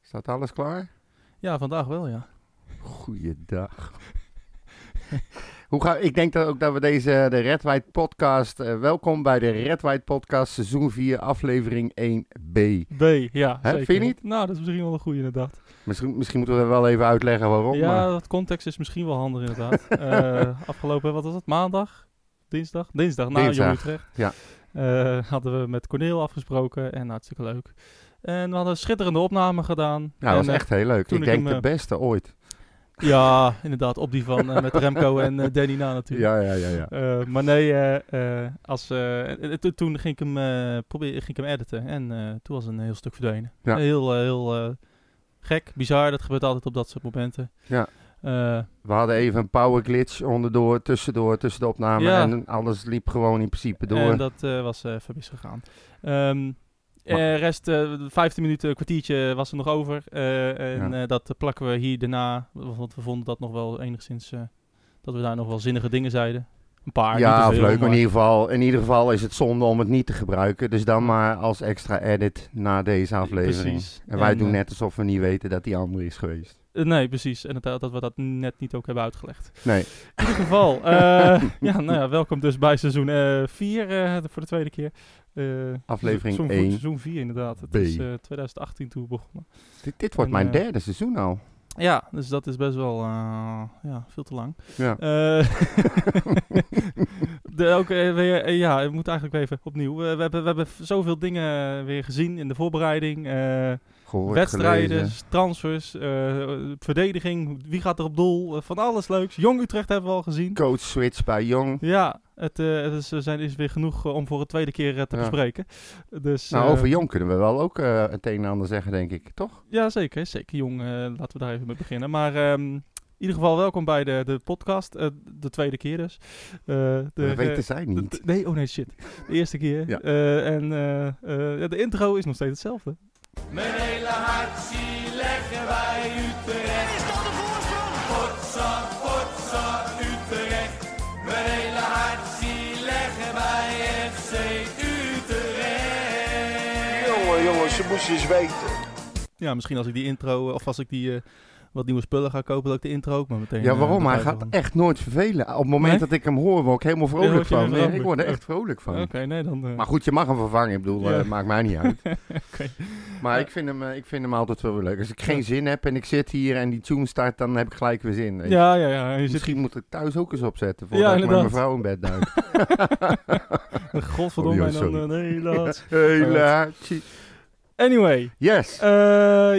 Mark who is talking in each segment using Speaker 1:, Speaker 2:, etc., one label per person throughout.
Speaker 1: Staat alles klaar?
Speaker 2: Ja, vandaag wel, ja.
Speaker 1: Goeiedag. Hoe ga, ik denk dat ook dat we deze, de Red White Podcast, eh, welkom bij de Red White Podcast seizoen 4, aflevering 1b.
Speaker 2: B, ja.
Speaker 1: Hè,
Speaker 2: zeker.
Speaker 1: vind je niet?
Speaker 2: Nou, dat is misschien wel een goede inderdaad.
Speaker 1: Misschien, misschien moeten we wel even uitleggen waarom.
Speaker 2: ja,
Speaker 1: maar- Nou,
Speaker 2: dat context is misschien wel handig inderdaad. Eh, afgelopen, wat was dat? Maandag? Dinsdag? Dinsdag, na
Speaker 1: Dinsdag,
Speaker 2: Jong Utrecht.
Speaker 1: ja.
Speaker 2: Eh, hadden we met Corneel afgesproken en hartstikke leuk. En we hadden een schitterende opname gedaan.
Speaker 1: ja, Nou, dat
Speaker 2: En,
Speaker 1: was
Speaker 2: eh,
Speaker 1: echt heel leuk.
Speaker 2: toen
Speaker 1: Ik
Speaker 2: ik
Speaker 1: denk
Speaker 2: hem,
Speaker 1: de
Speaker 2: eh,
Speaker 1: beste ooit.
Speaker 2: Ja, inderdaad, op die van eh, met Remco en eh, Danny na natuurlijk.
Speaker 1: Ja, ja, ja, ja.
Speaker 2: Eh, maar nee, eh, eh, als, eh, eh, eh, to- toen ging ik hem, eh probeer, ging ik hem editen en eh, toen was een heel stuk verdwenen.
Speaker 1: Ja.
Speaker 2: Heel, eh, heel eh, gek, bizar, dat gebeurt altijd op dat soort momenten.
Speaker 1: Ja.
Speaker 2: Eh,
Speaker 1: We hadden even een power glitch onderdoor, tussendoor, tussen de opname.
Speaker 2: Ja.
Speaker 1: En alles liep gewoon in principe door.
Speaker 2: en dat eh, was eh even misgegaan. Ehm eh, rest, eh 15 minuten, een kwartiertje was er nog over. eh, en
Speaker 1: Ja.
Speaker 2: eh, dat eh, plakken we hier daarna, want we vonden dat nog wel enigszins, eh, dat we daar nog wel zinnige dingen zeiden. Een paar, niet te
Speaker 1: ja, of
Speaker 2: veel,
Speaker 1: leuk. Maar
Speaker 2: maar-
Speaker 1: in ieder, geval, in ieder geval is het zonde om het niet te gebruiken. Dus dan maar als extra edit na deze aflevering.
Speaker 2: Precies.
Speaker 1: En wij doen
Speaker 2: eh,
Speaker 1: net alsof we niet weten dat die andere is geweest.
Speaker 2: Eh, Nee, precies. En dat, dat we dat net niet ook hebben uitgelegd.
Speaker 1: Nee.
Speaker 2: In ieder geval, eh, ja, nou ja, welkom dus bij seizoen 4 voor de tweede keer. Eh,
Speaker 1: Aflevering
Speaker 2: seizoen,
Speaker 1: één.
Speaker 2: Seizoen 4 inderdaad. Het
Speaker 1: B.
Speaker 2: is eh, 2018 toen begonnen.
Speaker 1: Dit, dit wordt
Speaker 2: En,
Speaker 1: mijn
Speaker 2: eh,
Speaker 1: derde seizoen al.
Speaker 2: Ja, dus dat is best wel eh, ja, veel te lang.
Speaker 1: Ja.
Speaker 2: Eh, de, ook, eh, weer, eh, ja, ik moet eigenlijk weer even opnieuw. Eh, we, hebben, we hebben zoveel dingen eh, weer gezien in de voorbereiding. eh,
Speaker 1: Gehoord,
Speaker 2: Wedstrijden,
Speaker 1: gelezen.
Speaker 2: transfers, eh, verdediging, wie gaat er op doel, eh, van alles leuks. Jong Utrecht hebben we al gezien.
Speaker 1: Coach switch bij Jong.
Speaker 2: Ja, het, eh, het is, er zijn, is weer genoeg eh, om voor de tweede keer eh, te
Speaker 1: Ja.
Speaker 2: bespreken. Dus,
Speaker 1: Nou,
Speaker 2: eh,
Speaker 1: over Jong kunnen we wel ook eh, het een en ander zeggen, denk ik. Toch?
Speaker 2: Ja, zeker. Zeker, Jong. eh, laten we daar even mee beginnen. Maar ehm, in ieder geval welkom bij de, de podcast. eh, de tweede keer dus. Eh, de,
Speaker 1: dat
Speaker 2: eh,
Speaker 1: weten zij
Speaker 2: de-
Speaker 1: niet.
Speaker 2: de- nee, oh nee, shit. De eerste keer.
Speaker 1: Ja.
Speaker 2: Eh, en eh, eh, ja, de intro is nog steeds hetzelfde.
Speaker 3: Mijn hele hart zie leggen wij Utrecht. Is dat de voorsprong? Potsa, potsa, Utrecht. Mijn hele hart zie leggen wij FC Utrecht.
Speaker 4: Jongen, jongen, ze moest eens weten.
Speaker 2: Ja, misschien als ik die intro, eh, of als ik die eh, wat nieuwe spullen ga kopen, dat ik de intro ook maar meteen...
Speaker 1: ja,
Speaker 2: eh,
Speaker 1: waarom? Hij
Speaker 2: erbij
Speaker 1: gaat
Speaker 2: wil.
Speaker 1: echt nooit vervelen. Op het moment
Speaker 2: Nee?
Speaker 1: dat ik hem hoor, word ik helemaal vrolijk
Speaker 2: word je weer
Speaker 1: van. Nee, ik
Speaker 2: vrolijk.
Speaker 1: word er echt vrolijk van.
Speaker 2: Oké, nee, dan... eh,
Speaker 1: Maar goed, je mag hem vervangen. Ik bedoel,
Speaker 2: Ja.
Speaker 1: eh, maakt mij niet uit.
Speaker 2: Oké.
Speaker 1: Maar
Speaker 2: Ja.
Speaker 1: ik, vind hem, eh, ik vind hem altijd wel weer leuk. Als ik geen
Speaker 2: Ja.
Speaker 1: zin heb en ik zit hier en die tune start, dan heb ik gelijk weer zin. weet je.
Speaker 2: ja, ja, ja. en Je zit
Speaker 1: Misschien moet ik thuis ook eens opzetten voordat ik met
Speaker 2: inderdaad.
Speaker 1: mijn vrouw in bed duik.
Speaker 2: godverdomme
Speaker 1: Oh,
Speaker 2: en
Speaker 1: joh,
Speaker 2: dan... eh, nee, laat.
Speaker 1: Helaatje.
Speaker 2: Anyway,
Speaker 1: Yes.
Speaker 2: eh, jij,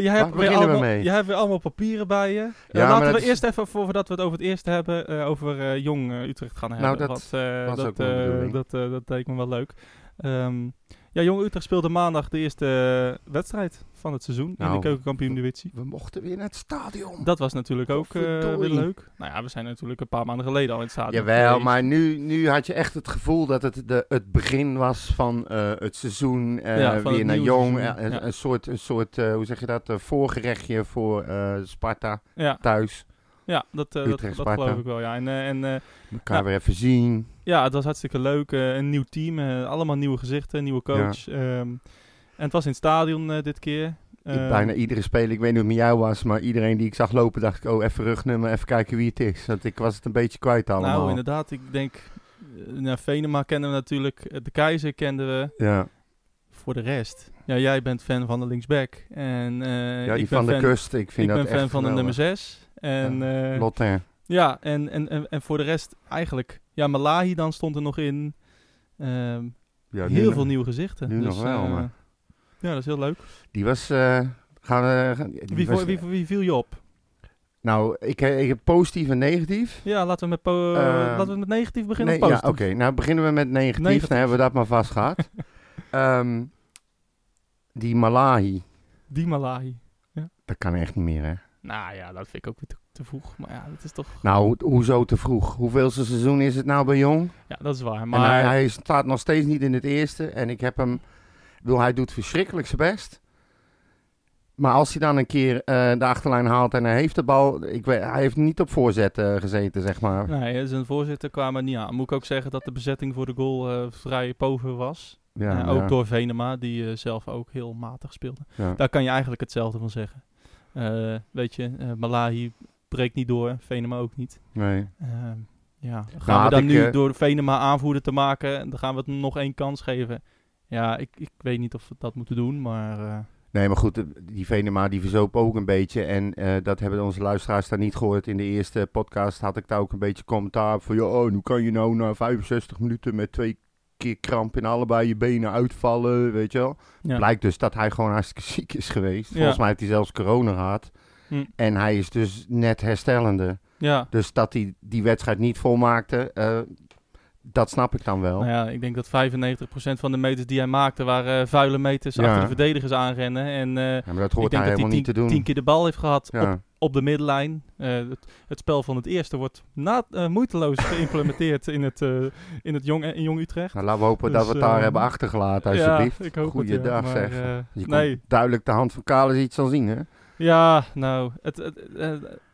Speaker 2: hebt weer
Speaker 1: beginnen we
Speaker 2: allemaal,
Speaker 1: mee?
Speaker 2: jij hebt weer allemaal papieren bij je. Eh,
Speaker 1: Ja, maar
Speaker 2: laten
Speaker 1: dat
Speaker 2: we
Speaker 1: is-
Speaker 2: eerst even, voor- voordat we het over het eerste hebben, eh, over eh, Jong eh, Utrecht gaan hebben.
Speaker 1: Nou, dat
Speaker 2: Want, eh,
Speaker 1: was
Speaker 2: dat,
Speaker 1: ook mijn
Speaker 2: eh,
Speaker 1: bedoeling.
Speaker 2: dat, eh, dat leek me wel leuk. Ehm, ja, Jong Utrecht speelde maandag de eerste eh, wedstrijd van het seizoen
Speaker 1: Nou.
Speaker 2: in de keukenkampioen divisie.
Speaker 1: We mochten weer naar het stadion.
Speaker 2: Dat was natuurlijk ook eh, weer
Speaker 1: Godverdorie.
Speaker 2: leuk. Nou ja, we zijn natuurlijk een paar maanden geleden al in het stadion.
Speaker 1: Jawel,
Speaker 2: geweest.
Speaker 1: maar nu, nu had je echt het gevoel dat het de, het begin was van eh, het seizoen. eh,
Speaker 2: Ja, van
Speaker 1: weer
Speaker 2: het
Speaker 1: naar
Speaker 2: nieuwe
Speaker 1: Jong.
Speaker 2: seizoen,
Speaker 1: eh, een,
Speaker 2: ja.
Speaker 1: een soort, een soort eh, hoe zeg je dat, eh, voorgerechtje voor eh, Sparta
Speaker 2: Ja,
Speaker 1: thuis.
Speaker 2: ja dat, eh, dat,
Speaker 1: Utrecht,
Speaker 2: dat
Speaker 1: Sparta.
Speaker 2: geloof ik wel. Ja. En, eh, en eh,
Speaker 1: Elkaar
Speaker 2: Ja.
Speaker 1: weer even zien.
Speaker 2: ja, het was hartstikke leuk. eh, een nieuw team, eh, allemaal nieuwe gezichten, nieuwe coach. ehm, en het was in het stadion eh, dit keer. Ehm,
Speaker 1: Bijna iedere speler, ik weet niet hoe het met jou was, maar iedereen die ik zag lopen dacht ik, oh even rugnummer, even kijken wie het is. Want ik was het een beetje kwijt allemaal.
Speaker 2: Nou, inderdaad. Ik denk, eh, nou, Venema kennen we natuurlijk. eh, De Keizer kenden we.
Speaker 1: Ja,
Speaker 2: Voor de rest. Ja, jij bent fan van de linksback. En eh,
Speaker 1: ja die
Speaker 2: ik
Speaker 1: van
Speaker 2: ben
Speaker 1: de
Speaker 2: fan,
Speaker 1: kust, ik vind
Speaker 2: ik
Speaker 1: dat
Speaker 2: ben
Speaker 1: echt
Speaker 2: fan van de nummer 6. En, eh,
Speaker 1: Lotte.
Speaker 2: Ja, en, en, en, en voor de rest eigenlijk... Ja, Malahi dan stond er nog in. Ehm,
Speaker 1: Ja,
Speaker 2: heel
Speaker 1: nu-
Speaker 2: veel nieuwe gezichten.
Speaker 1: nu
Speaker 2: dus,
Speaker 1: nog wel,
Speaker 2: eh,
Speaker 1: maar-
Speaker 2: Ja, dat is heel leuk.
Speaker 1: Die was... eh, gaan we, gaan- die
Speaker 2: Wie,
Speaker 1: was-
Speaker 2: vo- wie, wie viel je op?
Speaker 1: Nou, ik, ik heb positief en negatief.
Speaker 2: Ja, laten we met, po-
Speaker 1: Eh,
Speaker 2: laten we met negatief beginnen
Speaker 1: Nee,
Speaker 2: of
Speaker 1: ja, oké.
Speaker 2: positief?
Speaker 1: Nou, beginnen we met negatief.
Speaker 2: Negatief.
Speaker 1: Dan hebben we dat maar vast gehad. Ehm, die Malahi,
Speaker 2: Die Malahi.
Speaker 1: dat kan echt niet meer, hè?
Speaker 2: Nou ja, dat vind ik ook weer te, te vroeg. Maar ja, dat is toch...
Speaker 1: Nou, ho- hoezo te vroeg? Hoeveelste seizoen is het nou bij Jong?
Speaker 2: Ja, dat is waar.
Speaker 1: En hij,
Speaker 2: Maar
Speaker 1: hij staat nog steeds niet in het eerste. En ik heb hem... ik bedoel, hij doet verschrikkelijk zijn best. Maar als hij dan een keer eh, de achterlijn haalt en hij heeft de bal... Ik weet, hij heeft niet op voorzet eh, gezeten, zeg maar.
Speaker 2: Nee, eh, zijn voorzitter kwam er niet aan. Moet ik ook zeggen dat de bezetting voor de goal eh, vrij pover was.
Speaker 1: Ja,
Speaker 2: Eh, ook
Speaker 1: ja.
Speaker 2: door Venema, die eh, zelf ook heel matig speelde.
Speaker 1: Ja.
Speaker 2: Daar kan je eigenlijk hetzelfde van zeggen. Eh, weet je, eh, Malahi breekt niet door, Venema ook niet.
Speaker 1: Nee.
Speaker 2: Ehm, ja, gaan we
Speaker 1: had
Speaker 2: dan
Speaker 1: ik,
Speaker 2: nu
Speaker 1: eh,
Speaker 2: door Venema aanvoerder te maken, dan gaan we het hem nog één kans geven. Ja, ik, ik weet niet of we dat moeten doen, maar eh,
Speaker 1: Nee, maar goed, eh, die Venema die verzoop ook een beetje. En eh, dat hebben onze luisteraars daar niet gehoord. In de eerste podcast had ik daar ook een beetje commentaar op. Van, joh, hoe kan je nou na 65 minuten met twee keer kramp in allebei je benen uitvallen, weet je wel.
Speaker 2: ja.
Speaker 1: Blijkt dus dat hij gewoon hartstikke ziek is geweest.
Speaker 2: Ja.
Speaker 1: Volgens mij heeft hij zelfs corona gehad.
Speaker 2: Hm.
Speaker 1: En hij is dus net herstellende.
Speaker 2: ja.
Speaker 1: Dus dat hij die wedstrijd niet volmaakte, eh, dat snap ik dan wel.
Speaker 2: Nou ja, ik denk dat 95% van de meters die hij maakte waren eh, vuile meters
Speaker 1: Ja.
Speaker 2: achter de verdedigers aanrennen. En eh,
Speaker 1: Ja, maar dat hoort
Speaker 2: ik
Speaker 1: hij
Speaker 2: denk dat
Speaker 1: helemaal
Speaker 2: hij tien,
Speaker 1: niet te doen.
Speaker 2: tien keer de bal heeft gehad op,
Speaker 1: ja.
Speaker 2: op de middenlijn. Eh, het, het spel van het eerste wordt na, eh, moeiteloos geïmplementeerd in het, eh, in het jong, in jong Utrecht.
Speaker 1: nou, laten we hopen
Speaker 2: Dus,
Speaker 1: dat we het daar
Speaker 2: eh,
Speaker 1: hebben achtergelaten, alsjeblieft.
Speaker 2: Ja, ik hoop het, ja.
Speaker 1: Goeiedag,
Speaker 2: Maar,
Speaker 1: zeg.
Speaker 2: eh,
Speaker 1: Je
Speaker 2: nee,
Speaker 1: kon duidelijk de hand van Kalis iets zal zien, hè?
Speaker 2: Ja, nou, het, het- eh,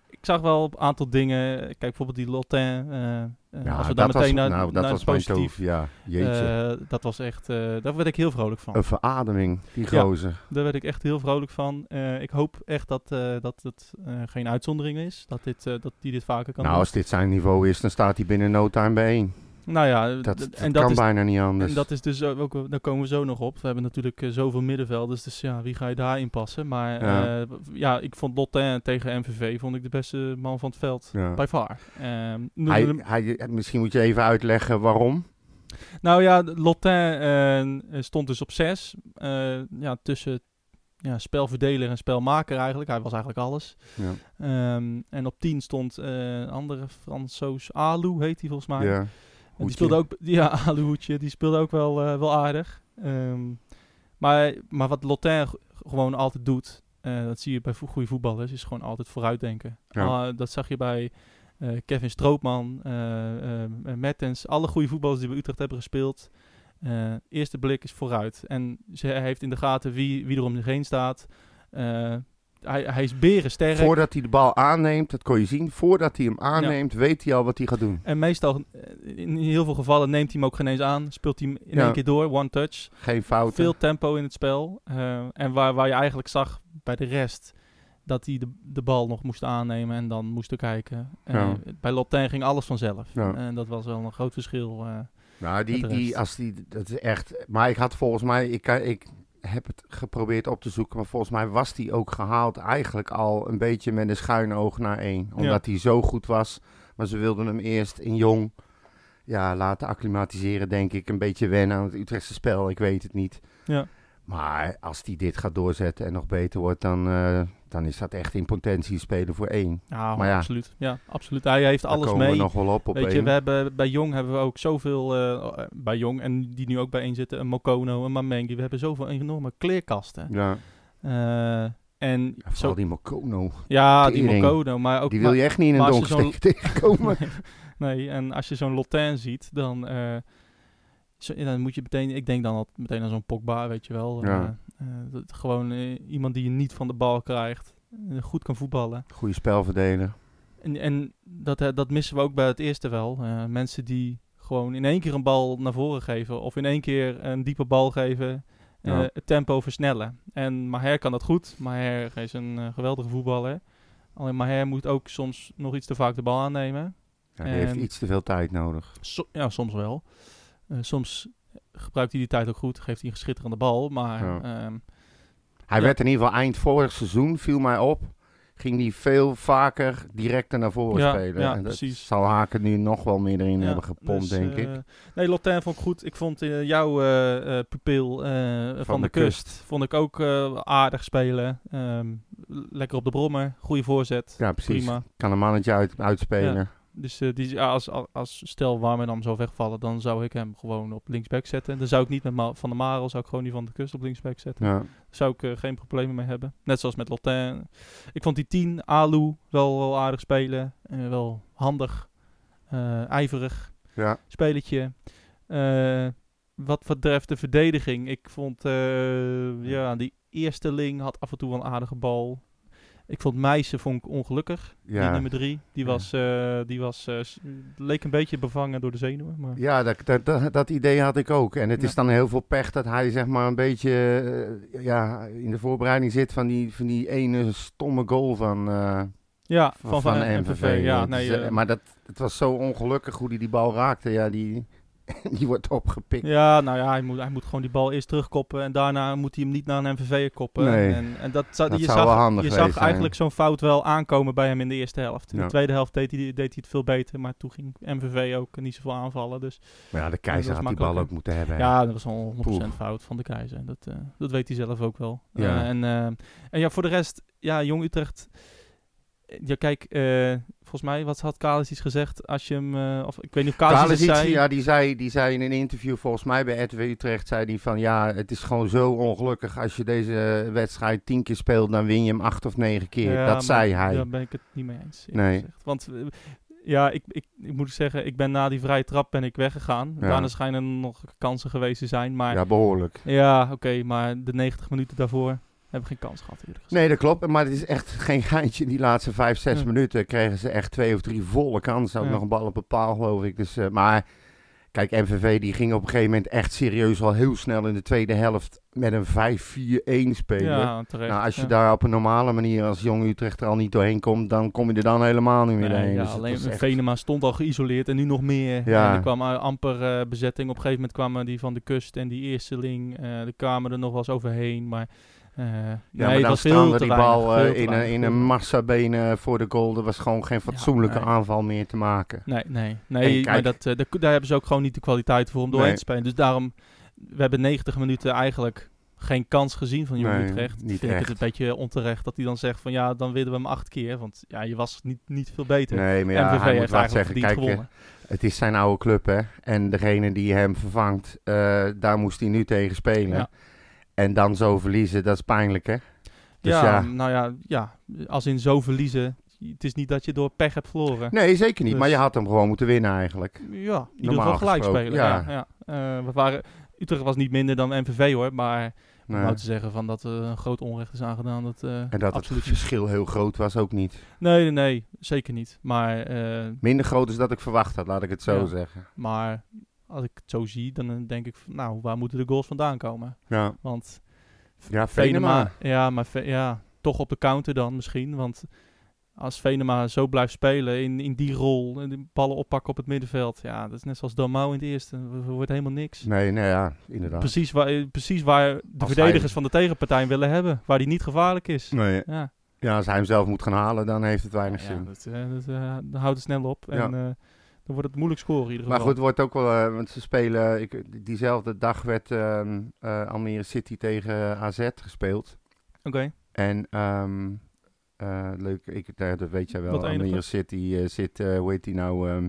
Speaker 2: ik zag wel een aantal dingen. Kijk, bijvoorbeeld die Lotin. eh, eh, als we dan
Speaker 1: dat
Speaker 2: meteen
Speaker 1: was,
Speaker 2: naar,
Speaker 1: nou, dat
Speaker 2: naar
Speaker 1: was
Speaker 2: het
Speaker 1: mijn
Speaker 2: positief.
Speaker 1: toof, ja. Jeetje. Oh.
Speaker 2: eh, dat was echt, eh, daar werd ik heel vrolijk van.
Speaker 1: een verademing, die
Speaker 2: Ja.
Speaker 1: gozer.
Speaker 2: Daar werd ik echt heel vrolijk van. Eh, ik hoop echt dat, eh, dat het eh, geen uitzondering is. Dat, dit, eh, dat die dit vaker kan
Speaker 1: nou, als dit zijn niveau is, dan staat hij binnen no time bijeen.
Speaker 2: doen. Nou ja,
Speaker 1: Dat,
Speaker 2: d-
Speaker 1: dat kan
Speaker 2: is,
Speaker 1: bijna niet anders.
Speaker 2: en dat is dus ook, daar komen we zo nog op. We hebben natuurlijk eh, zoveel middenvelders, dus ja, wie ga je daarin passen? Maar
Speaker 1: Ja.
Speaker 2: ja, ja ik vond Lotin tegen MVV vond ik de beste man van het veld.
Speaker 1: Ja.
Speaker 2: By far. Ehm, nu-
Speaker 1: Hij, hij, misschien moet je even uitleggen waarom.
Speaker 2: nou ja, Lotin eh, stond dus op 6. ja, tussen ja, spelverdeler en spelmaker eigenlijk. Hij was eigenlijk alles.
Speaker 1: Ja.
Speaker 2: Ehm, en op 10 stond eh, een andere Fransoos, Alou heet hij volgens mij.
Speaker 1: Ja.
Speaker 2: En
Speaker 1: Hoedje.
Speaker 2: die speelde ook, ja, Aluhoedje, die speelde ook wel, eh, wel aardig. Ehm, maar, maar wat Lotin g- gewoon altijd doet, eh, dat zie je bij vo- goede voetballers, is gewoon altijd vooruitdenken.
Speaker 1: Ja.
Speaker 2: Ah, dat zag je bij eh, Kevin Stroopman, eh eh, Mertens, alle goede voetballers die bij Utrecht hebben gespeeld. Eh, eerste blik is vooruit. En ze heeft in de gaten wie, wie er om zich heen staat. Eh, hij, hij is berensterk.
Speaker 1: Voordat hij de bal aanneemt, dat kon je zien. Voordat hij hem aanneemt, weet hij al wat hij gaat doen.
Speaker 2: En meestal, eh, in heel veel gevallen, neemt hij hem ook geen eens aan. Speelt hij hem in
Speaker 1: Ja.
Speaker 2: één keer door, one touch.
Speaker 1: Geen fouten.
Speaker 2: Veel tempo in het spel. eh, en waar, waar je eigenlijk zag bij de rest dat hij de, de bal nog moest aannemen en dan moesten kijken. Eh,
Speaker 1: Ja.
Speaker 2: Bij Lotin ging alles vanzelf.
Speaker 1: Ja.
Speaker 2: En dat was wel een groot verschil. eh.
Speaker 1: Nou, die,
Speaker 2: Met de
Speaker 1: die,
Speaker 2: rest.
Speaker 1: als die, dat is echt. Maar ik had volgens mij, ik, kan- ik heb het geprobeerd op te zoeken, maar volgens mij was die ook gehaald eigenlijk al een beetje met een schuin oog naar één. Omdat hij zo goed was, maar ze wilden hem eerst in jong ja, laten acclimatiseren, denk ik. Een beetje wennen aan het Utrechtse spel, ik weet het niet.
Speaker 2: Ja.
Speaker 1: Maar als die dit gaat doorzetten en nog beter wordt, dan, eh, dan is dat echt in potentie spelen voor één.
Speaker 2: ja,
Speaker 1: Maar ja.
Speaker 2: absoluut. Ja, absoluut. Hij heeft
Speaker 1: Daar
Speaker 2: alles
Speaker 1: komen
Speaker 2: mee.
Speaker 1: we nog wel op op
Speaker 2: Weet je,
Speaker 1: één.
Speaker 2: we hebben, bij Jong hebben we ook zoveel, eh, eh, bij Jong en die nu ook bijeen zitten, een Mokono, een Mamengi. We hebben zoveel enorme kleerkasten.
Speaker 1: ja,
Speaker 2: Eh, en
Speaker 1: vooral
Speaker 2: zo,
Speaker 1: die Mokono.
Speaker 2: ja, die
Speaker 1: tering.
Speaker 2: Mokono, maar ook...
Speaker 1: Die wil je echt niet in
Speaker 2: maar
Speaker 1: een
Speaker 2: als je
Speaker 1: donker tegenkomen.
Speaker 2: Nee. nee, en als je zo'n Lotin ziet, dan, eh, zo- ja, dan moet je meteen, ik denk dan al meteen aan zo'n Pogba, weet je wel.
Speaker 1: Ja.
Speaker 2: Eh, eh, dat, gewoon eh, iemand die je niet van de bal krijgt, eh, goed kan voetballen.
Speaker 1: Goede spelverdeler.
Speaker 2: En, en dat, eh, dat missen we ook bij het eerste wel. Eh, mensen die gewoon in één keer een bal naar voren geven of in één keer een diepe bal geven. eh,
Speaker 1: Ja.
Speaker 2: Het tempo versnellen. En Maher kan dat goed. Maher is een eh, geweldige voetballer. Alleen Maher moet ook soms nog iets te vaak de bal aannemen.
Speaker 1: Ja, die heeft
Speaker 2: En-
Speaker 1: iets te veel tijd nodig.
Speaker 2: So- ja, soms wel. Eh, soms gebruikt hij die tijd ook goed, geeft hij een schitterende bal. Maar
Speaker 1: Ja.
Speaker 2: ehm,
Speaker 1: Hij
Speaker 2: Ja.
Speaker 1: werd in ieder geval eind vorig seizoen, viel mij op, ging hij veel vaker direct naar voren
Speaker 2: Ja,
Speaker 1: spelen.
Speaker 2: ja,
Speaker 1: en dat
Speaker 2: precies.
Speaker 1: zal Haken nu nog wel meer erin
Speaker 2: ja,
Speaker 1: hebben gepompt,
Speaker 2: dus,
Speaker 1: denk ik.
Speaker 2: eh, Nee, Lotin vond ik goed. Ik vond eh, jouw eh, eh, pupil eh, van, de,
Speaker 1: de
Speaker 2: kust. vond ik ook eh, aardig spelen. Ehm, lekker op de brommer, goede voorzet.
Speaker 1: Ja, precies.
Speaker 2: Prima.
Speaker 1: Kan een mannetje uit, uitspelen.
Speaker 2: Dus eh, die, ja, als, als, als stel Warmerdam zou wegvallen, dan zou ik hem gewoon op linksback zetten. Dan zou ik niet met Ma- Van der Marel, zou ik gewoon die van de kust op linksback zetten.
Speaker 1: Ja.
Speaker 2: zou ik eh, geen problemen mee hebben. Net zoals met Lotin. Ik vond die 10, Alu, wel, wel aardig spelen. Eh, wel handig, eh, ijverig
Speaker 1: Ja.
Speaker 2: spelletje. Eh, wat betreft de verdediging, ik vond eh, ja, die eerste ling had af en toe wel een aardige bal. Ik vond Meijsen vond ik ongelukkig. Die
Speaker 1: Ja,
Speaker 2: nummer drie. Die
Speaker 1: Ja.
Speaker 2: was, eh, die was eh, s- leek een beetje bevangen door de zenuwen. Maar
Speaker 1: ja dat, dat, dat, dat idee had ik ook. En het
Speaker 2: Ja.
Speaker 1: is dan heel veel pech dat hij zeg maar een beetje eh, ja, in de voorbereiding zit van die, van die ene stomme goal van, eh,
Speaker 2: ja,
Speaker 1: van, van, MVV.
Speaker 2: Ja,
Speaker 1: Dat
Speaker 2: nee,
Speaker 1: is, eh,
Speaker 2: eh,
Speaker 1: maar dat, het was zo ongelukkig hoe hij die bal raakte. Ja, die, die wordt opgepikt.
Speaker 2: ja, nou ja, hij moet, hij moet gewoon die bal eerst terugkoppen. En daarna moet hij hem niet naar een MVV koppen.
Speaker 1: Nee.
Speaker 2: En, en dat, zou-
Speaker 1: Dat
Speaker 2: je
Speaker 1: zou
Speaker 2: zag,
Speaker 1: wel handig
Speaker 2: je
Speaker 1: geweest
Speaker 2: zag
Speaker 1: zijn.
Speaker 2: eigenlijk zo'n fout wel aankomen bij hem in de eerste helft. In de
Speaker 1: Ja.
Speaker 2: tweede helft deed hij, deed hij het veel beter. Maar toen ging MVV ook niet zoveel aanvallen. Dus
Speaker 1: Maar ja, de
Speaker 2: Ja,
Speaker 1: keizer
Speaker 2: dat is
Speaker 1: had die bal
Speaker 2: makkelijker.
Speaker 1: ook moeten hebben. hè.
Speaker 2: Ja, dat was al 100%
Speaker 1: Poef.
Speaker 2: fout van de keizer. Dat, eh, dat weet hij zelf ook wel.
Speaker 1: Ja.
Speaker 2: Eh, en, eh, en ja, voor de rest, ja, Jong Utrecht. eh, Ja, kijk, eh, volgens mij, wat had Kalis iets gezegd als je hem... eh, of, ik weet niet of Kalis het
Speaker 1: Kalisic,
Speaker 2: zei.
Speaker 1: ja, die zei, die zei in een interview volgens mij bij RTW Utrecht, zei die van ja, het is gewoon zo ongelukkig als je deze wedstrijd tien keer speelt, dan win je hem acht of negen keer.
Speaker 2: Ja,
Speaker 1: dat
Speaker 2: maar
Speaker 1: zei hij.
Speaker 2: Daar ben ik het niet mee eens. eerlijk
Speaker 1: Nee.
Speaker 2: gezegd. Want eh, ja, ik, ik, ik moet zeggen, ik ben na die vrije trap ben ik weggegaan.
Speaker 1: Ja.
Speaker 2: Daarna schijnen er nog kansen geweest te zijn. Maar ja,
Speaker 1: Ja, behoorlijk.
Speaker 2: oké, maar de 90 minuten daarvoor hebben we geen kans gehad. eerlijk gezegd.
Speaker 1: Nee, dat klopt. Maar het is echt geen geintje. In die laatste vijf, zes
Speaker 2: Ja.
Speaker 1: minuten kregen ze echt twee of drie volle kansen. Ook
Speaker 2: Hm. Ja.
Speaker 1: nog een bal op een paal, geloof ik. Dus, eh, maar kijk, MVV die ging op een gegeven moment echt serieus al heel snel in de tweede helft met een 5-4-1 spelen.
Speaker 2: Ja, terecht.
Speaker 1: Nou, als je
Speaker 2: ja.
Speaker 1: daar op een normale manier als jong Utrecht er al niet doorheen komt, dan kom je er dan helemaal niet meer
Speaker 2: Nee,
Speaker 1: heen.
Speaker 2: ja,
Speaker 1: Dus het
Speaker 2: alleen
Speaker 1: was echt-
Speaker 2: Venema stond al geïsoleerd en nu nog meer.
Speaker 1: Ja.
Speaker 2: En er kwam eh, amper eh, bezetting. Op een gegeven moment kwamen die van de kust en die eersteling. eh de kwamen er nog wel eens overheen. Maar, eh
Speaker 1: Ja,
Speaker 2: nee,
Speaker 1: maar
Speaker 2: het
Speaker 1: dan
Speaker 2: was veel
Speaker 1: staan
Speaker 2: te
Speaker 1: we die
Speaker 2: weinig,
Speaker 1: bal eh,
Speaker 2: veel te
Speaker 1: in,
Speaker 2: weinig,
Speaker 1: een, in
Speaker 2: veel te
Speaker 1: een massabenen voor de goal. Er was gewoon geen fatsoenlijke
Speaker 2: nee.
Speaker 1: aanval meer te maken.
Speaker 2: Nee, nee. nee
Speaker 1: En
Speaker 2: maar
Speaker 1: kijk-
Speaker 2: dat, eh, daar, daar hebben ze ook gewoon niet de kwaliteit voor om doorheen
Speaker 1: Nee.
Speaker 2: te spelen. Dus daarom, we hebben 90 minuten eigenlijk geen kans gezien van Jong
Speaker 1: Nee,
Speaker 2: Utrecht.
Speaker 1: niet
Speaker 2: Vind ik het
Speaker 1: echt.
Speaker 2: een beetje onterecht dat hij dan zegt van ja, dan winnen we hem acht keer. Want ja, je was niet, niet veel beter.
Speaker 1: Nee, maar ja,
Speaker 2: MVV
Speaker 1: hij moet
Speaker 2: heeft
Speaker 1: wat
Speaker 2: eigenlijk
Speaker 1: zeggen.
Speaker 2: verdiend
Speaker 1: Kijk, eh,
Speaker 2: gewonnen.
Speaker 1: het is zijn oude club, hè. En degene die hem vervangt, eh, daar moest hij nu tegen spelen.
Speaker 2: Ja.
Speaker 1: En dan zo verliezen, dat is pijnlijk, hè. Dus
Speaker 2: ja,
Speaker 1: ja.
Speaker 2: nou ja, ja, als in zo verliezen. Het is niet dat je door pech hebt verloren.
Speaker 1: Nee, zeker niet.
Speaker 2: Dus-
Speaker 1: Maar je had hem gewoon moeten winnen eigenlijk.
Speaker 2: Ja, in ieder geval
Speaker 1: Normaal
Speaker 2: gelijk
Speaker 1: gesproken,
Speaker 2: spelen. Ja. Ja, Eh, we waren, Utrecht was niet minder dan MVV hoor, maar om
Speaker 1: Nee.
Speaker 2: nou te zeggen van dat er een groot onrecht is aangedaan, dat, eh,
Speaker 1: En dat
Speaker 2: absoluut
Speaker 1: het
Speaker 2: niet.
Speaker 1: verschil heel groot was ook niet.
Speaker 2: Nee, nee, nee, zeker niet. Maar, eh,
Speaker 1: Minder groot is dat ik verwacht had, laat ik het zo
Speaker 2: Ja.
Speaker 1: zeggen.
Speaker 2: maar als ik het zo zie, dan eh, denk ik, van, nou, waar moeten de goals vandaan komen?
Speaker 1: Ja,
Speaker 2: Want
Speaker 1: ja Venema.
Speaker 2: Venema. Ja, maar Ve- ja, toch op de counter dan misschien. Want als Venema zo blijft spelen in, in die rol, en de ballen oppakken op het middenveld. Ja, dat is net zoals Dalmau in het eerste. Er er wordt helemaal niks.
Speaker 1: Nee, nee, ja, inderdaad.
Speaker 2: Precies waar, eh, precies waar de
Speaker 1: Als
Speaker 2: verdedigers
Speaker 1: hij-
Speaker 2: van de tegenpartij willen hebben. Waar die niet gevaarlijk is.
Speaker 1: Nee.
Speaker 2: Ja.
Speaker 1: Ja, als hij hem zelf moet gaan halen, dan heeft het weinig
Speaker 2: Ja,
Speaker 1: zin.
Speaker 2: dat, eh, dat, eh, dan houdt het snel op. En
Speaker 1: Ja.
Speaker 2: eh, dan wordt het moeilijk scoren in ieder
Speaker 1: Maar
Speaker 2: geval.
Speaker 1: goed, het wordt ook wel, eh, want ze spelen, ik, diezelfde dag werd ehm, eh, Almere City tegen eh, AZ gespeeld.
Speaker 2: Oké.
Speaker 1: En ehm, eh, leuk, ik, nou, dat weet jij wel,
Speaker 2: Wat
Speaker 1: Almere
Speaker 2: eindigde?
Speaker 1: City eh, zit, eh, hoe heet die nou, ehm,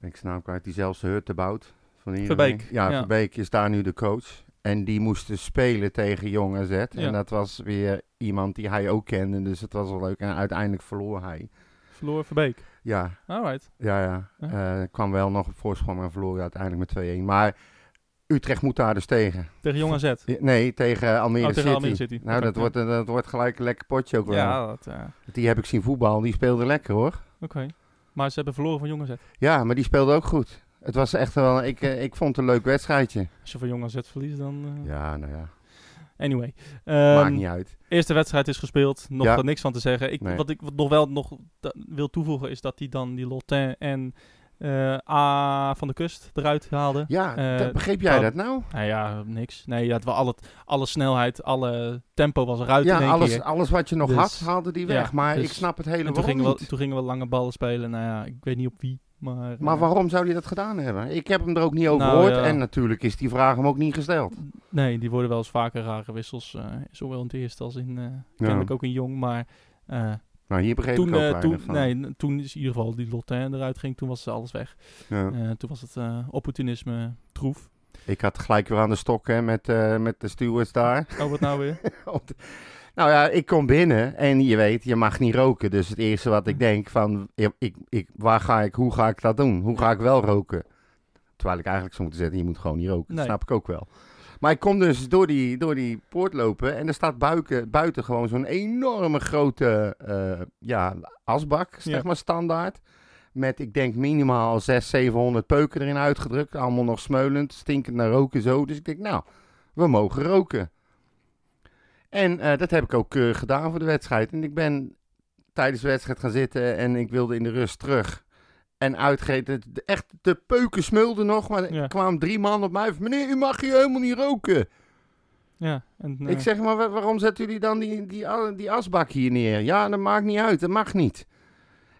Speaker 1: ben ik zijn naam kwijt, die zelfs de hutte bouwt. Van hier
Speaker 2: Verbeek,
Speaker 1: Ja,
Speaker 2: ja.
Speaker 1: Verbeek is daar nu de coach. En die moest dus spelen tegen Jong AZ.
Speaker 2: Ja.
Speaker 1: En dat was weer iemand die hij ook kende, dus het was wel leuk. En uiteindelijk verloor hij.
Speaker 2: Verloor Verbeek.
Speaker 1: Ja,
Speaker 2: Alright.
Speaker 1: ja, ja.
Speaker 2: Ja.
Speaker 1: Eh, kwam wel nog op voorsprong en verloor uiteindelijk met 2-1. Maar Utrecht moet daar dus tegen.
Speaker 2: Tegen Jong AZ.
Speaker 1: I- Nee, tegen Almere
Speaker 2: Oh, tegen
Speaker 1: City.
Speaker 2: Almere City.
Speaker 1: Nou,
Speaker 2: Oké,
Speaker 1: dat,
Speaker 2: ja.
Speaker 1: wordt, een- dat wordt gelijk een lekker potje ook wel.
Speaker 2: Ja, dat... eh, Oké.
Speaker 1: Die heb ik zien voetbal. Die speelde lekker hoor.
Speaker 2: Maar ze hebben verloren van Jong AZ.
Speaker 1: Ja, maar die speelde ook goed. Het was echt wel... Ik, eh, ik vond het een leuk wedstrijdje.
Speaker 2: Als je van Jong AZ verliest, dan... eh,
Speaker 1: Ja, nou ja.
Speaker 2: Anyway.
Speaker 1: Maakt
Speaker 2: Ehm,
Speaker 1: niet uit.
Speaker 2: eerste wedstrijd is gespeeld. Nog
Speaker 1: Ja.
Speaker 2: wat niks van te zeggen. Ik,
Speaker 1: Nee.
Speaker 2: Wat ik wat nog wel nog da- wil toevoegen is dat die dan die Lotin en eh, A van de kust eruit haalden.
Speaker 1: Ja,
Speaker 2: eh,
Speaker 1: dat- begreep jij
Speaker 2: dat-
Speaker 1: dat nou?
Speaker 2: Nou ja, niks. Nee, ja, het wa- al het, alle snelheid, alle tempo was eruit in
Speaker 1: Ja,
Speaker 2: één
Speaker 1: alles,
Speaker 2: keer.
Speaker 1: alles wat je nog
Speaker 2: Dus-
Speaker 1: had, haalde die
Speaker 2: ja,
Speaker 1: weg. maar
Speaker 2: dus-
Speaker 1: ik snap het hele
Speaker 2: En toen
Speaker 1: waarom
Speaker 2: gingen, we,
Speaker 1: niet.
Speaker 2: toen gingen we lange ballen spelen. Nou ja, ik weet niet op wie. Maar,
Speaker 1: Maar
Speaker 2: eh,
Speaker 1: waarom zou hij dat gedaan hebben? Ik heb hem er ook niet over
Speaker 2: Nou,
Speaker 1: gehoord.
Speaker 2: ja.
Speaker 1: En natuurlijk is die vraag hem ook niet gesteld.
Speaker 2: Nee, die worden wel eens vaker rare wissels. eh, zowel in het eerste als in... eh Kennelijk ook in Jong, maar... eh,
Speaker 1: Nou, hier begreep
Speaker 2: toen,
Speaker 1: ik ook
Speaker 2: eh,
Speaker 1: weinig
Speaker 2: toen,
Speaker 1: van.
Speaker 2: nee, n- toen is in ieder geval die Lotin eruit ging, toen was alles weg.
Speaker 1: Ja.
Speaker 2: Eh, toen was het eh, opportunisme troef.
Speaker 1: Ik had gelijk weer aan de stok hè, met, eh, met de stewards daar.
Speaker 2: Oh, wat nou weer?
Speaker 1: Op de- nou ja, ik kom binnen en je weet, je mag niet roken. Dus het eerste wat
Speaker 2: Mm.
Speaker 1: ik denk van, ik, ik, ik- waar ga ik, hoe ga ik dat doen? Hoe ga ik wel roken? Terwijl ik eigenlijk zou moeten zeggen, je moet gewoon niet roken.
Speaker 2: Nee.
Speaker 1: Dat snap ik ook wel. Maar ik kom dus door die, door die poort lopen en er staat buiken, buiten gewoon zo'n enorme grote eh, ja, asbak, zeg
Speaker 2: Ja.
Speaker 1: maar standaard. Met, ik denk, minimaal 600, 700 peuken erin uitgedrukt. Allemaal nog smeulend, stinkend naar roken zo. Dus ik denk, nou, we mogen roken. En eh, dat heb ik ook keurig gedaan voor de wedstrijd. En ik ben tijdens de wedstrijd gaan zitten en ik wilde in de rust terug. En uitgegeten, de- echt de peuken smulden nog, maar
Speaker 2: Ja.
Speaker 1: er kwamen drie man op mij. van, Meneer, u mag hier helemaal niet roken.
Speaker 2: Ja, en, eh,
Speaker 1: Ik zeg maar, wa- waarom zetten jullie dan die, die, a- die asbak hier neer? Ja, dat maakt niet uit, dat mag niet.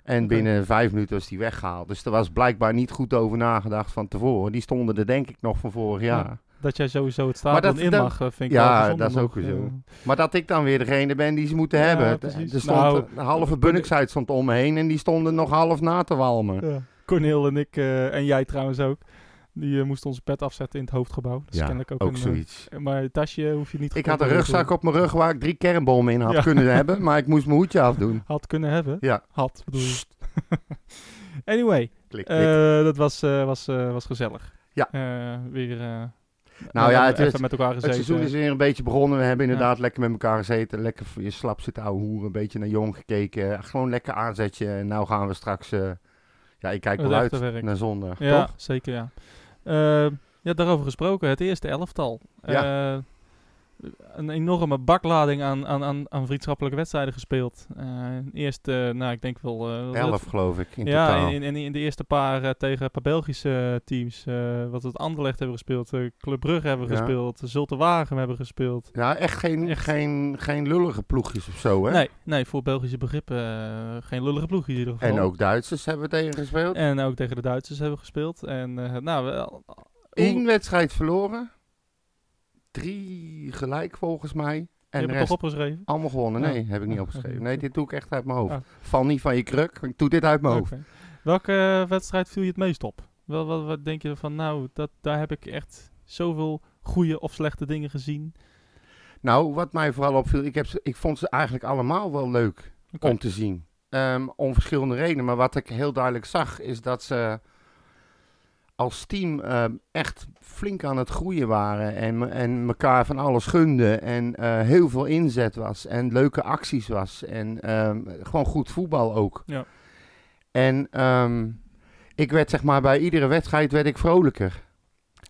Speaker 1: En
Speaker 2: Oké.
Speaker 1: binnen vijf minuten was die weggehaald. Dus er was blijkbaar niet goed over nagedacht van tevoren. Die stonden er denk ik nog van vorig jaar.
Speaker 2: Ja. dat jij sowieso het
Speaker 1: Maar
Speaker 2: stadion
Speaker 1: dat-
Speaker 2: in
Speaker 1: dat-
Speaker 2: mag, eh, vind ik
Speaker 1: Ja,
Speaker 2: wel gezonder
Speaker 1: dat is ook
Speaker 2: nog,
Speaker 1: weer zo.
Speaker 2: eh.
Speaker 1: Maar dat ik dan weer degene ben die ze moeten
Speaker 2: Ja,
Speaker 1: hebben.
Speaker 2: precies.
Speaker 1: Er stond
Speaker 2: Nou,
Speaker 1: een halve bunniksheid stond om me heen en die stonden nog half na te walmen.
Speaker 2: Ja. Cornel en ik, eh, en jij trouwens ook, die eh, moesten onze pet afzetten in het hoofdgebouw. Dat is
Speaker 1: Ja,
Speaker 2: kennelijk ook,
Speaker 1: Ook
Speaker 2: een, eh,
Speaker 1: zoiets.
Speaker 2: Maar het tasje hoef je niet
Speaker 1: Ik had een
Speaker 2: gecontroleerd te
Speaker 1: rugzak
Speaker 2: worden.
Speaker 1: op mijn rug waar ik drie kernbommen in had
Speaker 2: Ja.
Speaker 1: kunnen hebben, maar ik moest mijn hoedje afdoen.
Speaker 2: Had kunnen hebben.
Speaker 1: Ja.
Speaker 2: Had, bedoel je. anyway,
Speaker 1: Klik, klik.
Speaker 2: eh, dat was, eh, was, eh, was gezellig.
Speaker 1: Ja.
Speaker 2: Eh, weer eh,
Speaker 1: nou ja, het,
Speaker 2: even
Speaker 1: is-
Speaker 2: met elkaar gezeten.
Speaker 1: het seizoen is weer een beetje begonnen. We hebben inderdaad lekker met elkaar gezeten. Lekker voor je slap zitten ouwe hoeren, een beetje naar jong gekeken. Gewoon lekker aanzetje. En nou gaan we straks... eh, ja, ik kijk
Speaker 2: Het
Speaker 1: wel uit
Speaker 2: echte werk.
Speaker 1: naar zondag,
Speaker 2: Ja,
Speaker 1: toch?
Speaker 2: zeker ja. Eh, ja, daarover gesproken, het eerste elftal. Eh, een enorme baklading aan, aan, aan, aan vriendschappelijke wedstrijden gespeeld. Eh, eerst, eh, nou ik denk wel... eh, wat is het?
Speaker 1: Elf, geloof ik, in totaal.
Speaker 2: ja, in, in, in de eerste paar eh, tegen een paar Belgische eh, teams. eh, wat het Anderlecht hebben gespeeld, eh, Club Brugge hebben
Speaker 1: Ja.
Speaker 2: gespeeld, Zulte Wagen hebben gespeeld.
Speaker 1: Ja, echt geen,
Speaker 2: Echt.
Speaker 1: Geen, geen lullige ploegjes of zo, hè?
Speaker 2: Nee, nee, voor Belgische begrippen eh, geen lullige ploeg in ieder geval.
Speaker 1: En ook Duitsers hebben we tegen gespeeld.
Speaker 2: En ook tegen de Duitsers hebben we gespeeld. En eh, nou, wel,
Speaker 1: Eén wedstrijd verloren. Drie gelijk, volgens mij. En
Speaker 2: je
Speaker 1: de
Speaker 2: hebt het
Speaker 1: rest
Speaker 2: toch opgeschreven?
Speaker 1: Allemaal gewonnen?
Speaker 2: Ja.
Speaker 1: Nee, heb ik niet
Speaker 2: Ja,
Speaker 1: opgeschreven.
Speaker 2: oké.
Speaker 1: Nee, dit doe ik echt uit mijn hoofd.
Speaker 2: Ah.
Speaker 1: Val niet van je kruk, ik doe dit uit mijn hoofd.
Speaker 2: Oké. Welke eh, wedstrijd viel je het meest op? Wel, wat, wat denk je van, nou, dat, daar heb ik echt zoveel goede of slechte dingen gezien.
Speaker 1: Nou, wat mij vooral opviel, ik, heb ze, ik vond ze eigenlijk allemaal wel leuk
Speaker 2: Oké.
Speaker 1: om te zien. Ehm, om verschillende redenen. Maar wat ik heel duidelijk zag, is dat ze als team ehm, echt flink aan het groeien waren. En, me- en elkaar van alles gunden. En eh, heel veel inzet was. En leuke acties was. En ehm, gewoon goed voetbal ook.
Speaker 2: Ja.
Speaker 1: En ehm, ik werd zeg maar bij iedere wedstrijd werd ik vrolijker.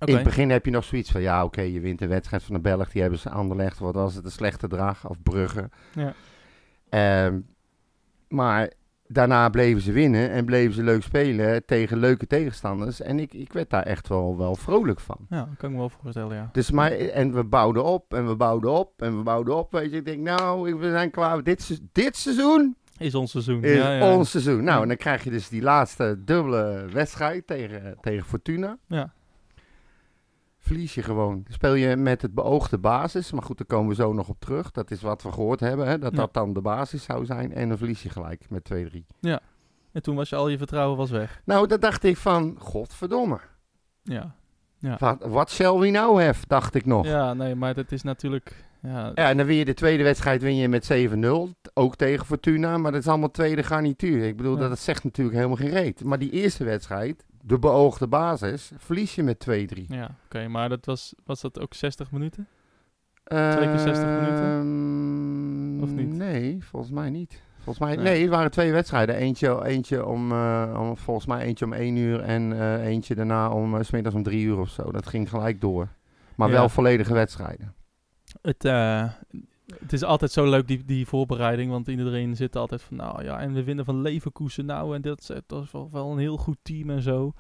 Speaker 2: Oké.
Speaker 1: In het begin heb je nog zoiets van, ja oké, je wint een wedstrijd van de Belg, die hebben ze Anderlecht, wat was het, een slechte draag, of Brugge.
Speaker 2: Ja.
Speaker 1: Ehm, maar daarna bleven ze winnen en bleven ze leuk spelen tegen leuke tegenstanders. En ik, ik werd daar echt wel, wel vrolijk van.
Speaker 2: Ja, kan ik me wel voorstellen, ja.
Speaker 1: Dus maar, en we bouwden op en we bouwden op en we bouwden op. Weet je, ik denk, nou, ik- we zijn klaar. Dit, se- dit seizoen
Speaker 2: Is ons seizoen.
Speaker 1: is
Speaker 2: ja, ja.
Speaker 1: ons seizoen. Nou,
Speaker 2: Ja.
Speaker 1: en dan krijg je dus die laatste dubbele wedstrijd tegen, tegen Fortuna
Speaker 2: Ja.
Speaker 1: verlies je gewoon. Speel je met het beoogde basis. Maar goed, daar komen we zo nog op terug. Dat is wat we gehoord hebben. Hè? Dat
Speaker 2: Ja.
Speaker 1: dat dan de basis zou zijn. En dan verlies je gelijk met 2-3.
Speaker 2: En toen was je al je vertrouwen was weg.
Speaker 1: Nou, dat dacht ik van, godverdomme.
Speaker 2: Ja.
Speaker 1: Wat what shall we now have, dacht ik nog. Ja.
Speaker 2: Ja, nee, maar dat is natuurlijk... Ja,
Speaker 1: en dan win je de tweede wedstrijd win je met 7-0. Ook tegen Fortuna. Maar dat is allemaal tweede garnituur. Ik bedoel,
Speaker 2: Ja.
Speaker 1: dat, dat zegt natuurlijk helemaal geen reet. Maar die eerste wedstrijd, de beoogde basis, verlies je met 2-3.
Speaker 2: ja oké, maar dat was, was dat ook 60 minuten?
Speaker 1: Twee
Speaker 2: keer 60 minuten? Of niet?
Speaker 1: Ehm, Nee, volgens mij niet. Volgens mij,
Speaker 2: Nee.
Speaker 1: nee. het waren twee wedstrijden. Eentje, eentje om, eh, om, volgens mij eentje om één uur en eh, eentje daarna om eh, 's smiddags om drie uur of zo. Dat ging gelijk door. Maar
Speaker 2: Ja.
Speaker 1: wel volledige wedstrijden.
Speaker 2: Het, eh, het is altijd zo leuk, die, die voorbereiding. Want iedereen zit altijd van, nou ja, en we winnen van Leverkusen nou. En dat, is- dat is wel, wel een heel goed team en zo.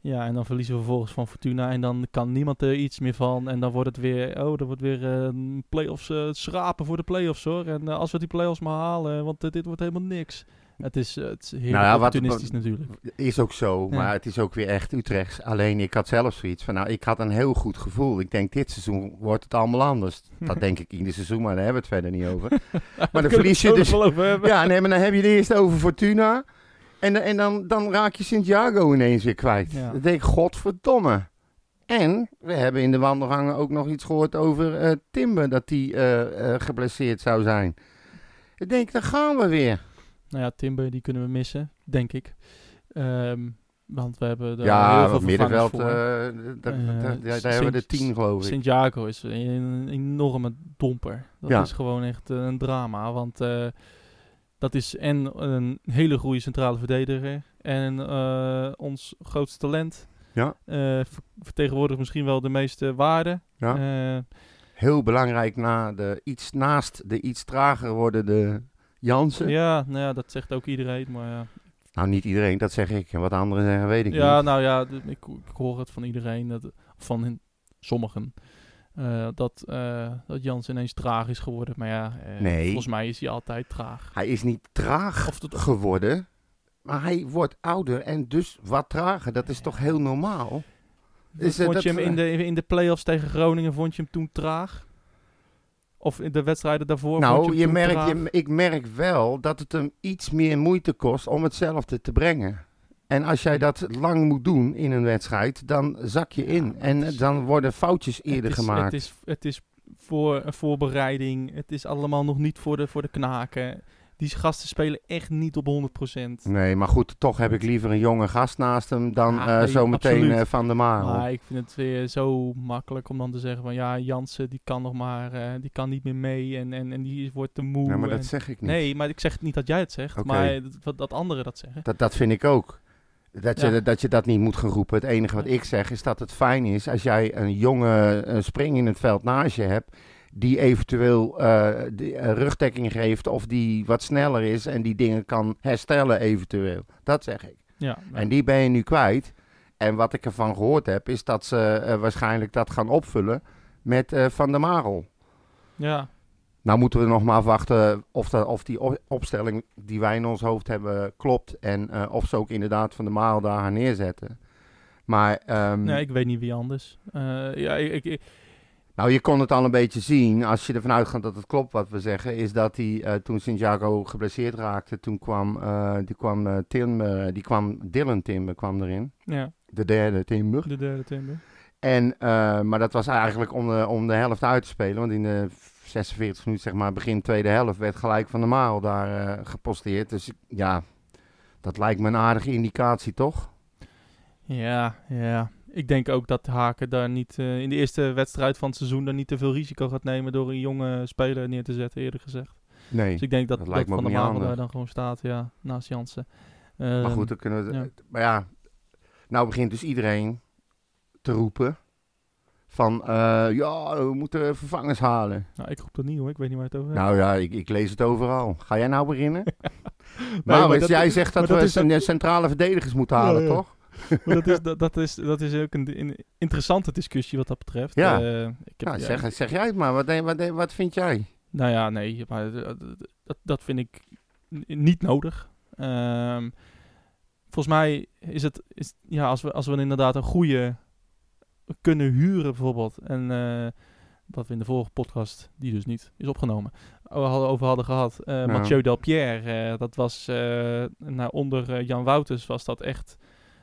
Speaker 2: Ja, en dan verliezen we vervolgens van Fortuna. En dan kan niemand er iets meer van. En dan wordt het weer, oh, dan wordt weer eh play-offs, eh, schrapen voor de play-offs hoor. En eh, als we die play-offs maar halen, want eh, dit wordt helemaal niks. Het is, eh, het is heel
Speaker 1: Nou ja, wat-
Speaker 2: opportunistisch natuurlijk.
Speaker 1: Is ook zo,
Speaker 2: Ja.
Speaker 1: maar het is ook weer echt Utrechts. Alleen ik had zelf zoiets van, nou, ik had een heel goed gevoel. Ik denk, dit seizoen wordt het allemaal anders. Dat denk ik ieder seizoen, maar daar hebben we het verder niet over. Maar dan verlies je dus... Ja, nee, maar dan heb je het eerst over Fortuna. En, dan- en dan, dan raak je Santiago ineens weer kwijt.
Speaker 2: Ja.
Speaker 1: Dan denk ik, godverdomme. En we hebben in de wandelgangen ook nog iets gehoord over eh, Timber, dat die eh, eh, geblesseerd zou zijn. Ik denk, daar gaan we weer.
Speaker 2: Nou ja, Timber, die kunnen we missen, denk ik. Ehm, Want we hebben er
Speaker 1: ja,
Speaker 2: heel veel
Speaker 1: het middenveld,
Speaker 2: vervangers voor.
Speaker 1: eh, daar- daar-
Speaker 2: Eh,
Speaker 1: daar- daar
Speaker 2: Sint-
Speaker 1: hebben we de tien, geloof ik.
Speaker 2: Santiago is een enorme domper. Dat
Speaker 1: Ja.
Speaker 2: is gewoon echt eh, een drama. Want eh, dat is en een hele goede centrale verdediger. En eh, ons grootste talent.
Speaker 1: Ja.
Speaker 2: Eh, ver- vertegenwoordigt misschien wel de meeste waarde.
Speaker 1: Ja.
Speaker 2: Eh,
Speaker 1: Heel belangrijk na de iets, naast de iets trager wordende Jansen.
Speaker 2: ja, nou ja, dat zegt ook iedereen. Maar ja,
Speaker 1: Nou, niet iedereen, dat zeg ik. En wat anderen zeggen, weet ik
Speaker 2: ja
Speaker 1: niet.
Speaker 2: nou ja, d- ik, ik hoor het van iedereen. Dat, van hun- sommigen. eh, dat, eh, dat Jans ineens traag is geworden. Maar ja, eh,
Speaker 1: Nee.
Speaker 2: volgens mij is hij altijd traag.
Speaker 1: Hij is niet traag
Speaker 2: Of dat,
Speaker 1: geworden, maar hij wordt ouder en dus wat trager. Dat is toch heel normaal? Is, eh,
Speaker 2: vond
Speaker 1: dat-
Speaker 2: je hem in de, in de play-offs tegen Groningen vond je hem toen traag? Of in de wedstrijden daarvoor? vond
Speaker 1: Nou,
Speaker 2: hem
Speaker 1: je
Speaker 2: toen
Speaker 1: merkt,
Speaker 2: traag?
Speaker 1: je, ik merk wel dat het hem iets meer moeite kost om hetzelfde te brengen. En als jij dat lang moet doen in een wedstrijd, dan zak je in.
Speaker 2: maar
Speaker 1: en
Speaker 2: het is-
Speaker 1: dan worden foutjes
Speaker 2: Het
Speaker 1: eerder
Speaker 2: is-
Speaker 1: gemaakt.
Speaker 2: Het is, het is voor een voorbereiding. Het is allemaal nog niet voor de, voor de knaken. Die gasten spelen echt niet op 100%.
Speaker 1: Nee, maar goed, toch heb ik liever een jonge gast naast hem dan
Speaker 2: Ja,
Speaker 1: eh,
Speaker 2: nee,
Speaker 1: zometeen
Speaker 2: absoluut.
Speaker 1: eh, Van der Marel.
Speaker 2: Maar ik vind het weer zo makkelijk om dan te zeggen van ja, Jansen die kan nog maar, eh, die kan niet meer mee en, en, en die wordt te moe.
Speaker 1: Nee, maar
Speaker 2: en-
Speaker 1: dat zeg ik niet.
Speaker 2: nee, maar ik zeg niet dat jij het zegt,
Speaker 1: Oké.
Speaker 2: maar dat- dat, dat anderen dat zeggen.
Speaker 1: Dat, dat vind ik ook. Dat je,
Speaker 2: Ja.
Speaker 1: dat je dat niet moet gaan roepen. Het enige wat ik zeg is dat het fijn is als jij een jonge eh, spring in het veld naast je hebt. Die eventueel eh, die, eh, rugdekking geeft of die wat sneller is en die dingen kan herstellen eventueel. Dat zeg ik.
Speaker 2: Ja,
Speaker 1: En die ben je nu kwijt. En wat ik ervan gehoord heb is dat ze eh, waarschijnlijk dat gaan opvullen met eh, Van der Marel.
Speaker 2: ja.
Speaker 1: Nou moeten we nog maar afwachten of, dat, of die op- opstelling die wij in ons hoofd hebben klopt. En eh, of ze ook inderdaad van de maal daar gaan neerzetten. Maar ehm,
Speaker 2: Nee, ik weet niet wie anders. Eh, ja, ik, ik,
Speaker 1: nou, je kon het al een beetje zien. Als je ervan uitgaat dat het klopt wat we zeggen. Is dat hij eh, toen Santiago geblesseerd raakte. Toen kwam, eh, die kwam, eh, Timber, die kwam Dylan Timber kwam erin.
Speaker 2: ja,
Speaker 1: De derde Timber.
Speaker 2: de derde timber.
Speaker 1: En, eh, maar dat was eigenlijk om de, om de helft uit te spelen. Want in de 46 minuten, zeg maar, begin tweede helft, werd gelijk van de Maal daar eh, geposteerd. Dus ik- ja, dat lijkt me een aardige indicatie, toch?
Speaker 2: Ja, ja. Ik denk ook dat Haken daar niet eh, in de eerste wedstrijd van het seizoen daar niet te veel risico gaat nemen door een jonge speler neer te zetten, eerder gezegd.
Speaker 1: Nee.
Speaker 2: Dus ik denk dat,
Speaker 1: dat
Speaker 2: dat,
Speaker 1: lijkt me
Speaker 2: Van
Speaker 1: ook
Speaker 2: der
Speaker 1: niet
Speaker 2: Marel daar
Speaker 1: handig.
Speaker 2: dan gewoon staat, ja, naast Jansen.
Speaker 1: Maar
Speaker 2: Ehm,
Speaker 1: goed, dan kunnen we.
Speaker 2: ja.
Speaker 1: Maar ja, nou begint dus iedereen te roepen: van eh, ja, we moeten vervangers halen.
Speaker 2: nou, ik roep dat niet hoor, ik weet niet waar je het over hebt.
Speaker 1: Nou ja, ik, ik lees het overal. Ga jij nou beginnen?
Speaker 2: maar
Speaker 1: Maurits,
Speaker 2: dat-
Speaker 1: jij zegt dat
Speaker 2: maar dat
Speaker 1: we
Speaker 2: is ook-
Speaker 1: cen- centrale verdedigers moeten
Speaker 2: Ja,
Speaker 1: halen,
Speaker 2: ja.
Speaker 1: toch?
Speaker 2: Maar dat, is, dat, dat, is, dat is ook een, een interessante discussie wat dat betreft.
Speaker 1: Ja.
Speaker 2: Eh, ik heb,
Speaker 1: Nou,
Speaker 2: ja,
Speaker 1: zeg, zeg jij het maar. Wat, denk- wat, denk- wat vind jij?
Speaker 2: Nou ja, nee, maar d- d- d- dat, dat vind ik n- niet nodig. Ehm, volgens mij is het, is, ja, als we, als we inderdaad een goede kunnen huren bijvoorbeeld, en eh, wat we in de vorige podcast, die dus niet is opgenomen, o- hadden- over hadden gehad, eh, Mathieu Delpierre, eh, dat was eh, nou, onder eh, Jan Wouters was dat echt,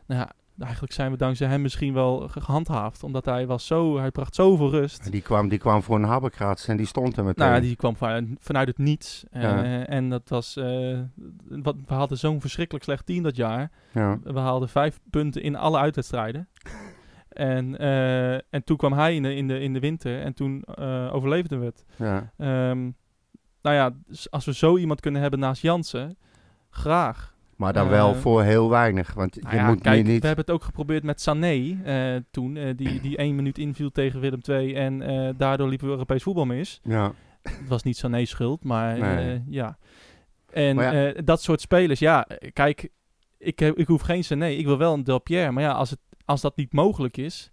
Speaker 2: nou ja, eigenlijk zijn we dankzij hem misschien wel ge- gehandhaafd, omdat hij was zo, hij bracht zoveel rust.
Speaker 1: Die kwam, die kwam voor een habbekrats en die stond er meteen.
Speaker 2: Nou, ja, die kwam van- vanuit het niets. Eh,
Speaker 1: Ja.
Speaker 2: en dat was. eh, wat, we hadden zo'n verschrikkelijk slecht team dat jaar.
Speaker 1: ja.
Speaker 2: We haalden vijf punten in alle uitwedstrijden. en, eh, en toen kwam hij in de, in de, in de winter en toen eh, overleefden we het.
Speaker 1: Ja.
Speaker 2: Ehm, nou ja, dus als we zo iemand kunnen hebben naast Jansen, graag.
Speaker 1: Maar dan wel
Speaker 2: Eh,
Speaker 1: voor heel weinig. Want
Speaker 2: Nou
Speaker 1: je
Speaker 2: ja,
Speaker 1: moet
Speaker 2: kijk,
Speaker 1: nu niet.
Speaker 2: we hebben het ook geprobeerd met Sané eh, toen, eh, die, die één minuut inviel tegen Willem II en eh, daardoor liepen we Europees voetbal mis.
Speaker 1: Ja.
Speaker 2: Het was niet Sané's schuld, maar
Speaker 1: Nee.
Speaker 2: eh, ja. En
Speaker 1: Maar
Speaker 2: eh, dat soort spelers, ja, eh, kijk, ik, heb, ik hoef geen Sané. Ik wil wel een Del Pierre. Maar ja, als, het, als dat niet mogelijk is,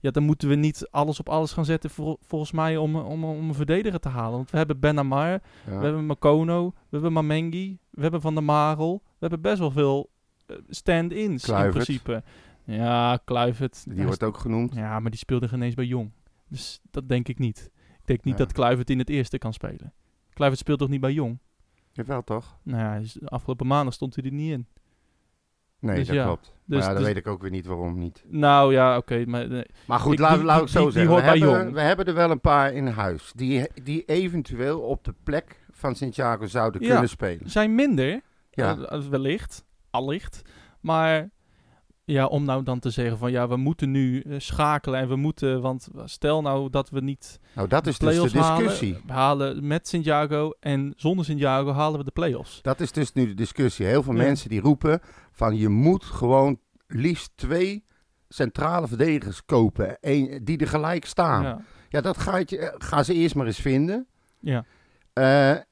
Speaker 2: ja, dan moeten we niet alles op alles gaan zetten vol- volgens mij om, om, om een verdediger te halen. Want we hebben Benamar,
Speaker 1: ja.
Speaker 2: we hebben Makono, we hebben Mamengi, we hebben Van der Marel. We hebben best wel veel eh, stand-ins in
Speaker 1: Kluivert.
Speaker 2: principe. Ja, Kluivert.
Speaker 1: Die
Speaker 2: Hij
Speaker 1: wordt ook genoemd.
Speaker 2: ja, maar die speelde geen eens bij Jong. Dus dat denk ik niet. Ik denk niet
Speaker 1: Ja.
Speaker 2: dat Kluivert in het eerste kan spelen. Kluivert speelt toch niet bij Jong?
Speaker 1: Jawel toch?
Speaker 2: Nou ja, dus de afgelopen maanden stond hij er niet in.
Speaker 1: Nee,
Speaker 2: Dus
Speaker 1: dat
Speaker 2: ja.
Speaker 1: klopt. Maar ja,
Speaker 2: Dus-
Speaker 1: dan
Speaker 2: dus-
Speaker 1: weet ik ook weer niet waarom niet.
Speaker 2: Nou ja, oké. maar eh,
Speaker 1: Maar goed,
Speaker 2: Ik-
Speaker 1: laat,
Speaker 2: die-
Speaker 1: laat ik
Speaker 2: die-
Speaker 1: zo
Speaker 2: die- die
Speaker 1: zeggen.
Speaker 2: hoort
Speaker 1: we,
Speaker 2: bij
Speaker 1: hebben,
Speaker 2: Jong.
Speaker 1: we hebben er wel een paar in huis. Die, die eventueel op de plek van Santiago zouden
Speaker 2: Ja.
Speaker 1: kunnen spelen.
Speaker 2: zijn minder,
Speaker 1: Ja.
Speaker 2: eh, wellicht, allicht. eh, Maar Ja, om nou dan te zeggen van ja, we moeten nu eh, schakelen en we moeten, want stel nou dat we niet
Speaker 1: Nou, dat is dus de
Speaker 2: play-offs
Speaker 1: discussie.
Speaker 2: halen, We halen met Santiago en zonder Santiago halen we de play-offs.
Speaker 1: Dat is dus nu de discussie. Heel veel
Speaker 2: Ja.
Speaker 1: mensen die roepen van je moet gewoon liefst twee centrale verdedigers kopen. Eén die er gelijk staan. Ja,
Speaker 2: Ja,
Speaker 1: dat gaat je, eh, gaan ze eerst maar eens vinden.
Speaker 2: ja.
Speaker 1: Eh, en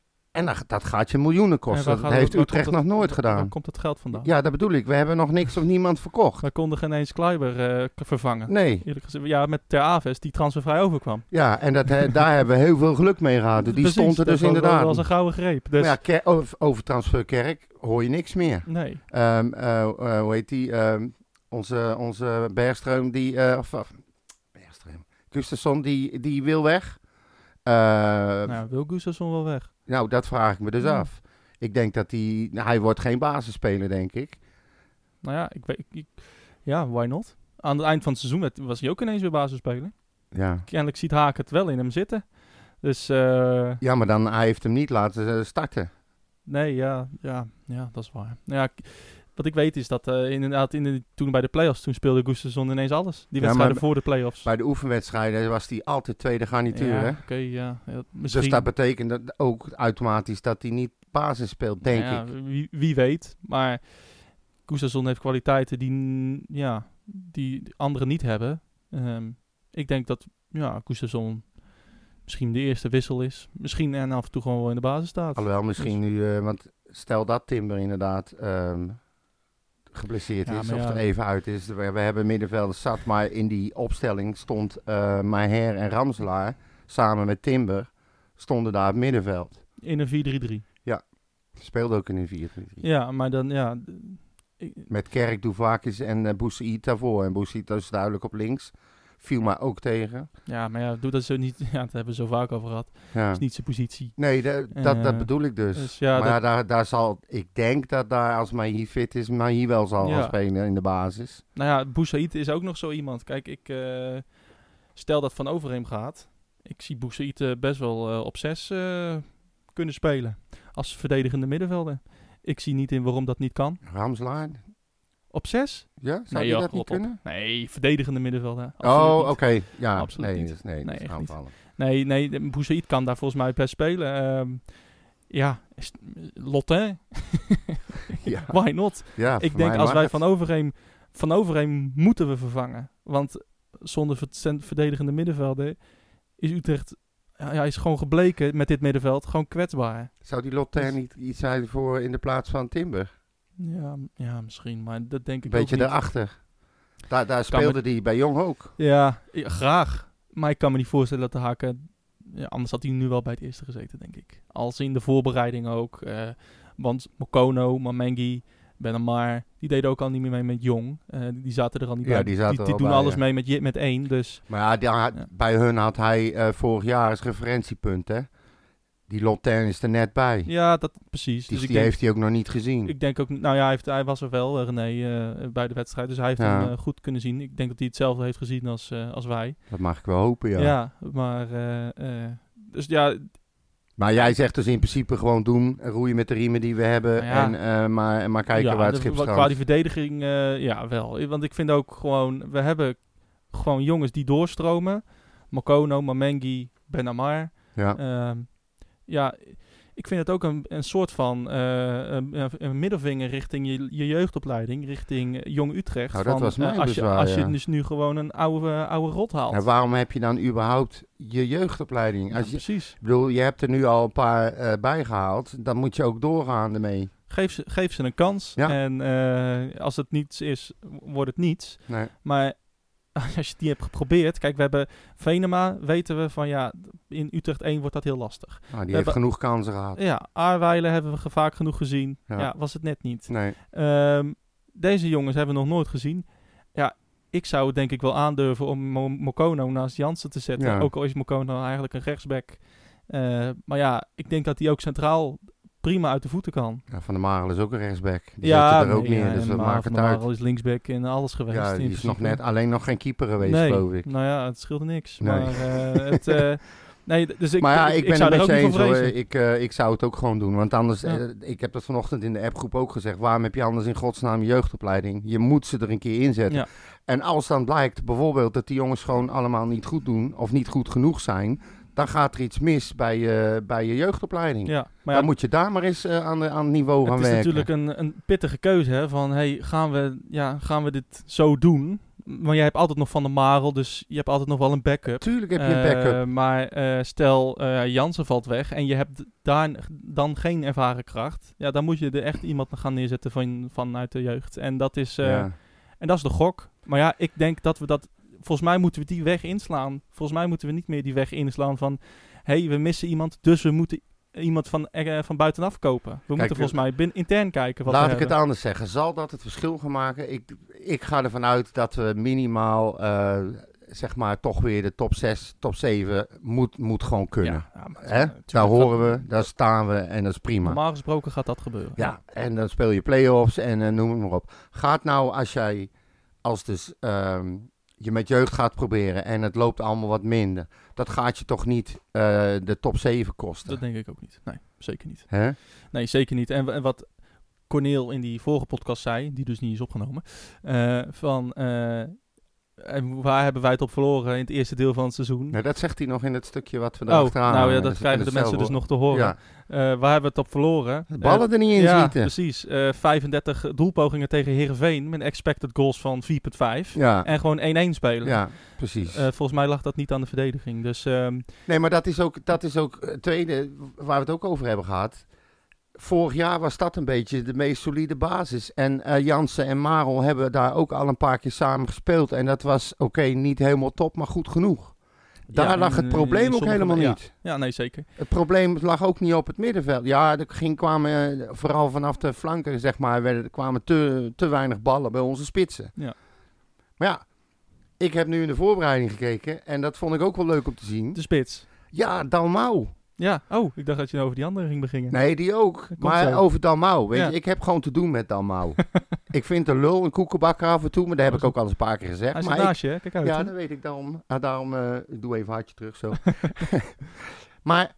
Speaker 1: dan- dat gaat je miljoenen
Speaker 2: En
Speaker 1: kosten.
Speaker 2: waar
Speaker 1: Dat
Speaker 2: gaat-
Speaker 1: heeft
Speaker 2: waar
Speaker 1: Utrecht
Speaker 2: komt dat-
Speaker 1: nog nooit
Speaker 2: Waar
Speaker 1: gedaan.
Speaker 2: komt dat geld vandaan?
Speaker 1: Ja, dat bedoel ik. We hebben nog niks of niemand verkocht.
Speaker 2: We konden geen eens Kleiber eh, k- vervangen.
Speaker 1: Nee.
Speaker 2: Eerlijk gezegd, ja, met Ter Aves die transfervrij overkwam.
Speaker 1: Ja, en dat, he- daar hebben we heel veel geluk mee gehad. Die
Speaker 2: Precies,
Speaker 1: stond er
Speaker 2: dat
Speaker 1: dus
Speaker 2: was wel-
Speaker 1: inderdaad.
Speaker 2: Dat was een gouden greep. Dus
Speaker 1: Maar ja, Ker- over- over Transferkerk hoor je niks meer.
Speaker 2: nee.
Speaker 1: Ehm, eh, eh, hoe heet die? Ehm, onze, onze Bergström, die. eh, of, of, Bergström. Gustafsson, die, die wil weg. Eh, nou.
Speaker 2: Nou, wil Gustafsson wel weg?
Speaker 1: dat vraag ik me dus
Speaker 2: Ja.
Speaker 1: af. Ik denk dat die, nou, hij wordt geen basisspeler, denk ik.
Speaker 2: Nou ja, ik weet... ik- ik- ja, why not? Aan het eind van het seizoen werd- was hij ook ineens weer basisspeler.
Speaker 1: Ja.
Speaker 2: Kennelijk ziet Haak het wel in hem zitten. Dus eh,
Speaker 1: ja, maar dan hij heeft hem niet laten eh, starten.
Speaker 2: nee, ja, ja, ja, dat is waar. Nou ja, k- wat ik weet is dat eh, inderdaad in de, toen bij de play-offs, toen speelde Gustafsson ineens alles.
Speaker 1: Ja,
Speaker 2: Die wedstrijden
Speaker 1: maar-
Speaker 2: voor de play-offs.
Speaker 1: Bij de oefenwedstrijden was hij altijd tweede garnituur.
Speaker 2: ja,
Speaker 1: hè?
Speaker 2: Oké, ja. ja, misschien,
Speaker 1: Dus dat betekent dat ook automatisch dat hij niet basis speelt, denk
Speaker 2: Nou
Speaker 1: ik.
Speaker 2: ja, Wie, wie weet, maar Gustafsson heeft kwaliteiten die, n- ja, die anderen niet hebben. Ehm, ik denk dat ja, Gustafsson misschien de eerste wissel is. Misschien en af en toe gewoon wel in de basis staat.
Speaker 1: Alhoewel, misschien nu, eh, want stel dat Timber inderdaad ehm, geblesseerd
Speaker 2: Ja,
Speaker 1: is
Speaker 2: maar
Speaker 1: of
Speaker 2: ja.
Speaker 1: er even uit is. We, we hebben middenvelden zat, maar in die opstelling stond eh Maher en Ramselaar samen met Timber stonden daar op middenveld.
Speaker 2: In een 4-3-3.
Speaker 1: Speelde ook in een 4-3.
Speaker 2: Ja, maar dan ja... d- ik-
Speaker 1: Met Kerk, Douvakis en eh Boussaïd daarvoor. En Boussaïd is duidelijk op links. Viel mij ook tegen.
Speaker 2: Ja, maar ja, doe dat zo niet. Ja, dat hebben we zo vaak over gehad. Dat
Speaker 1: Ja.
Speaker 2: is niet zijn positie.
Speaker 1: Nee, da- dat, dat
Speaker 2: Eh,
Speaker 1: bedoel ik dus.
Speaker 2: dus ja,
Speaker 1: maar
Speaker 2: dat-
Speaker 1: ja, daar, daar zal, ik denk dat daar als Mahi fit is, Mahi wel zal
Speaker 2: Ja.
Speaker 1: gaan spelen in de basis.
Speaker 2: Nou ja, Boussaïd is ook nog zo iemand. Kijk, ik eh, stel dat Van Overheem gaat. Ik zie Boussaïd eh, best wel eh, op 6 kunnen spelen. Als verdedigende middenvelder. Ik zie niet in waarom dat niet kan.
Speaker 1: Ramslaar,
Speaker 2: Op 6?
Speaker 1: ja? Zou je
Speaker 2: joh,
Speaker 1: dat niet
Speaker 2: rot op.
Speaker 1: kunnen?
Speaker 2: Nee, verdedigende middenvelder.
Speaker 1: oh,
Speaker 2: Absoluut
Speaker 1: oké.
Speaker 2: niet.
Speaker 1: Ja,
Speaker 2: Absoluut
Speaker 1: nee,
Speaker 2: niet.
Speaker 1: dus- nee,
Speaker 2: Nee,
Speaker 1: dus
Speaker 2: echt niet.
Speaker 1: aanvallen.
Speaker 2: Nee, nee, Boussaïd kan daar volgens mij best spelen. Ehm, ja, is- Lotte,
Speaker 1: Ja,
Speaker 2: why not?
Speaker 1: ja,
Speaker 2: ik
Speaker 1: voor
Speaker 2: denk
Speaker 1: mij
Speaker 2: als
Speaker 1: mag
Speaker 2: wij
Speaker 1: het.
Speaker 2: van Overheem, van Overheem moeten we vervangen. Want zonder ver- cent- verdedigende middenvelden is Utrecht... Ja, ja, is gewoon gebleken met dit middenveld gewoon kwetsbaar.
Speaker 1: Zou die
Speaker 2: Dus-
Speaker 1: Lotte niet iets zijn voor in de plaats van Timber?
Speaker 2: Ja, m- ja misschien, maar dat denk
Speaker 1: Een
Speaker 2: ik
Speaker 1: beetje
Speaker 2: ook niet.
Speaker 1: daarachter. Daar, daar speelde die bij Jong ook.
Speaker 2: Ja, ja, graag. Maar ik kan me niet voorstellen dat de Haken... Ja, anders had hij nu wel bij het eerste gezeten, denk ik. Als in de voorbereiding ook. eh, want Mokono, Mamengi, Benamar... die deden ook al niet meer mee met Jong. Eh, die zaten er al niet
Speaker 1: Ja,
Speaker 2: bij.
Speaker 1: die zaten
Speaker 2: die,
Speaker 1: er al
Speaker 2: doen
Speaker 1: bij,
Speaker 2: alles
Speaker 1: ja.
Speaker 2: mee met, je- met één, dus...
Speaker 1: Maar ja, daar-
Speaker 2: Ja.
Speaker 1: bij hun had hij eh, vorig jaar als referentiepunt, hè? Die Lotte is er net bij.
Speaker 2: Ja, dat precies.
Speaker 1: Die,
Speaker 2: dus ik
Speaker 1: die
Speaker 2: denk,
Speaker 1: heeft hij ook nog niet gezien.
Speaker 2: ik denk ook, nou ja, hij, heeft, hij was er wel, eh, René, eh, bij de wedstrijd. Dus hij heeft
Speaker 1: Ja.
Speaker 2: hem eh, goed kunnen zien. Ik denk dat hij hetzelfde heeft gezien als, eh, als wij.
Speaker 1: Dat mag ik wel hopen,
Speaker 2: Ja,
Speaker 1: ja.
Speaker 2: maar. eh, eh, dus ja,
Speaker 1: Maar jij zegt dus in principe gewoon doen, roeien met de riemen die we hebben,
Speaker 2: Nou ja.
Speaker 1: en, eh, maar, maar kijken
Speaker 2: ja,
Speaker 1: waar het
Speaker 2: de-
Speaker 1: schip
Speaker 2: wa-
Speaker 1: strandt.
Speaker 2: qua die verdediging, eh, ja, wel. Want ik vind ook gewoon, we hebben gewoon jongens die doorstromen. Makono, Mamengi, Benamar.
Speaker 1: Ja.
Speaker 2: Ehm, ja, ik vind het ook een, een soort van eh, een, een middelvinger richting je, je jeugdopleiding, richting eh, Jong Utrecht.
Speaker 1: Nou, dat
Speaker 2: van,
Speaker 1: was
Speaker 2: eh,
Speaker 1: mijn
Speaker 2: als
Speaker 1: bezwaar,
Speaker 2: je, als je
Speaker 1: ja.
Speaker 2: dus nu gewoon een oude, oude rot haalt.
Speaker 1: Nou, waarom heb je dan überhaupt je jeugdopleiding?
Speaker 2: Ja,
Speaker 1: Als je,
Speaker 2: precies.
Speaker 1: Ik bedoel, je hebt er nu al een paar eh, bijgehaald. Dan moet je ook doorgaan ermee.
Speaker 2: Geef ze, geef ze een kans.
Speaker 1: Ja.
Speaker 2: En eh, als het niets is, wordt het niets.
Speaker 1: Nee.
Speaker 2: Maar als je het niet hebt geprobeerd... Kijk, we hebben Venema, weten we van ja, in Utrecht 1 wordt dat heel lastig.
Speaker 1: Nou, die heeft
Speaker 2: hebben-
Speaker 1: genoeg kansen gehad.
Speaker 2: Ja, Aarweilen hebben we ge- vaak genoeg gezien.
Speaker 1: Ja.
Speaker 2: ja, was het net niet.
Speaker 1: Nee.
Speaker 2: Ehm, deze jongens hebben we nog nooit gezien. Ja, ik zou het denk ik wel aandurven om Mo- Mokono naast Jansen te zetten.
Speaker 1: Ja.
Speaker 2: Ook al is Mokono eigenlijk een rechtsback. Eh, maar ja, ik denk dat hij ook centraal prima uit de voeten kan.
Speaker 1: Ja, Nou, van der Marel is ook een rechtsback. Die
Speaker 2: ja,
Speaker 1: zit er ook
Speaker 2: nee,
Speaker 1: neer,
Speaker 2: ja,
Speaker 1: dus
Speaker 2: en
Speaker 1: dat
Speaker 2: maar
Speaker 1: maakt
Speaker 2: Van
Speaker 1: het
Speaker 2: der
Speaker 1: uit.
Speaker 2: Marel is linksback en alles geweest.
Speaker 1: Ja,
Speaker 2: in
Speaker 1: die is nog
Speaker 2: principe.
Speaker 1: net alleen nog geen keeper geweest,
Speaker 2: nee,
Speaker 1: geloof ik.
Speaker 2: nou ja, het scheelde niks.
Speaker 1: Nee.
Speaker 2: Maar eh, het, eh, Nee, d- dus ik,
Speaker 1: maar ja,
Speaker 2: ik,
Speaker 1: ik,
Speaker 2: ik
Speaker 1: ben
Speaker 2: zou
Speaker 1: het
Speaker 2: er ook
Speaker 1: met je
Speaker 2: niet van
Speaker 1: eens hoor.
Speaker 2: vrezen.
Speaker 1: Ik, eh, ik zou het ook gewoon doen. Want anders,
Speaker 2: Ja.
Speaker 1: eh, ik heb dat vanochtend in de appgroep ook gezegd. Waarom heb je anders in godsnaam je jeugdopleiding? Je moet ze er een keer inzetten.
Speaker 2: Ja.
Speaker 1: En als dan blijkt bijvoorbeeld dat die jongens gewoon allemaal niet goed doen. Of niet goed genoeg zijn. Dan gaat er iets mis bij je, bij je jeugdopleiding.
Speaker 2: Ja, maar ja,
Speaker 1: Dan moet je daar maar eens eh, aan, de, aan het niveau gaan
Speaker 2: het is
Speaker 1: werken.
Speaker 2: natuurlijk een, een pittige keuze hè, van hey, gaan, we, ja, gaan we dit zo doen? Maar jij hebt altijd nog Van de Marel, dus je hebt altijd nog wel een backup.
Speaker 1: Tuurlijk heb je een
Speaker 2: Eh,
Speaker 1: backup.
Speaker 2: maar eh, stel eh, Jansen valt weg en je hebt daar dan geen ervaren kracht. Ja, dan moet je er echt iemand gaan neerzetten van, vanuit de jeugd. En dat is, eh,
Speaker 1: ja.
Speaker 2: en dat is de gok. Maar ja, ik denk dat we dat. Volgens mij moeten we die weg inslaan. Volgens mij moeten we niet meer die weg inslaan van. hey, we missen iemand, dus we moeten iemand van, eh, van buitenaf kopen. We moeten
Speaker 1: eh,
Speaker 2: volgens mij bin- intern kijken. Wat
Speaker 1: Laat
Speaker 2: we
Speaker 1: ik het
Speaker 2: hebben.
Speaker 1: anders zeggen. Zal dat het verschil gaan maken? Ik, ik ga ervan uit dat we minimaal, eh, zeg maar, toch weer de top 6, top 7 moet, moet gewoon kunnen.
Speaker 2: Ja, ja, maar-
Speaker 1: Hè?
Speaker 2: natuurlijk
Speaker 1: Daar
Speaker 2: gaat-
Speaker 1: horen we, daar staan we en dat is prima.
Speaker 2: Normaal gesproken gaat dat gebeuren.
Speaker 1: Ja, en dan speel je play-offs en eh, noem het maar op. Gaat nou als jij, als dus ehm, je met jeugd gaat proberen en het loopt allemaal wat minder, dat gaat je toch niet eh, de top 7 kosten?
Speaker 2: Dat denk ik ook niet. Nee, zeker niet.
Speaker 1: Hè?
Speaker 2: Nee, zeker niet. En, w- en wat Corneel in die vorige podcast zei, die dus niet is opgenomen, eh, van eh, en waar hebben wij het op verloren in het eerste deel van het seizoen?
Speaker 1: Nou, dat zegt hij nog in het stukje wat we daar
Speaker 2: oh, nou ja, dat krijgen de mensen dus nog te horen.
Speaker 1: Ja,
Speaker 2: Eh, waar hebben we het op verloren?
Speaker 1: de ballen er niet
Speaker 2: Eh,
Speaker 1: in
Speaker 2: ja,
Speaker 1: schieten.
Speaker 2: precies. Eh, 35 doelpogingen tegen Heerenveen met expected goals van 4,5.
Speaker 1: Ja,
Speaker 2: En gewoon 1-1 spelen.
Speaker 1: ja, precies.
Speaker 2: Eh, volgens mij lag dat niet aan de verdediging. Dus ehm,
Speaker 1: nee, maar dat is ook, dat is ook het tweede waar we het ook over hebben gehad. Vorig jaar was dat een beetje de meest solide basis. En eh, Jansen en Marel hebben daar ook al een paar keer samen gespeeld. En dat was, oké, niet helemaal top, maar goed genoeg. Daar
Speaker 2: Ja,
Speaker 1: lag
Speaker 2: en,
Speaker 1: het
Speaker 2: eh,
Speaker 1: probleem
Speaker 2: in
Speaker 1: ook
Speaker 2: sommige-
Speaker 1: helemaal
Speaker 2: ja.
Speaker 1: niet.
Speaker 2: ja, nee, zeker.
Speaker 1: Het probleem lag ook niet op het middenveld. Ja, er ging, kwamen eh, vooral vanaf de flanken, zeg maar, werden, er kwamen te, te weinig ballen bij onze spitsen.
Speaker 2: Ja.
Speaker 1: Maar ja, ik heb nu in de voorbereiding gekeken en dat vond ik ook wel leuk om te zien.
Speaker 2: De spits.
Speaker 1: Ja, Dalmau.
Speaker 2: Ja, oh, ik dacht dat je over die andere ging beginnen.
Speaker 1: Nee, die ook.
Speaker 2: komt
Speaker 1: Maar
Speaker 2: zo.
Speaker 1: over Dalmau, weet
Speaker 2: Ja.
Speaker 1: je, ik heb gewoon te doen met Dalmau. ik vind een lul een koekenbakker af en toe, maar dat heb ik ook al eens een paar keer gezegd.
Speaker 2: Hij zit
Speaker 1: maar ik-
Speaker 2: naast je, hè? Kijk uit.
Speaker 1: ja,
Speaker 2: hè.
Speaker 1: dat weet ik. Daarom, ah, daarom eh, ik doe even hartje terug zo. maar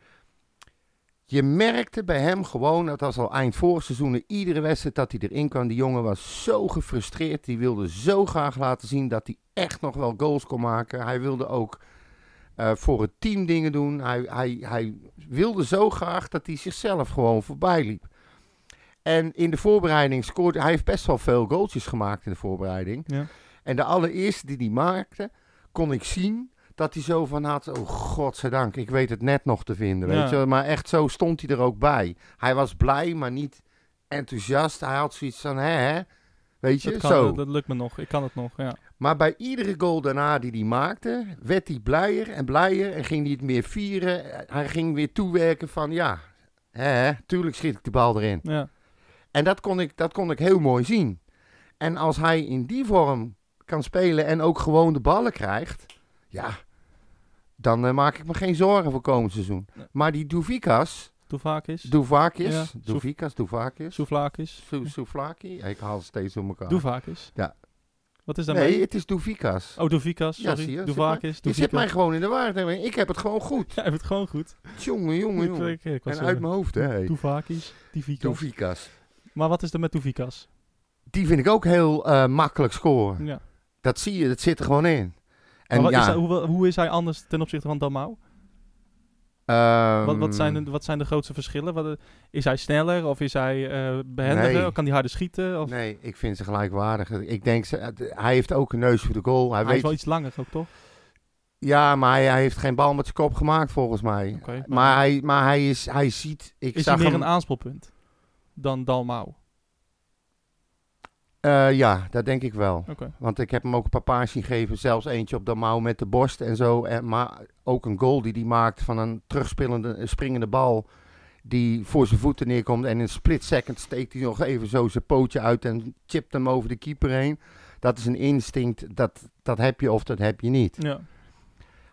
Speaker 1: je merkte bij hem gewoon, dat was al eind vorig seizoen, iedere wedstrijd dat hij erin kwam. Die jongen was zo gefrustreerd. Die wilde zo graag laten zien dat hij echt nog wel goals kon maken. Hij wilde ook eh, voor het team dingen doen. Hij, hij, hij wilde zo graag dat hij zichzelf gewoon voorbij liep. En in de voorbereiding scoorde hij heeft best wel veel goaltjes gemaakt in de voorbereiding.
Speaker 2: Ja.
Speaker 1: En de allereerste die hij maakte, kon ik zien dat hij zo van had. Oh godzijdank, ik weet het net nog te vinden. Weet
Speaker 2: Ja.
Speaker 1: je? wel. Maar echt zo stond hij er ook bij. Hij was blij, maar niet enthousiast. Hij had zoiets van hè, hè. Weet je,
Speaker 2: Dat, kan, eh,
Speaker 1: zo.
Speaker 2: dat, dat lukt me nog. Ik kan het nog, ja.
Speaker 1: Maar bij iedere goal daarna die hij maakte, werd hij blijer en blijer en ging hij het meer vieren. Hij ging weer toewerken van ja, hè, hè, tuurlijk schiet ik de bal erin.
Speaker 2: ja.
Speaker 1: En dat kon, ik, dat kon ik heel mooi zien. En als hij in die vorm kan spelen en ook gewoon de ballen krijgt, ja, dan eh, maak ik me geen zorgen voor komend seizoen.
Speaker 2: Nee.
Speaker 1: Maar die Douvicas,
Speaker 2: Douvakis.
Speaker 1: Douvakis,
Speaker 2: Ja, Soef-
Speaker 1: Douvicas, Douvakis,
Speaker 2: Souvlakis.
Speaker 1: Sou- Souflaki, ik haal ze steeds door elkaar.
Speaker 2: Douvakis.
Speaker 1: Ja.
Speaker 2: Wat is daarmee?
Speaker 1: Nee, het is Douvicas.
Speaker 2: Oh, Dovikas,
Speaker 1: Ja,
Speaker 2: sorry.
Speaker 1: zie je, zit
Speaker 2: Douvakis,
Speaker 1: Je zit mij
Speaker 2: Dovikas.
Speaker 1: gewoon in de waarde. Ik heb het gewoon goed.
Speaker 2: Jij hebt het gewoon goed.
Speaker 1: Jongen, jongen, jongen.
Speaker 2: Ik, eh, ik
Speaker 1: En uit mijn hoofd, hè. hey.
Speaker 2: Douvakis, Dovikas.
Speaker 1: Doefikas.
Speaker 2: Maar wat is er met Dovikas?
Speaker 1: Die vind ik ook heel eh, makkelijk scoren.
Speaker 2: Ja.
Speaker 1: Dat zie je, dat zit er gewoon in. En
Speaker 2: Maar wat is
Speaker 1: ja,
Speaker 2: hij- hoe, hoe is hij anders ten opzichte van Dalmau?
Speaker 1: ehm,
Speaker 2: Wat, wat, zijn de, wat zijn de grootste verschillen? Wat, eh, is hij sneller of is hij eh behendiger?
Speaker 1: Nee.
Speaker 2: Kan hij harder schieten? Of,
Speaker 1: Nee, ik vind ze gelijkwaardig. Ik denk, ze, het- hij heeft ook een neus voor de goal. Hij
Speaker 2: hij is
Speaker 1: weet,
Speaker 2: wel iets langer ook, toch?
Speaker 1: Ja, maar hij, hij heeft geen bal met zijn kop gemaakt, volgens mij.
Speaker 2: Oké, maar-
Speaker 1: maar hij, maar hij, is, hij ziet... Ik
Speaker 2: is hij
Speaker 1: zag
Speaker 2: meer
Speaker 1: hem,
Speaker 2: een aanspelpunt dan Dalmau?
Speaker 1: eh, ja, dat denk ik wel.
Speaker 2: Oké.
Speaker 1: Want ik heb hem ook een paar paars zien geven. Zelfs eentje op de mouw met de borst en zo. En, maar ook een goal die hij maakt van een terugspelende, eh, springende bal. Die voor zijn voeten neerkomt. En in een split second steekt hij nog even zo zijn pootje uit. En chipt hem over de keeper heen. Dat is een instinct. Dat, dat heb je of dat heb je niet.
Speaker 2: Ja.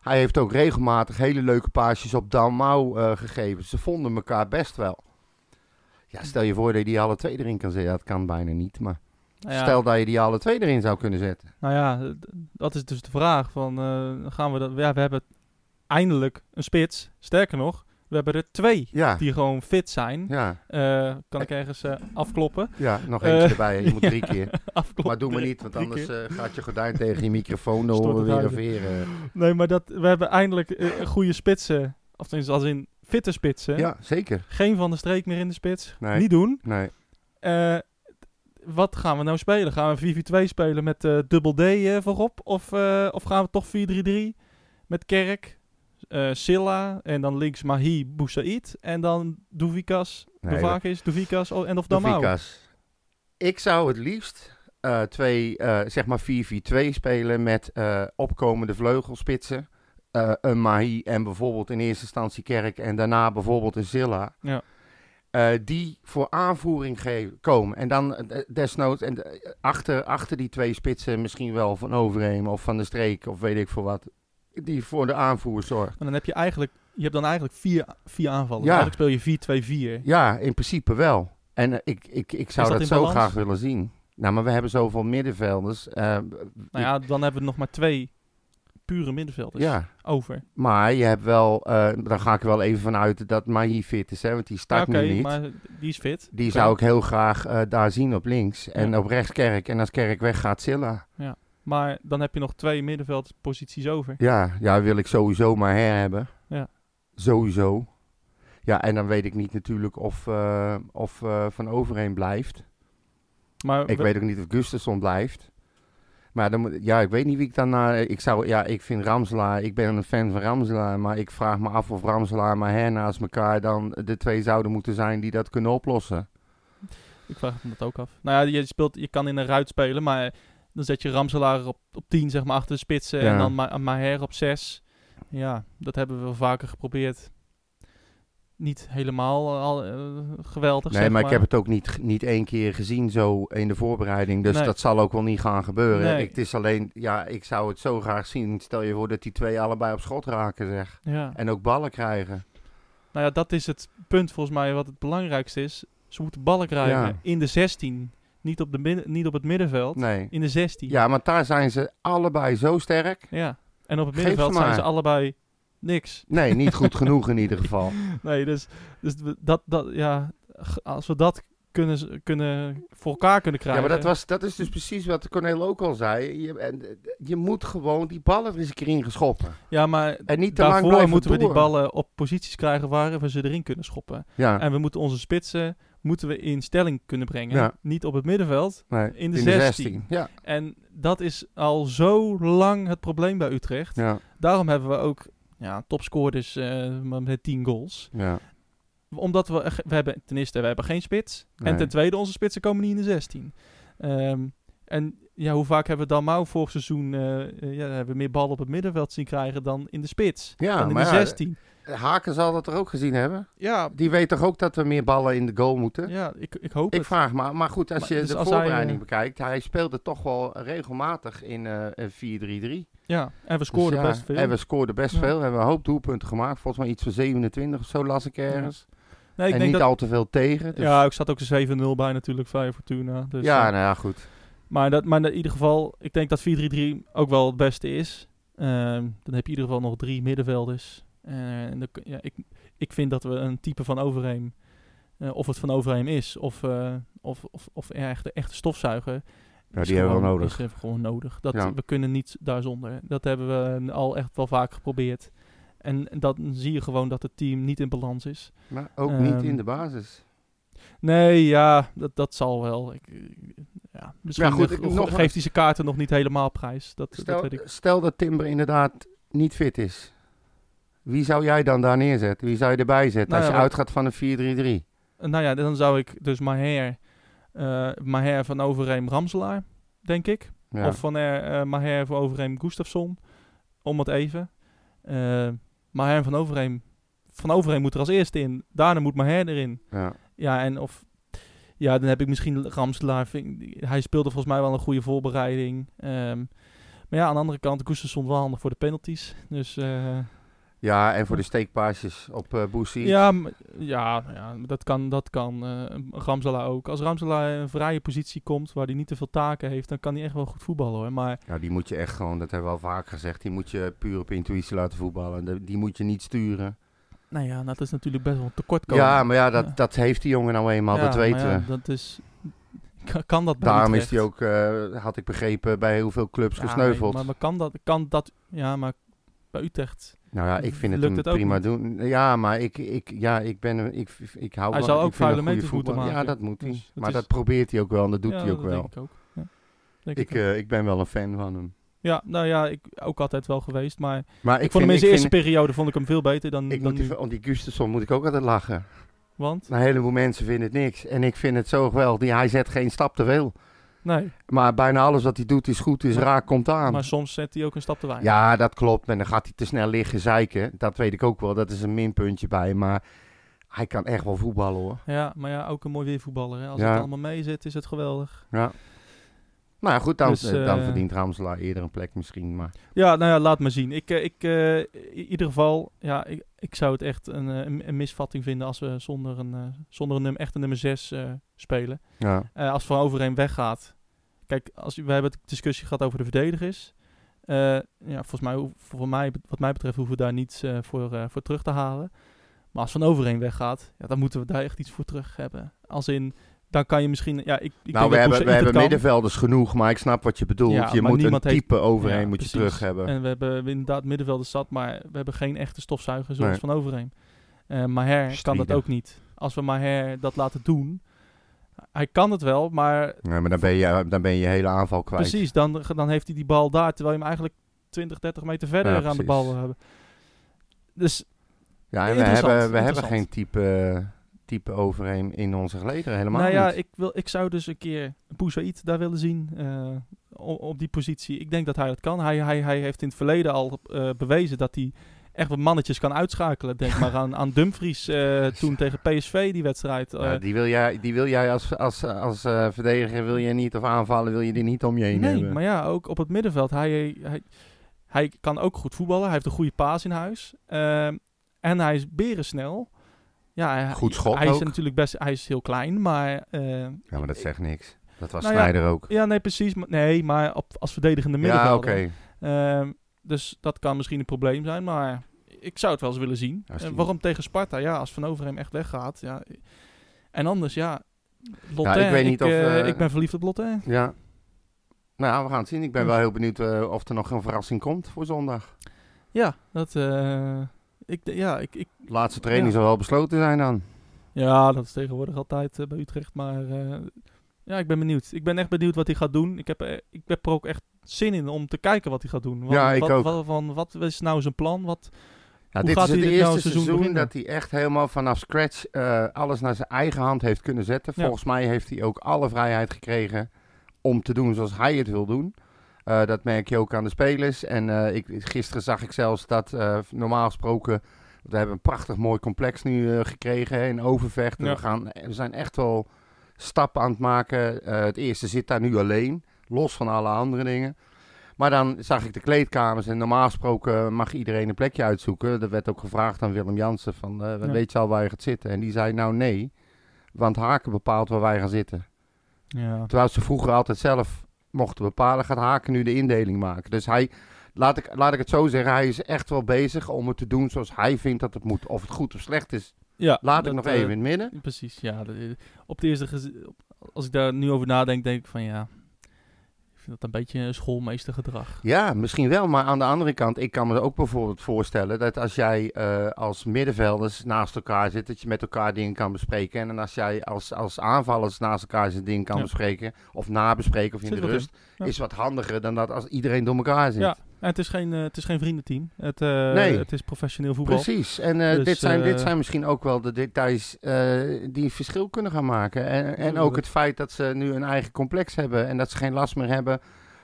Speaker 1: Hij heeft ook regelmatig hele leuke paasjes op Dalmau eh gegeven. Ze vonden elkaar best wel. Ja, stel je voor dat je die alle twee erin kan zetten. Dat kan bijna niet. Maar
Speaker 2: Nou ja,
Speaker 1: stel dat je die alle twee erin zou kunnen zetten.
Speaker 2: Nou ja, d- dat is dus de vraag van eh, gaan we dat? Ja, we hebben eindelijk een spits. Sterker nog, we hebben er twee
Speaker 1: Ja,
Speaker 2: die gewoon fit zijn.
Speaker 1: ja,
Speaker 2: Eh, kan ik ergens eh, afkloppen?
Speaker 1: ja. Nog
Speaker 2: Eh,
Speaker 1: eentje erbij. Je moet drie keer.
Speaker 2: afkloppen?
Speaker 1: Maar doe maar niet, want
Speaker 2: drie
Speaker 1: anders eh, gaat je gordijn tegen je microfoon. Dan
Speaker 2: Stort
Speaker 1: horen we weer een
Speaker 2: het
Speaker 1: veer. eh.
Speaker 2: Nee, maar dat, we hebben eindelijk eh, goede spitsen. Of tenminste, als in fitte spitsen.
Speaker 1: Ja, zeker.
Speaker 2: Geen van de streek meer in de spits.
Speaker 1: Nee.
Speaker 2: Niet doen.
Speaker 1: Nee.
Speaker 2: Eh, wat gaan we nou spelen? Gaan we 4-4-2 spelen met eh dubbel D eh, voorop? Of, eh, of gaan we toch 4-3-3 met Kerk, eh, Silla en dan links Mahi, Boussaïd en dan Doevikas,
Speaker 1: Nee,
Speaker 2: Dovakis, Doevikas oh, en of
Speaker 1: De
Speaker 2: Damao.
Speaker 1: Vikas. Ik zou het liefst eh, twee, eh, zeg maar 4-4-2 spelen met eh, opkomende vleugelspitsen. Eh, een Mahi en bijvoorbeeld in eerste instantie Kerk en daarna bijvoorbeeld een Zilla.
Speaker 2: Ja.
Speaker 1: Eh, die voor aanvoering ge- komen. En dan eh, desnoods en, eh, achter, achter die twee spitsen misschien wel van Overheem of van de Streek of weet ik veel wat. Die voor de aanvoer zorgt.
Speaker 2: En dan heb je eigenlijk, je hebt dan eigenlijk vier, vier aanvallen.
Speaker 1: Ja.
Speaker 2: Eigenlijk speel je 4-2-4.
Speaker 1: Ja, in principe wel. En eh, ik, ik, ik zou
Speaker 2: Is dat
Speaker 1: dat,
Speaker 2: in
Speaker 1: zo
Speaker 2: balans?
Speaker 1: graag willen zien. Nou, maar we hebben zoveel middenvelders. eh,
Speaker 2: Nou ja, dus- dan hebben we nog maar twee pure middenvelders
Speaker 1: ja,
Speaker 2: over.
Speaker 1: maar je hebt wel... eh daar ga ik wel even van uit dat Mahi fit is, hè. Want die start
Speaker 2: Ja, oké,
Speaker 1: nu niet.
Speaker 2: maar die is fit.
Speaker 1: Die
Speaker 2: Oké.
Speaker 1: zou ik heel graag eh, daar zien op links. En
Speaker 2: Ja.
Speaker 1: op rechts Kerk. En als Kerk weggaat, Silla.
Speaker 2: Maar dan heb je nog twee middenveldposities over.
Speaker 1: Ja, ja, wil ik sowieso maar herhebben.
Speaker 2: Ja.
Speaker 1: Sowieso. Ja, en dan weet ik niet natuurlijk of, eh, of eh, Van Overheen blijft.
Speaker 2: Maar
Speaker 1: Ik
Speaker 2: we-
Speaker 1: weet ook niet of Gustafsson blijft. Maar dan, moet- ja, ik weet niet wie ik dan naar... Ik, zou, ja, ik vind Ramselaar... Ik ben een fan van Ramselaar. Maar ik vraag me af of Ramselaar maar her naast elkaar... dan de twee zouden moeten zijn die dat kunnen oplossen.
Speaker 2: Ik vraag me dat ook af. Nou ja, je, speelt, je kan in een ruit spelen, maar eh, dan zet je Ramselaar op, op 10, zeg maar, achter de spitsen.
Speaker 1: Ja.
Speaker 2: En dan Ma Maher op 6. Ja, dat hebben we wel vaker geprobeerd. Niet helemaal eh, al, eh, geweldig,
Speaker 1: nee,
Speaker 2: zeg
Speaker 1: maar, ik heb het ook niet, niet één keer gezien zo in de voorbereiding. Dus
Speaker 2: Nee.
Speaker 1: dat zal ook wel niet gaan gebeuren.
Speaker 2: Nee.
Speaker 1: Ik, het is alleen... Ja, ik zou het zo graag zien. Stel je voor dat die twee allebei op schot raken, zeg.
Speaker 2: Ja.
Speaker 1: En ook ballen krijgen.
Speaker 2: Nou ja, dat is het punt volgens mij wat het belangrijkste is. Ze moeten ballen krijgen
Speaker 1: Ja.
Speaker 2: in de 16. Niet op, de midden- niet op het middenveld,
Speaker 1: Nee.
Speaker 2: in de 16.
Speaker 1: Ja, maar daar zijn ze allebei zo sterk.
Speaker 2: Ja. En op het
Speaker 1: Geef
Speaker 2: middenveld
Speaker 1: ze
Speaker 2: zijn
Speaker 1: maar.
Speaker 2: ze allebei niks.
Speaker 1: Nee, niet goed genoeg in ieder geval.
Speaker 2: Nee, dus, dus we- dat, dat, ja, g- als we dat kunnen, z- kunnen voor elkaar kunnen
Speaker 1: Ja,
Speaker 2: krijgen.
Speaker 1: maar dat, was, dat is dus precies wat Cornel ook al zei. Je, en, eh, je moet gewoon die ballen er eens een keer in geschoppen.
Speaker 2: Ja, maar
Speaker 1: En niet te lang
Speaker 2: daarvoor
Speaker 1: blijven
Speaker 2: moeten we die
Speaker 1: door.
Speaker 2: ballen op posities krijgen waar we ze erin kunnen schoppen.
Speaker 1: Ja,
Speaker 2: En we moeten onze spitsen moeten we in stelling kunnen brengen.
Speaker 1: Ja.
Speaker 2: Niet op het middenveld.
Speaker 1: nee,
Speaker 2: in de 16.
Speaker 1: Ja,
Speaker 2: En dat is al zo lang het probleem bij Utrecht.
Speaker 1: ja,
Speaker 2: Daarom hebben we ook ja, topscorers eh, maar met 10 goals.
Speaker 1: ja.
Speaker 2: Omdat we, eh, we hebben ten eerste, we hebben geen spits.
Speaker 1: Nee.
Speaker 2: En ten tweede, onze spitsen komen niet in de 16. Ehm, en ja, hoe vaak hebben we Dalmau vorig seizoen eh, eh, ja, hebben we meer ballen op het middenveld zien krijgen dan in de spits?
Speaker 1: Ja,
Speaker 2: dan in
Speaker 1: maar
Speaker 2: de
Speaker 1: ja,
Speaker 2: 16.
Speaker 1: Eh, Haken zal dat er ook gezien hebben.
Speaker 2: Ja,
Speaker 1: Die weet toch ook dat we meer ballen in de goal moeten?
Speaker 2: ja ik, ik hoop
Speaker 1: Ik
Speaker 2: het.
Speaker 1: vraag maar, maar goed, als
Speaker 2: Maar
Speaker 1: je
Speaker 2: dus
Speaker 1: de
Speaker 2: als hij,
Speaker 1: voorbereiding
Speaker 2: eh,
Speaker 1: bekijkt, hij speelde toch wel regelmatig in eh, eh, 4-3-3.
Speaker 2: Ja, en we
Speaker 1: Dus
Speaker 2: scoorden
Speaker 1: ja,
Speaker 2: best veel.
Speaker 1: En we scoorden best
Speaker 2: Ja.
Speaker 1: veel. We hebben een hoop doelpunten gemaakt. Volgens mij iets van 27 of zo las ik ergens.
Speaker 2: nee, ik
Speaker 1: en
Speaker 2: denk
Speaker 1: niet
Speaker 2: dat,
Speaker 1: al te veel tegen. Dus,
Speaker 2: Ja, ik zat ook een 7-0 bij natuurlijk, via Fortuna. Dus,
Speaker 1: ja,
Speaker 2: eh,
Speaker 1: nou ja, goed.
Speaker 2: Maar, dat, maar in ieder geval, ik denk dat 4-3-3 ook wel het beste is. Ehm, dan heb je in ieder geval nog drie middenvelders. Eh, en dan kun- ja, ik, ik vind dat we een type van Overheem, eh, of het van Overheem is, of, eh, of, of, of ja, echt een echte stofzuiger.
Speaker 1: Ja,
Speaker 2: is
Speaker 1: die hebben we
Speaker 2: gewoon-
Speaker 1: wel nodig.
Speaker 2: Is even gewoon nodig. Dat,
Speaker 1: Ja.
Speaker 2: We kunnen niet daar zonder. Dat hebben we al echt wel vaak geprobeerd. En dan zie je gewoon dat het team niet in balans is.
Speaker 1: Maar ook niet
Speaker 2: Ehm,
Speaker 1: in de basis.
Speaker 2: Nee, ja, dat, dat zal wel. Ik, eh, ja, misschien
Speaker 1: Ja, goed,
Speaker 2: eh,
Speaker 1: ik-
Speaker 2: ge-
Speaker 1: nogmaals-
Speaker 2: geeft hij zijn kaarten nog niet helemaal prijs. Dat, dat
Speaker 1: Stel,
Speaker 2: weet ik.
Speaker 1: stel dat Timber inderdaad niet fit is. Wie zou jij dan daar neerzetten? Wie zou je erbij zetten
Speaker 2: Nou
Speaker 1: als
Speaker 2: ja,
Speaker 1: je
Speaker 2: wat-
Speaker 1: uitgaat van een 4-3-3?
Speaker 2: Eh, Nou ja, dan zou ik dus Maher, eh, Maher van Overheem Ramselaar, denk ik.
Speaker 1: Ja.
Speaker 2: Of van er, eh, Maher van Overheem Gustafsson, om het even. Eh Maher van Overheem. Van Overheem moet er als eerste in. Daarna moet Maher erin.
Speaker 1: ja.
Speaker 2: Ja, en of... Ja, dan heb ik misschien Ramselaar. vind- Hij speelde volgens mij wel een goede voorbereiding. Ehm, maar ja, aan de andere kant, Gustafsson wel handig voor de penalties. Dus eh,
Speaker 1: Ja, en voor de steekpaasjes op eh Boesie.
Speaker 2: Ja, m- ja, nou ja, dat kan, dat kan eh Ramselaar ook. Als Ramselaar in een vrije positie komt waar hij niet te veel taken heeft, dan kan hij echt wel goed voetballen hoor. Maar
Speaker 1: Ja, die moet je echt gewoon, dat hebben we al vaak gezegd, die moet je puur op intuïtie laten voetballen. De- Die moet je niet sturen.
Speaker 2: nou ja, dat is natuurlijk best wel een tekortkoming.
Speaker 1: Ja, maar ja,
Speaker 2: Ja.
Speaker 1: dat, dat heeft die jongen nou eenmaal,
Speaker 2: Ja,
Speaker 1: dat weten
Speaker 2: maar ja,
Speaker 1: we.
Speaker 2: dat is, kan, kan dat bij
Speaker 1: Daarom is
Speaker 2: Utrecht?
Speaker 1: die ook, eh, had ik begrepen, bij heel veel clubs
Speaker 2: Ja,
Speaker 1: gesneuveld.
Speaker 2: Maar, maar kan, dat, kan dat, ja, maar bij Utrecht.
Speaker 1: Nou ja, ik vind het
Speaker 2: Lukt
Speaker 1: hem
Speaker 2: het ook
Speaker 1: prima
Speaker 2: niet?
Speaker 1: doen. Ja, maar ik, ik, ja, ik ben, ik, ik hou
Speaker 2: Hij
Speaker 1: wel-
Speaker 2: zal
Speaker 1: ik
Speaker 2: ook
Speaker 1: vind
Speaker 2: vuile
Speaker 1: een goede
Speaker 2: meters moeten
Speaker 1: voetballer.
Speaker 2: maken.
Speaker 1: Ja, dat moet hij.
Speaker 2: Dus dat
Speaker 1: maar
Speaker 2: is-
Speaker 1: dat probeert hij ook wel en dat doet
Speaker 2: Ja,
Speaker 1: hij ook
Speaker 2: dat
Speaker 1: wel.
Speaker 2: Denk ik ook. Ja, denk
Speaker 1: Ik,
Speaker 2: ik ook.
Speaker 1: eh, ik ben wel een fan van hem.
Speaker 2: ja, nou ja, ik ook altijd wel geweest. Maar ik,
Speaker 1: Maar ik,
Speaker 2: vond
Speaker 1: vind,
Speaker 2: hem in
Speaker 1: ik
Speaker 2: zijn eerste
Speaker 1: vind-
Speaker 2: periode vond ik hem veel beter dan,
Speaker 1: ik
Speaker 2: dan
Speaker 1: moet
Speaker 2: nu.
Speaker 1: die, om die Gustafsson moet ik ook altijd lachen.
Speaker 2: Want?
Speaker 1: Een heleboel mensen vinden het niks. En ik vind het zo geweldig. Hij zet geen stap te veel.
Speaker 2: Nee,
Speaker 1: Maar bijna alles wat hij doet is goed, is
Speaker 2: Maar-
Speaker 1: raak, komt aan.
Speaker 2: maar soms zet hij ook een stap te weinig.
Speaker 1: Ja, dat klopt. En dan gaat hij te snel liggen zeiken. Dat weet ik ook wel. Dat is een minpuntje bij. Maar hij kan echt wel voetballen hoor.
Speaker 2: Ja, maar ja, ook een mooi weervoetballer. Hè. Als
Speaker 1: Ja.
Speaker 2: het allemaal mee zit, is het geweldig.
Speaker 1: Nou ja, goed, dan,
Speaker 2: Dus,
Speaker 1: eh, dan
Speaker 2: eh,
Speaker 1: verdient Ramselaar eerder een plek misschien. Maar
Speaker 2: Ja, nou ja, laat maar zien. Ik, eh, ik, eh, in ieder geval, ja, ik, ik zou het echt een, eh, een, een misvatting vinden als we zonder een, eh, zonder een nummer, echt een nummer 6 spelen.
Speaker 1: ja.
Speaker 2: Eh, als Van Overheen weggaat. Kijk, als, we hebben het discussie gehad over de verdedigers. Eh, ja, volgens mij, hoef- voor mij, wat mij betreft hoeven we daar niets eh, voor, eh, voor terug te halen. Maar als Van Overheen weggaat, ja, dan moeten we daar echt iets voor terug hebben. Als in, dan kan je misschien... Ja, ik,
Speaker 1: nou, we
Speaker 2: ik denk dat
Speaker 1: hebben,
Speaker 2: Boussaïd
Speaker 1: we
Speaker 2: het
Speaker 1: hebben
Speaker 2: kan.
Speaker 1: middenvelders genoeg, maar ik snap wat je bedoelt.
Speaker 2: Ja,
Speaker 1: je
Speaker 2: maar
Speaker 1: moet een
Speaker 2: niemand heeft-
Speaker 1: type overheen
Speaker 2: Ja,
Speaker 1: moet je
Speaker 2: precies.
Speaker 1: terug hebben.
Speaker 2: En we hebben inderdaad middenvelders zat, maar we hebben geen echte stofzuiger zoals
Speaker 1: Nee.
Speaker 2: Van Overheen. Eh Maher kan dat
Speaker 1: Strijder.
Speaker 2: ook niet. Als we Maher dat laten doen... Hij kan het wel, maar
Speaker 1: Ja, maar dan ben, je, dan ben je je hele aanval kwijt.
Speaker 2: Precies, dan, dan heeft hij die bal daar, terwijl je hem eigenlijk 20, 30 meter verder
Speaker 1: Ja,
Speaker 2: aan de
Speaker 1: precies.
Speaker 2: bal wil hebben. Dus
Speaker 1: Ja, en we
Speaker 2: Interessant,
Speaker 1: hebben, we hebben
Speaker 2: interessant.
Speaker 1: geen type, type overheen in onze gelederen. Helemaal
Speaker 2: nou ja,
Speaker 1: niet.
Speaker 2: ik, wil, ik zou dus een keer Boussaïd daar willen zien eh, o- op, die positie. Ik denk dat hij dat kan. Hij, hij, hij heeft in het verleden al eh, bewezen dat hij echt wat mannetjes kan uitschakelen. Denk maar aan, aan Dumfries eh, toen tegen PSV, die wedstrijd.
Speaker 1: Ja,
Speaker 2: eh.
Speaker 1: die wil jij, die wil jij als, als, als eh, verdediger wil je niet of aanvallen, wil je die niet om je heen
Speaker 2: nee,
Speaker 1: hebben.
Speaker 2: maar ja, ook op het middenveld. Hij, hij, hij kan ook goed voetballen. Hij heeft een goede paas in huis. Ehm, en hij is berensnel. Ja, hij,
Speaker 1: Goed schot
Speaker 2: hij is
Speaker 1: ook.
Speaker 2: natuurlijk best, hij is heel klein, maar eh,
Speaker 1: Ja, maar dat zegt niks. Dat was
Speaker 2: Nou ja,
Speaker 1: Snijder ook.
Speaker 2: ja, nee, precies, maar, nee, maar op, als verdedigende
Speaker 1: Ja,
Speaker 2: middenvelder.
Speaker 1: oké.
Speaker 2: Ehm, dus dat kan misschien een probleem zijn, maar ik zou het wel eens willen zien.
Speaker 1: Als
Speaker 2: Eh,
Speaker 1: die-
Speaker 2: waarom tegen Sparta? Ja, als Van Overheem echt weggaat. Ja. En anders, ja. Lotte,
Speaker 1: ik weet niet of, eh,
Speaker 2: ik ben verliefd op Lotte.
Speaker 1: Ja. Nou, we gaan het zien. Ik ben
Speaker 2: Ja.
Speaker 1: wel heel benieuwd eh, of er nog een verrassing komt voor zondag.
Speaker 2: Ja, dat. eh, ik, ja, ik, ik,
Speaker 1: De laatste training
Speaker 2: Ja.
Speaker 1: zal wel besloten zijn dan.
Speaker 2: Ja, dat is tegenwoordig altijd eh, bij Utrecht. Maar eh, ja, ik ben benieuwd. Ik ben echt benieuwd wat hij gaat doen. Ik heb, eh, ik heb er ook echt zin in om te kijken wat hij gaat doen. Wat,
Speaker 1: Ja, ik
Speaker 2: wat,
Speaker 1: ook.
Speaker 2: Wat, van, wat is nou zijn plan? Wat,
Speaker 1: Ja,
Speaker 2: Hoe
Speaker 1: dit
Speaker 2: gaat
Speaker 1: is het
Speaker 2: hij dit nou
Speaker 1: eerste
Speaker 2: seizoen
Speaker 1: seizoen, dat
Speaker 2: beginnen?
Speaker 1: hij echt helemaal vanaf scratch eh, alles naar zijn eigen hand heeft kunnen zetten.
Speaker 2: Ja.
Speaker 1: Volgens mij heeft hij ook alle vrijheid gekregen om te doen zoals hij het wil doen. Eh, dat merk je ook aan de spelers. En eh, ik, gisteren zag ik zelfs dat eh, normaal gesproken. We hebben een prachtig mooi complex nu eh, gekregen hè, in Overvecht. En
Speaker 2: Ja.
Speaker 1: We, gaan, eh, we zijn echt wel stappen aan het maken. Eh, het eerste zit daar nu alleen, los van alle andere dingen. Maar dan zag ik de kleedkamers en normaal gesproken mag iedereen een plekje uitzoeken. Er werd ook gevraagd aan Willem Jansen van, eh,
Speaker 2: Ja.
Speaker 1: weet je al waar je gaat zitten? En die zei nou nee, want Haken bepaalt waar wij gaan zitten.
Speaker 2: ja.
Speaker 1: Terwijl ze vroeger altijd zelf mochten bepalen, gaat Haken nu de indeling maken. Dus hij, laat ik, laat ik het zo zeggen, hij is echt wel bezig om het te doen zoals hij vindt dat het moet. Of het goed of slecht is,
Speaker 2: ja
Speaker 1: laat ik
Speaker 2: dat,
Speaker 1: nog
Speaker 2: eh,
Speaker 1: even in het midden.
Speaker 2: Precies, ja. dat- eh, op de eerste gez- op- als ik daar nu over nadenk, denk ik van ja. Ik vind dat een beetje een schoolmeestergedrag.
Speaker 1: Ja, misschien wel. Maar aan de andere kant, ik kan me ook bijvoorbeeld voorstellen dat als jij eh, als middenvelders naast elkaar zit, dat je met elkaar dingen kan bespreken. En dan als jij als, als aanvallers naast elkaar zijn dingen kan
Speaker 2: Ja.
Speaker 1: bespreken, of nabespreken of in
Speaker 2: Zit
Speaker 1: de
Speaker 2: wat in,
Speaker 1: rust,
Speaker 2: ja.
Speaker 1: is wat handiger dan dat als iedereen door elkaar zit.
Speaker 2: Ja, en het is geen, eh, het is geen vriendenteam. Het, eh,
Speaker 1: Nee.
Speaker 2: het is professioneel voetbal.
Speaker 1: Precies. En eh,
Speaker 2: Dus,
Speaker 1: dit, zijn, dit
Speaker 2: eh,
Speaker 1: zijn misschien ook wel de details eh, die verschil kunnen gaan maken. En, en ook
Speaker 2: Tuurlijk.
Speaker 1: het feit dat ze nu een eigen complex hebben en dat ze geen last meer hebben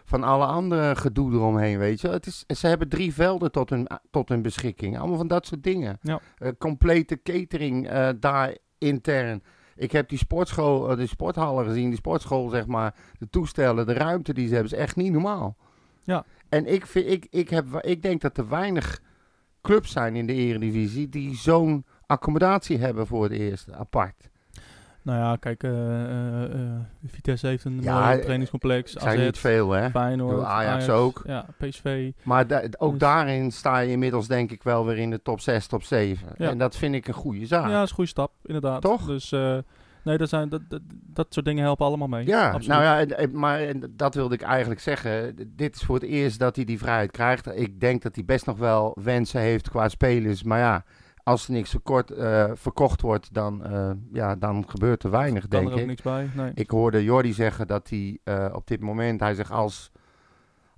Speaker 1: van alle andere gedoe eromheen, weet je. wel. Het is, ze hebben drie velden tot hun, tot hun beschikking. Allemaal van dat soort dingen.
Speaker 2: Ja.
Speaker 1: Eh, complete catering eh, daar intern. Ik heb die sportschool, eh, de sporthallen gezien, die sportschool zeg maar, de toestellen, de ruimte die ze hebben, is echt niet normaal.
Speaker 2: Ja.
Speaker 1: En ik, vind, ik, ik, heb, ik denk dat er weinig clubs zijn in de eredivisie die zo'n accommodatie hebben voor het eerst, apart.
Speaker 2: Nou ja, kijk, eh, eh, eh, Vitesse heeft een
Speaker 1: Ja,
Speaker 2: mooi
Speaker 1: eh,
Speaker 2: trainingscomplex.
Speaker 1: Er zijn
Speaker 2: AZ,
Speaker 1: niet veel, hè?
Speaker 2: Feyenoord,
Speaker 1: Doe Eh, Ajax ook.
Speaker 2: Ja, PSV.
Speaker 1: Maar da- ook
Speaker 2: Dus-
Speaker 1: daarin sta je inmiddels denk ik wel weer in de top 6, top 7.
Speaker 2: Ja.
Speaker 1: En dat vind ik een goede zaak.
Speaker 2: Ja, dat is een goede stap, inderdaad.
Speaker 1: Toch?
Speaker 2: Dus eh, nee, dat, zijn, dat, dat, dat soort dingen helpen allemaal mee.
Speaker 1: Ja,
Speaker 2: Absoluut.
Speaker 1: nou ja, en- en- maar en dat wilde ik eigenlijk zeggen. D- Dit is voor het eerst dat hij die vrijheid krijgt. Ik denk dat hij best nog wel wensen heeft qua spelers. Maar ja, als er niks verkort, eh, verkocht wordt, dan, eh, ja, dan gebeurt er weinig,
Speaker 2: kan
Speaker 1: denk
Speaker 2: er ook
Speaker 1: ik.
Speaker 2: niks bij. Nee.
Speaker 1: Ik hoorde Jordi zeggen dat hij eh, op dit moment, hij zegt als,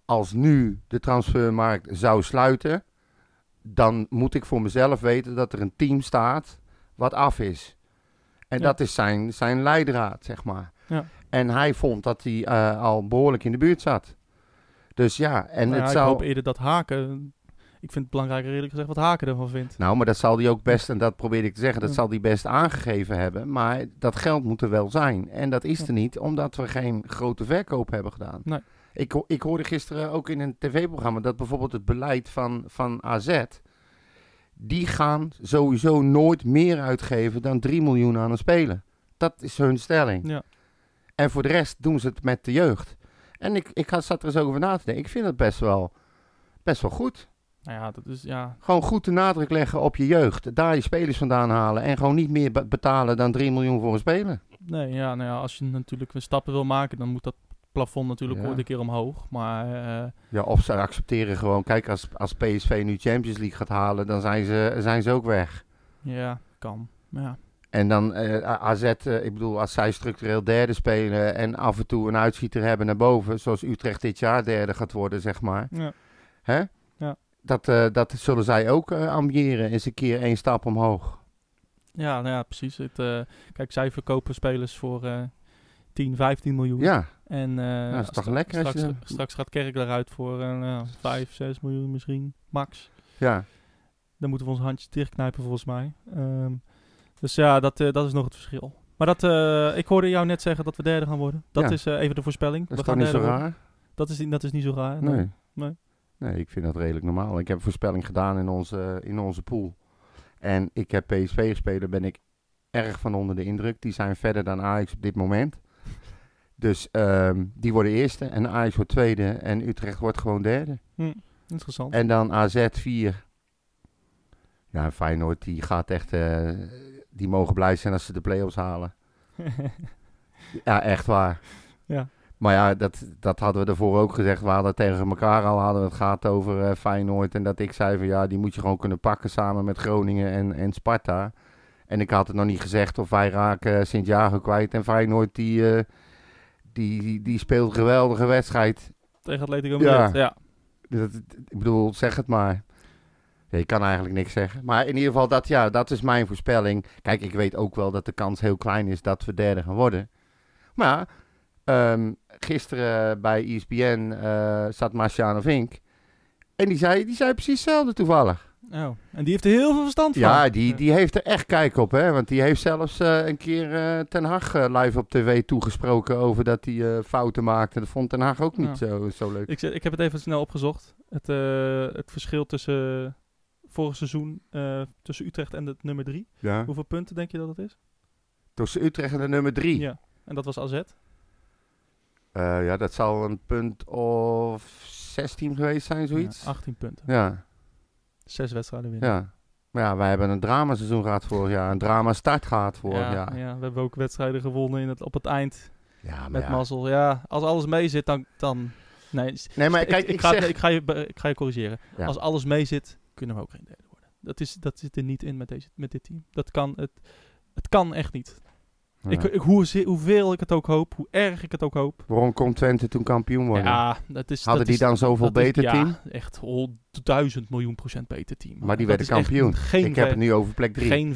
Speaker 1: als nu de transfermarkt zou sluiten, dan moet ik voor mezelf weten dat er een team staat wat af is. En
Speaker 2: Ja.
Speaker 1: dat is zijn, zijn leidraad, zeg maar.
Speaker 2: Ja.
Speaker 1: En hij vond dat hij eh, al behoorlijk in de buurt zat. Dus ja, en
Speaker 2: Nou ja,
Speaker 1: het
Speaker 2: Ik
Speaker 1: zou...
Speaker 2: hoop eerder dat Haken... Ik vind het belangrijker eerlijk gezegd wat Haken ervan vindt.
Speaker 1: Nou, maar dat zal hij ook best, en dat probeerde ik te zeggen, dat
Speaker 2: Ja.
Speaker 1: zal hij best aangegeven hebben. Maar dat geld moet er wel zijn. En dat is
Speaker 2: Ja.
Speaker 1: er niet, omdat we geen grote verkoop hebben gedaan.
Speaker 2: Nee.
Speaker 1: Ik, ho- ik hoorde gisteren ook in een tv-programma dat bijvoorbeeld het beleid van, van AZ... die gaan sowieso nooit meer uitgeven dan 3 miljoen aan een speler. Dat is hun stelling.
Speaker 2: Ja.
Speaker 1: En voor de rest doen ze het met de jeugd. En ik, ik had- zat er eens over na te denken. Ik vind het best wel, best wel goed.
Speaker 2: Nou ja, dat is... Ja,
Speaker 1: Gewoon goed de nadruk leggen op je jeugd. Daar je spelers vandaan halen. En gewoon niet meer be- betalen dan 3 miljoen voor een speler.
Speaker 2: nee, ja, nou ja, als je natuurlijk een stappen wil maken, dan moet dat plafond natuurlijk
Speaker 1: Ja.
Speaker 2: ooit een keer omhoog. Maar eh,
Speaker 1: Ja, of ze accepteren gewoon. Kijk, als, als PSV nu Champions League gaat halen, dan zijn ze, zijn ze ook weg.
Speaker 2: ja, kan. Maar ja,
Speaker 1: En dan eh, A- AZ, eh, ik bedoel, als zij structureel derde spelen en af en toe een uitschieter hebben naar boven, zoals Utrecht dit jaar derde gaat worden, zeg maar.
Speaker 2: ja.
Speaker 1: Hè?
Speaker 2: Ja.
Speaker 1: Dat, eh, dat zullen zij ook eh, ambiëren, eens een keer één stap omhoog.
Speaker 2: Ja, nou ja, precies. Het, eh, kijk, zij verkopen spelers voor eh 10, 15 miljoen.
Speaker 1: Ja,
Speaker 2: En, eh
Speaker 1: Nou, dat is toch
Speaker 2: stra-
Speaker 1: lekker als
Speaker 2: Straks,
Speaker 1: je-
Speaker 2: straks gaat Kerk eruit voor eh, nou, 5, 6 miljoen misschien, max.
Speaker 1: ja.
Speaker 2: Dan moeten we ons handje dichtknijpen volgens mij. Ehm, dus ja, dat, eh, dat is nog het verschil. Maar dat, eh, ik hoorde jou net zeggen dat we derde gaan worden. Dat
Speaker 1: Ja.
Speaker 2: is eh, even de voorspelling.
Speaker 1: Dat
Speaker 2: we
Speaker 1: is
Speaker 2: gaan
Speaker 1: toch niet zo
Speaker 2: derde worden.
Speaker 1: raar?
Speaker 2: Dat is, niet- dat is niet zo raar.
Speaker 1: Nee.
Speaker 2: eh, nee.
Speaker 1: Nee.
Speaker 2: Nee.
Speaker 1: ik vind dat redelijk normaal. Ik heb een voorspelling gedaan in onze, in onze pool. En ik heb PSV gespeeld, daar ben ik erg van onder de indruk. Die zijn verder dan Ajax op dit moment. Dus ehm, die worden eerste en Ajax wordt tweede en Utrecht wordt gewoon derde.
Speaker 2: Interessant.
Speaker 1: En dan AZ 4. Ja, en Feyenoord die gaat echt, eh, die mogen blij zijn als ze de play-offs halen. Ja, echt waar.
Speaker 2: Ja.
Speaker 1: Maar ja, dat, dat hadden we ervoor ook gezegd. We hadden tegen elkaar al hadden we het gehad over eh, Feyenoord. En dat ik zei van ja, die moet je gewoon kunnen pakken samen met Groningen en, en Sparta. En ik had het nog niet gezegd of wij raken eh, Sint-Jago kwijt. En Feyenoord die, eh, die, die, die speelt een geweldige wedstrijd.
Speaker 2: Tegen Atletico
Speaker 1: Ja.
Speaker 2: Madrid. Ja.
Speaker 1: Dat, dat- ik bedoel, zeg het maar. Ja, je kan eigenlijk niks zeggen. Maar in ieder geval, dat, ja, dat is mijn voorspelling. Kijk, ik weet ook wel dat de kans heel klein is dat we derde gaan worden. Maar ehm, gisteren bij E ESPN eh, zat Marciano Vink. En die zei, die zei precies hetzelfde toevallig.
Speaker 2: Oh. En die heeft er heel veel verstand van.
Speaker 1: Ja, die, die heeft er echt kijk op. Hè? Want die heeft zelfs eh, een keer eh, Ten Hag eh, live op tv toegesproken over dat hij eh, fouten maakte. Dat vond Ten Hag ook niet zo, zo leuk.
Speaker 2: Ik, zet- ik heb het even snel opgezocht. Het, eh, het verschil tussen eh, vorig seizoen eh, tussen Utrecht en het nummer 3.
Speaker 1: Ja.
Speaker 2: Hoeveel punten denk je dat het is?
Speaker 1: Tussen Utrecht en de nummer drie.
Speaker 2: Ja. En dat was AZ.
Speaker 1: Eh, ja, dat zal een punt of 16 geweest zijn, zoiets.
Speaker 2: Ja,
Speaker 1: Ja,
Speaker 2: 18 punten.
Speaker 1: ja,
Speaker 2: Zes wedstrijden winnen.
Speaker 1: ja. Maar ja, wij hebben een dramaseizoen gehad vorig jaar. Een drama start gehad vorig
Speaker 2: ja,
Speaker 1: jaar. Ja,
Speaker 2: ja, we hebben ook wedstrijden gewonnen in het, op het eind
Speaker 1: maar
Speaker 2: met
Speaker 1: ja.
Speaker 2: mazzel. Ja, als alles mee zit, dan... dan nee, s-
Speaker 1: Nee, maar
Speaker 2: ik,
Speaker 1: kijk,
Speaker 2: ik,
Speaker 1: ik,
Speaker 2: ga,
Speaker 1: zeg...
Speaker 2: ik, ga je, be- ik ga je corrigeren.
Speaker 1: Ja.
Speaker 2: Als alles mee zit, kunnen we ook geen derde worden. Dat, is, dat zit er niet in met, deze, met dit team. Dat kan, het, het kan echt niet.
Speaker 1: Ja.
Speaker 2: Ik, ik, hoe, ze- hoeveel ik het ook hoop, hoe erg ik het ook hoop.
Speaker 1: Waarom kon Twente toen kampioen worden?
Speaker 2: Ja, dat is...
Speaker 1: Hadden
Speaker 2: dat
Speaker 1: die
Speaker 2: is,
Speaker 1: dan zoveel
Speaker 2: dat is-
Speaker 1: beter team?
Speaker 2: Ja, echt honderd- duizend miljoen procent beter team.
Speaker 1: Maar die
Speaker 2: Dat
Speaker 1: werden
Speaker 2: is echt
Speaker 1: kampioen.
Speaker 2: Geen,
Speaker 1: ik heb
Speaker 2: ver-
Speaker 1: het nu over plek 3.
Speaker 2: geen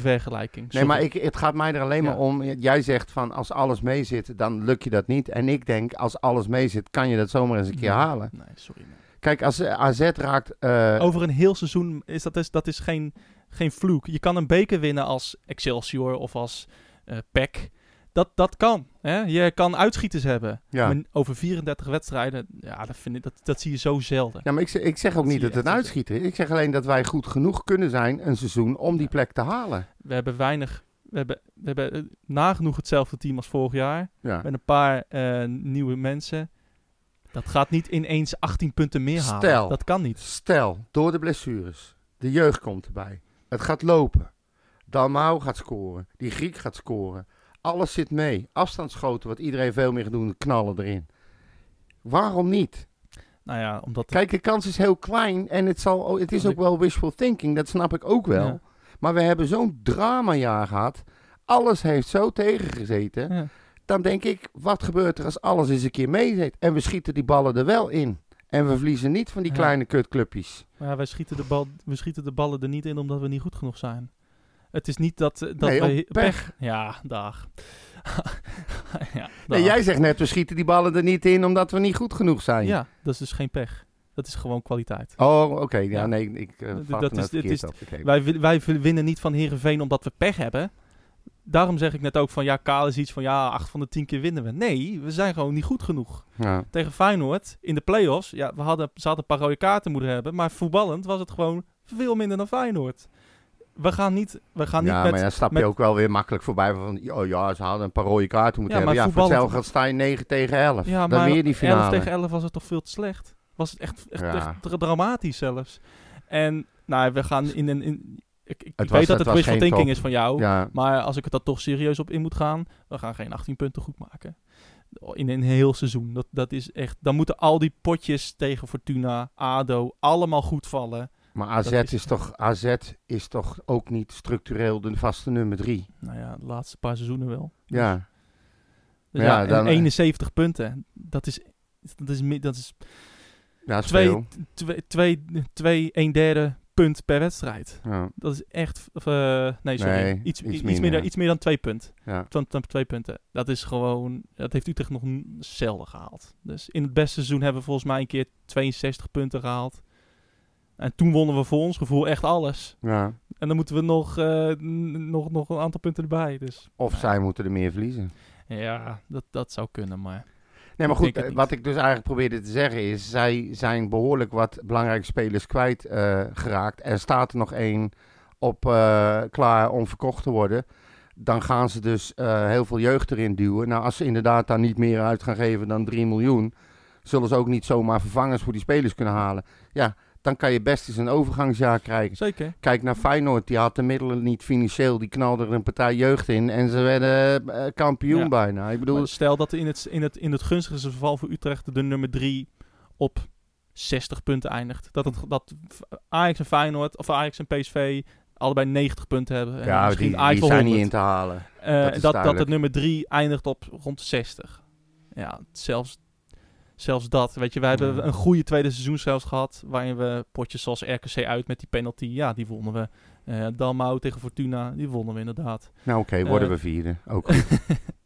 Speaker 1: Nee,
Speaker 2: vergelijking. sorry.
Speaker 1: maar ik, het gaat mij er alleen maar
Speaker 2: Ja.
Speaker 1: om. Jij zegt van als alles mee zit, dan lukt je dat niet. En ik denk, als alles mee zit, kan je dat zomaar eens een keer
Speaker 2: Nee,
Speaker 1: halen.
Speaker 2: Nee, sorry. nee.
Speaker 1: Kijk, als eh, AZ raakt... eh,
Speaker 2: Over een heel seizoen is dat, is, dat is geen, geen vloek. Je kan een beker winnen als Excelsior of als eh PEC. dat, dat kan. Hè? Je kan uitschieters hebben.
Speaker 1: Ja.
Speaker 2: Maar over 34 wedstrijden, ja, dat, vind ik, dat, dat zie je zo zelden.
Speaker 1: Ja, maar ik, zeg- ik zeg ook
Speaker 2: Dat
Speaker 1: niet
Speaker 2: zie
Speaker 1: dat
Speaker 2: je
Speaker 1: het een
Speaker 2: echt zo.
Speaker 1: uitschieter is. Ik zeg alleen dat wij goed genoeg kunnen zijn een seizoen om die
Speaker 2: Ja.
Speaker 1: plek te halen.
Speaker 2: We hebben weinig... We hebben, we hebben eh, nagenoeg hetzelfde team als vorig jaar.
Speaker 1: Ja.
Speaker 2: Met een paar eh, nieuwe mensen. Dat gaat niet ineens 18 punten meer halen.
Speaker 1: Stel.
Speaker 2: Dat kan niet.
Speaker 1: Stel, door de blessures, de jeugd komt erbij. Het gaat lopen. Dalmau gaat scoren. Die Griek gaat scoren. Alles zit mee. Afstandsschoten, wat iedereen veel meer gaat doen, knallen erin. Waarom niet?
Speaker 2: Nou ja, omdat...
Speaker 1: Kijk, de kans is heel klein en het, zal, oh, het is ook wel wishful thinking, dat snap ik ook wel.
Speaker 2: Ja.
Speaker 1: Maar we hebben zo'n dramajaar gehad. Alles heeft zo tegengezeten.
Speaker 2: Ja.
Speaker 1: Dan denk ik, wat gebeurt er als alles eens een keer meezit? En we schieten die ballen er wel in. En we verliezen niet van die
Speaker 2: Ja.
Speaker 1: kleine kutclubjes.
Speaker 2: Maar ja, wij schieten de, bal, we schieten de ballen er niet in omdat we niet goed genoeg zijn. Het is niet dat, eh, dat
Speaker 1: Nee,
Speaker 2: wij...
Speaker 1: op pech.
Speaker 2: Ja, dag. ja,
Speaker 1: Nee,
Speaker 2: dag.
Speaker 1: jij zegt net, we schieten die ballen er niet in omdat we niet goed genoeg zijn.
Speaker 2: ja, dat is dus geen pech. Dat is gewoon kwaliteit.
Speaker 1: Oh, oké. ja,
Speaker 2: Ja.
Speaker 1: nee, ik eh,
Speaker 2: Dat-
Speaker 1: vat
Speaker 2: dat
Speaker 1: het
Speaker 2: is- dit
Speaker 1: verkeerd
Speaker 2: is-
Speaker 1: op. Oké.
Speaker 2: Wij, wi- wij winnen niet van Herenveen omdat we pech hebben. Daarom zeg ik net ook van ja, Kaal is iets van ja, 8 van de 10 keer winnen we. Nee, we zijn gewoon niet goed genoeg.
Speaker 1: Ja.
Speaker 2: Tegen Feyenoord in de play-offs, ja, we hadden, ze hadden een paar rode kaarten moeten hebben. Maar voetballend was het gewoon veel minder dan Feyenoord. We gaan niet, we gaan niet
Speaker 1: ja,
Speaker 2: met
Speaker 1: maar dan stap je
Speaker 2: met-
Speaker 1: ook wel weer makkelijk voorbij. Van, oh ja, ze hadden een paar rode kaarten moeten
Speaker 2: Ja, maar
Speaker 1: hebben. Ja, voor
Speaker 2: voetballend-
Speaker 1: hetzelfde gaat sta je 9 tegen 11.
Speaker 2: Ja,
Speaker 1: Dan
Speaker 2: maar
Speaker 1: weer die
Speaker 2: 11
Speaker 1: finale.
Speaker 2: tegen 11 was het toch veel te slecht. Was het echt, echt,
Speaker 1: Ja.
Speaker 2: echt dra- dramatisch zelfs. En nou, we gaan in een... In, ik ik,
Speaker 1: Het was-
Speaker 2: ik weet
Speaker 1: het
Speaker 2: dat het
Speaker 1: was
Speaker 2: wishful
Speaker 1: geen
Speaker 2: thinking
Speaker 1: top.
Speaker 2: is van jou.
Speaker 1: Ja,
Speaker 2: Maar als ik het daar toch serieus op in moet gaan, we gaan geen 18 punten goed maken. In een heel seizoen. Dat, dat is echt, dan moeten al die potjes tegen Fortuna, ADO, allemaal goed vallen.
Speaker 1: maar AZ
Speaker 2: Dat
Speaker 1: is,
Speaker 2: is-
Speaker 1: toch, AZ is toch ook niet structureel de vaste nummer 3.
Speaker 2: Nou ja, de laatste paar seizoenen wel.
Speaker 1: Ja,
Speaker 2: Dus
Speaker 1: Ja,
Speaker 2: ja, en
Speaker 1: dan-
Speaker 2: 71 punten. Dat is, dat is, mi- dat is
Speaker 1: ja is
Speaker 2: Twee-
Speaker 1: veel.
Speaker 2: twee, twee, twee, een derde punt per wedstrijd.
Speaker 1: Ja.
Speaker 2: Dat is echt. of, eh, nee, sorry.
Speaker 1: Nee,
Speaker 2: iets,
Speaker 1: iets
Speaker 2: iets,
Speaker 1: minder.
Speaker 2: minder. iets meer dan twee punt.
Speaker 1: Ja.
Speaker 2: Dan, dan twee punten. Dat is gewoon. Dat heeft Utrecht nog n- zelden gehaald. Dus in het beste seizoen hebben we volgens mij een keer 62 punten gehaald. En toen wonnen we voor ons gevoel echt alles.
Speaker 1: Ja.
Speaker 2: En dan moeten we nog, eh, n- nog, nog een aantal punten erbij. Dus
Speaker 1: Of zij moeten er meer verliezen.
Speaker 2: ja, dat, dat zou kunnen. Maar
Speaker 1: Nee, maar
Speaker 2: Ik
Speaker 1: goed,
Speaker 2: denk het
Speaker 1: eh,
Speaker 2: niet.
Speaker 1: wat ik dus eigenlijk probeerde te zeggen is, zij zijn behoorlijk wat belangrijke spelers kwijt eh, geraakt. Er staat er nog één op eh, klaar om verkocht te worden. Dan gaan ze dus eh, heel veel jeugd erin duwen. Nou, als ze inderdaad daar niet meer uit gaan geven dan 3 miljoen, zullen ze ook niet zomaar vervangers voor die spelers kunnen halen. Ja, dan kan je best eens een overgangsjaar krijgen.
Speaker 2: zeker.
Speaker 1: Kijk naar Feyenoord, die had de middelen niet financieel. Die knalde er een partij jeugd in en ze werden eh, kampioen
Speaker 2: Ja.
Speaker 1: bijna. Ik bedoel,
Speaker 2: Maar stel dat in het, in, het, in het gunstigste geval voor Utrecht de nummer 3 op 60 punten eindigt. Dat, het, dat Ajax en Feyenoord of Ajax en PSV allebei 90 punten hebben. En
Speaker 1: ja,
Speaker 2: misschien
Speaker 1: die, die
Speaker 2: Ajax wel
Speaker 1: zijn niet
Speaker 2: 100.
Speaker 1: in te halen.
Speaker 2: Eh,
Speaker 1: dat is
Speaker 2: dat, dat,
Speaker 1: duidelijk.
Speaker 2: het nummer 3 eindigt op rond 60. Ja, zelfs, zelfs dat. Weet je, wij hebben
Speaker 1: Ja.
Speaker 2: een goede tweede seizoen zelfs gehad. Waarin we potjes zoals RKC uit met die penalty. Ja, die wonnen we. Eh Dalmau tegen Fortuna, die wonnen we inderdaad.
Speaker 1: Nou oké, worden
Speaker 2: Eh,
Speaker 1: we vierde. Ook.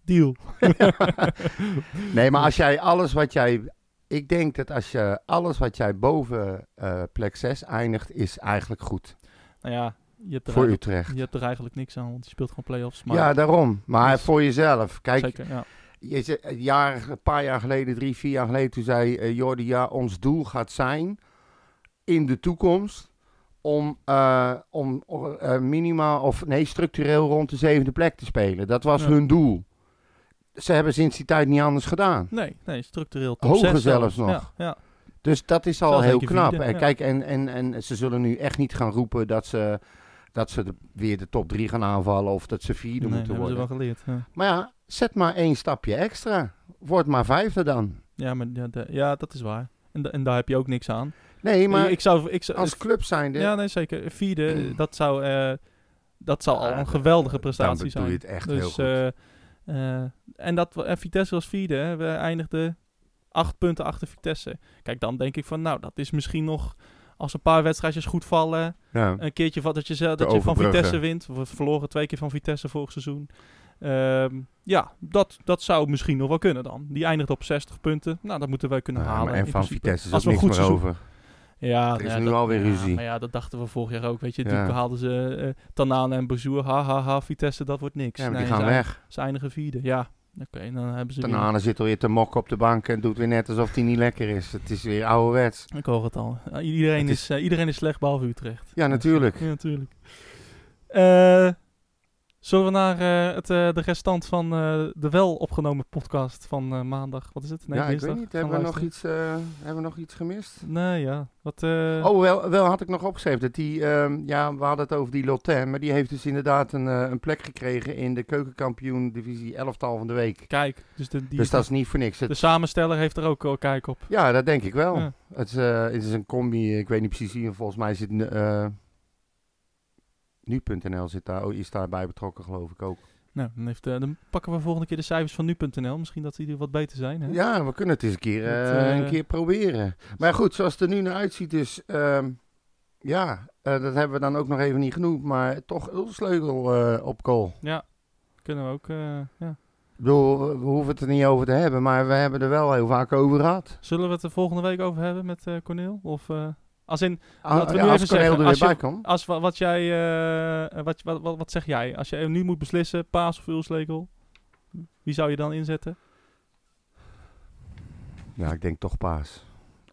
Speaker 2: Deal.
Speaker 1: nee, maar als jij alles wat jij... Ik denk dat als je alles wat jij boven eh, plek 6 eindigt, is eigenlijk goed.
Speaker 2: Nou ja, je hebt er
Speaker 1: voor
Speaker 2: eigenlijk-
Speaker 1: Utrecht.
Speaker 2: Je hebt er eigenlijk niks aan, want je speelt gewoon play-offs. Maar
Speaker 1: ja, daarom. Maar
Speaker 2: Dus-
Speaker 1: voor jezelf. Kijk,
Speaker 2: zeker, ja.
Speaker 1: je, ze- een jaar, een paar jaar geleden, drie, vier jaar geleden, toen zei eh, Jordi, ja, ons doel gaat zijn in de toekomst om, eh, om eh, minimaal, of nee, structureel rond de zevende plek te spelen. Dat was
Speaker 2: Ja.
Speaker 1: hun doel. Ze hebben sinds die tijd niet anders gedaan.
Speaker 2: Nee, nee, structureel top
Speaker 1: Hoger
Speaker 2: zes
Speaker 1: zelfs nog.
Speaker 2: Ja, ja.
Speaker 1: Dus dat is al
Speaker 2: Zelfs
Speaker 1: heel
Speaker 2: een keer
Speaker 1: knap.
Speaker 2: vierde,
Speaker 1: En
Speaker 2: ja.
Speaker 1: Kijk, en, en, en ze zullen nu echt niet gaan roepen dat ze, dat ze de- weer de top 3 gaan aanvallen of dat ze vierde
Speaker 2: Nee,
Speaker 1: moeten
Speaker 2: hebben ze
Speaker 1: worden.
Speaker 2: wel geleerd. Ja,
Speaker 1: Maar ja, zet maar één stapje extra. Word maar vijfde dan.
Speaker 2: ja, maar, ja, de- ja dat is waar. En, da- en daar heb je ook niks aan.
Speaker 1: Nee, maar
Speaker 2: ik zou, ik zou,
Speaker 1: als club zijnde,
Speaker 2: Dus- ja, nee, zeker. Vierde, dat zou, eh, dat zou al
Speaker 1: Ja,
Speaker 2: een geweldige
Speaker 1: dan
Speaker 2: prestatie
Speaker 1: doe je
Speaker 2: zijn.
Speaker 1: het echt heel
Speaker 2: Dus,
Speaker 1: goed.
Speaker 2: eh, eh, en, dat, we- en Vitesse was vierde. Hè. We eindigden acht punten achter Vitesse. Kijk, dan denk ik van, nou, dat is misschien nog... Als een paar wedstrijdjes goed vallen,
Speaker 1: ja.
Speaker 2: een keertje van- dat je, zelf, dat je van
Speaker 1: overbruggen.
Speaker 2: Vitesse wint. We verloren twee keer van Vitesse vorig seizoen. Ehm, ja, dat, dat zou misschien nog wel kunnen dan. Die eindigt op 60 punten. Nou, dat moeten wij kunnen
Speaker 1: Ja, maar
Speaker 2: halen.
Speaker 1: en
Speaker 2: in
Speaker 1: van
Speaker 2: principe.
Speaker 1: Vitesse is
Speaker 2: Als
Speaker 1: ook
Speaker 2: we een
Speaker 1: niks
Speaker 2: goed
Speaker 1: meer
Speaker 2: seizoen-
Speaker 1: over.
Speaker 2: Ja,
Speaker 1: Er is
Speaker 2: nou ja,
Speaker 1: nu alweer
Speaker 2: ja,
Speaker 1: ruzie.
Speaker 2: Maar ja, dat dachten we vorig jaar ook. Weet je,
Speaker 1: Ja.
Speaker 2: toen haalden ze eh Tanane en Bozoer. Ha, ha, ha, Vitesse, dat wordt niks.
Speaker 1: Ja, maar
Speaker 2: Nee,
Speaker 1: die gaan
Speaker 2: ze,
Speaker 1: weg.
Speaker 2: Ze eindigen vierde, ja. Oké, dan hebben ze weer-
Speaker 1: Tanane zit alweer te mokken op de bank en doet weer net alsof hij niet lekker is. Het is weer ouderwets.
Speaker 2: Ik hoor het al. I- Iedereen,
Speaker 1: Het
Speaker 2: is,
Speaker 1: is-
Speaker 2: eh, iedereen is slecht, behalve Utrecht.
Speaker 1: Ja, natuurlijk.
Speaker 2: Ja, natuurlijk. Eh, zullen we naar eh, het, eh, de restant van eh, de wel opgenomen podcast van eh, maandag? Wat is het?
Speaker 1: ja, ik
Speaker 2: dinsdag
Speaker 1: weet niet.
Speaker 2: gaan
Speaker 1: Hebben we, nog
Speaker 2: luisteren?
Speaker 1: iets, eh, hebben we nog iets gemist?
Speaker 2: Nee, ja. Wat, eh,
Speaker 1: Oh, wel, wel had ik nog opgeschreven. Dat die, ehm, ja, we hadden het over die Lotin. Maar die heeft dus inderdaad een, eh, een plek gekregen in de keukenkampioen divisie elftal van de week.
Speaker 2: Kijk, dus, de, die,
Speaker 1: Dus dat is niet voor niks. Het-
Speaker 2: de samensteller heeft er ook al kijk op.
Speaker 1: ja, dat denk ik wel.
Speaker 2: Ja.
Speaker 1: Het, is, eh, het is een combi, ik weet niet precies wie. Volgens mij zit eh, nu.nl zit daar, oh, is daarbij betrokken geloof ik ook.
Speaker 2: Nou, dan, heeft, eh, dan pakken we volgende keer de cijfers van nu.nl. Misschien dat die er wat beter zijn. Hè?
Speaker 1: Ja, we kunnen het eens een keer,
Speaker 2: Dat,
Speaker 1: eh,
Speaker 2: eh,
Speaker 1: een keer proberen. Maar goed, zoals het er nu naar uitziet, dus ehm, ja, eh, dat hebben we dan ook nog even niet genoemd. Maar toch Ulsleutel eh op goal.
Speaker 2: Ja, kunnen we ook. eh, ja.
Speaker 1: Ik bedoel, we- we hoeven het er niet over te hebben, maar we hebben er wel heel vaak over gehad.
Speaker 2: Zullen we het er volgende week over hebben met eh Corneel? Of, eh, als in,
Speaker 1: A-
Speaker 2: Laten we
Speaker 1: Ah, ja,
Speaker 2: nu
Speaker 1: als Corneel
Speaker 2: even zeggen,
Speaker 1: er
Speaker 2: als
Speaker 1: weer
Speaker 2: je-
Speaker 1: bij komt.
Speaker 2: als, wa- wat, jij, eh, wat, wat, wat, wat zeg jij? Als je nu moet beslissen, Paas of Ulslekel, wie zou je dan inzetten?
Speaker 1: Ja, ik denk toch Paas.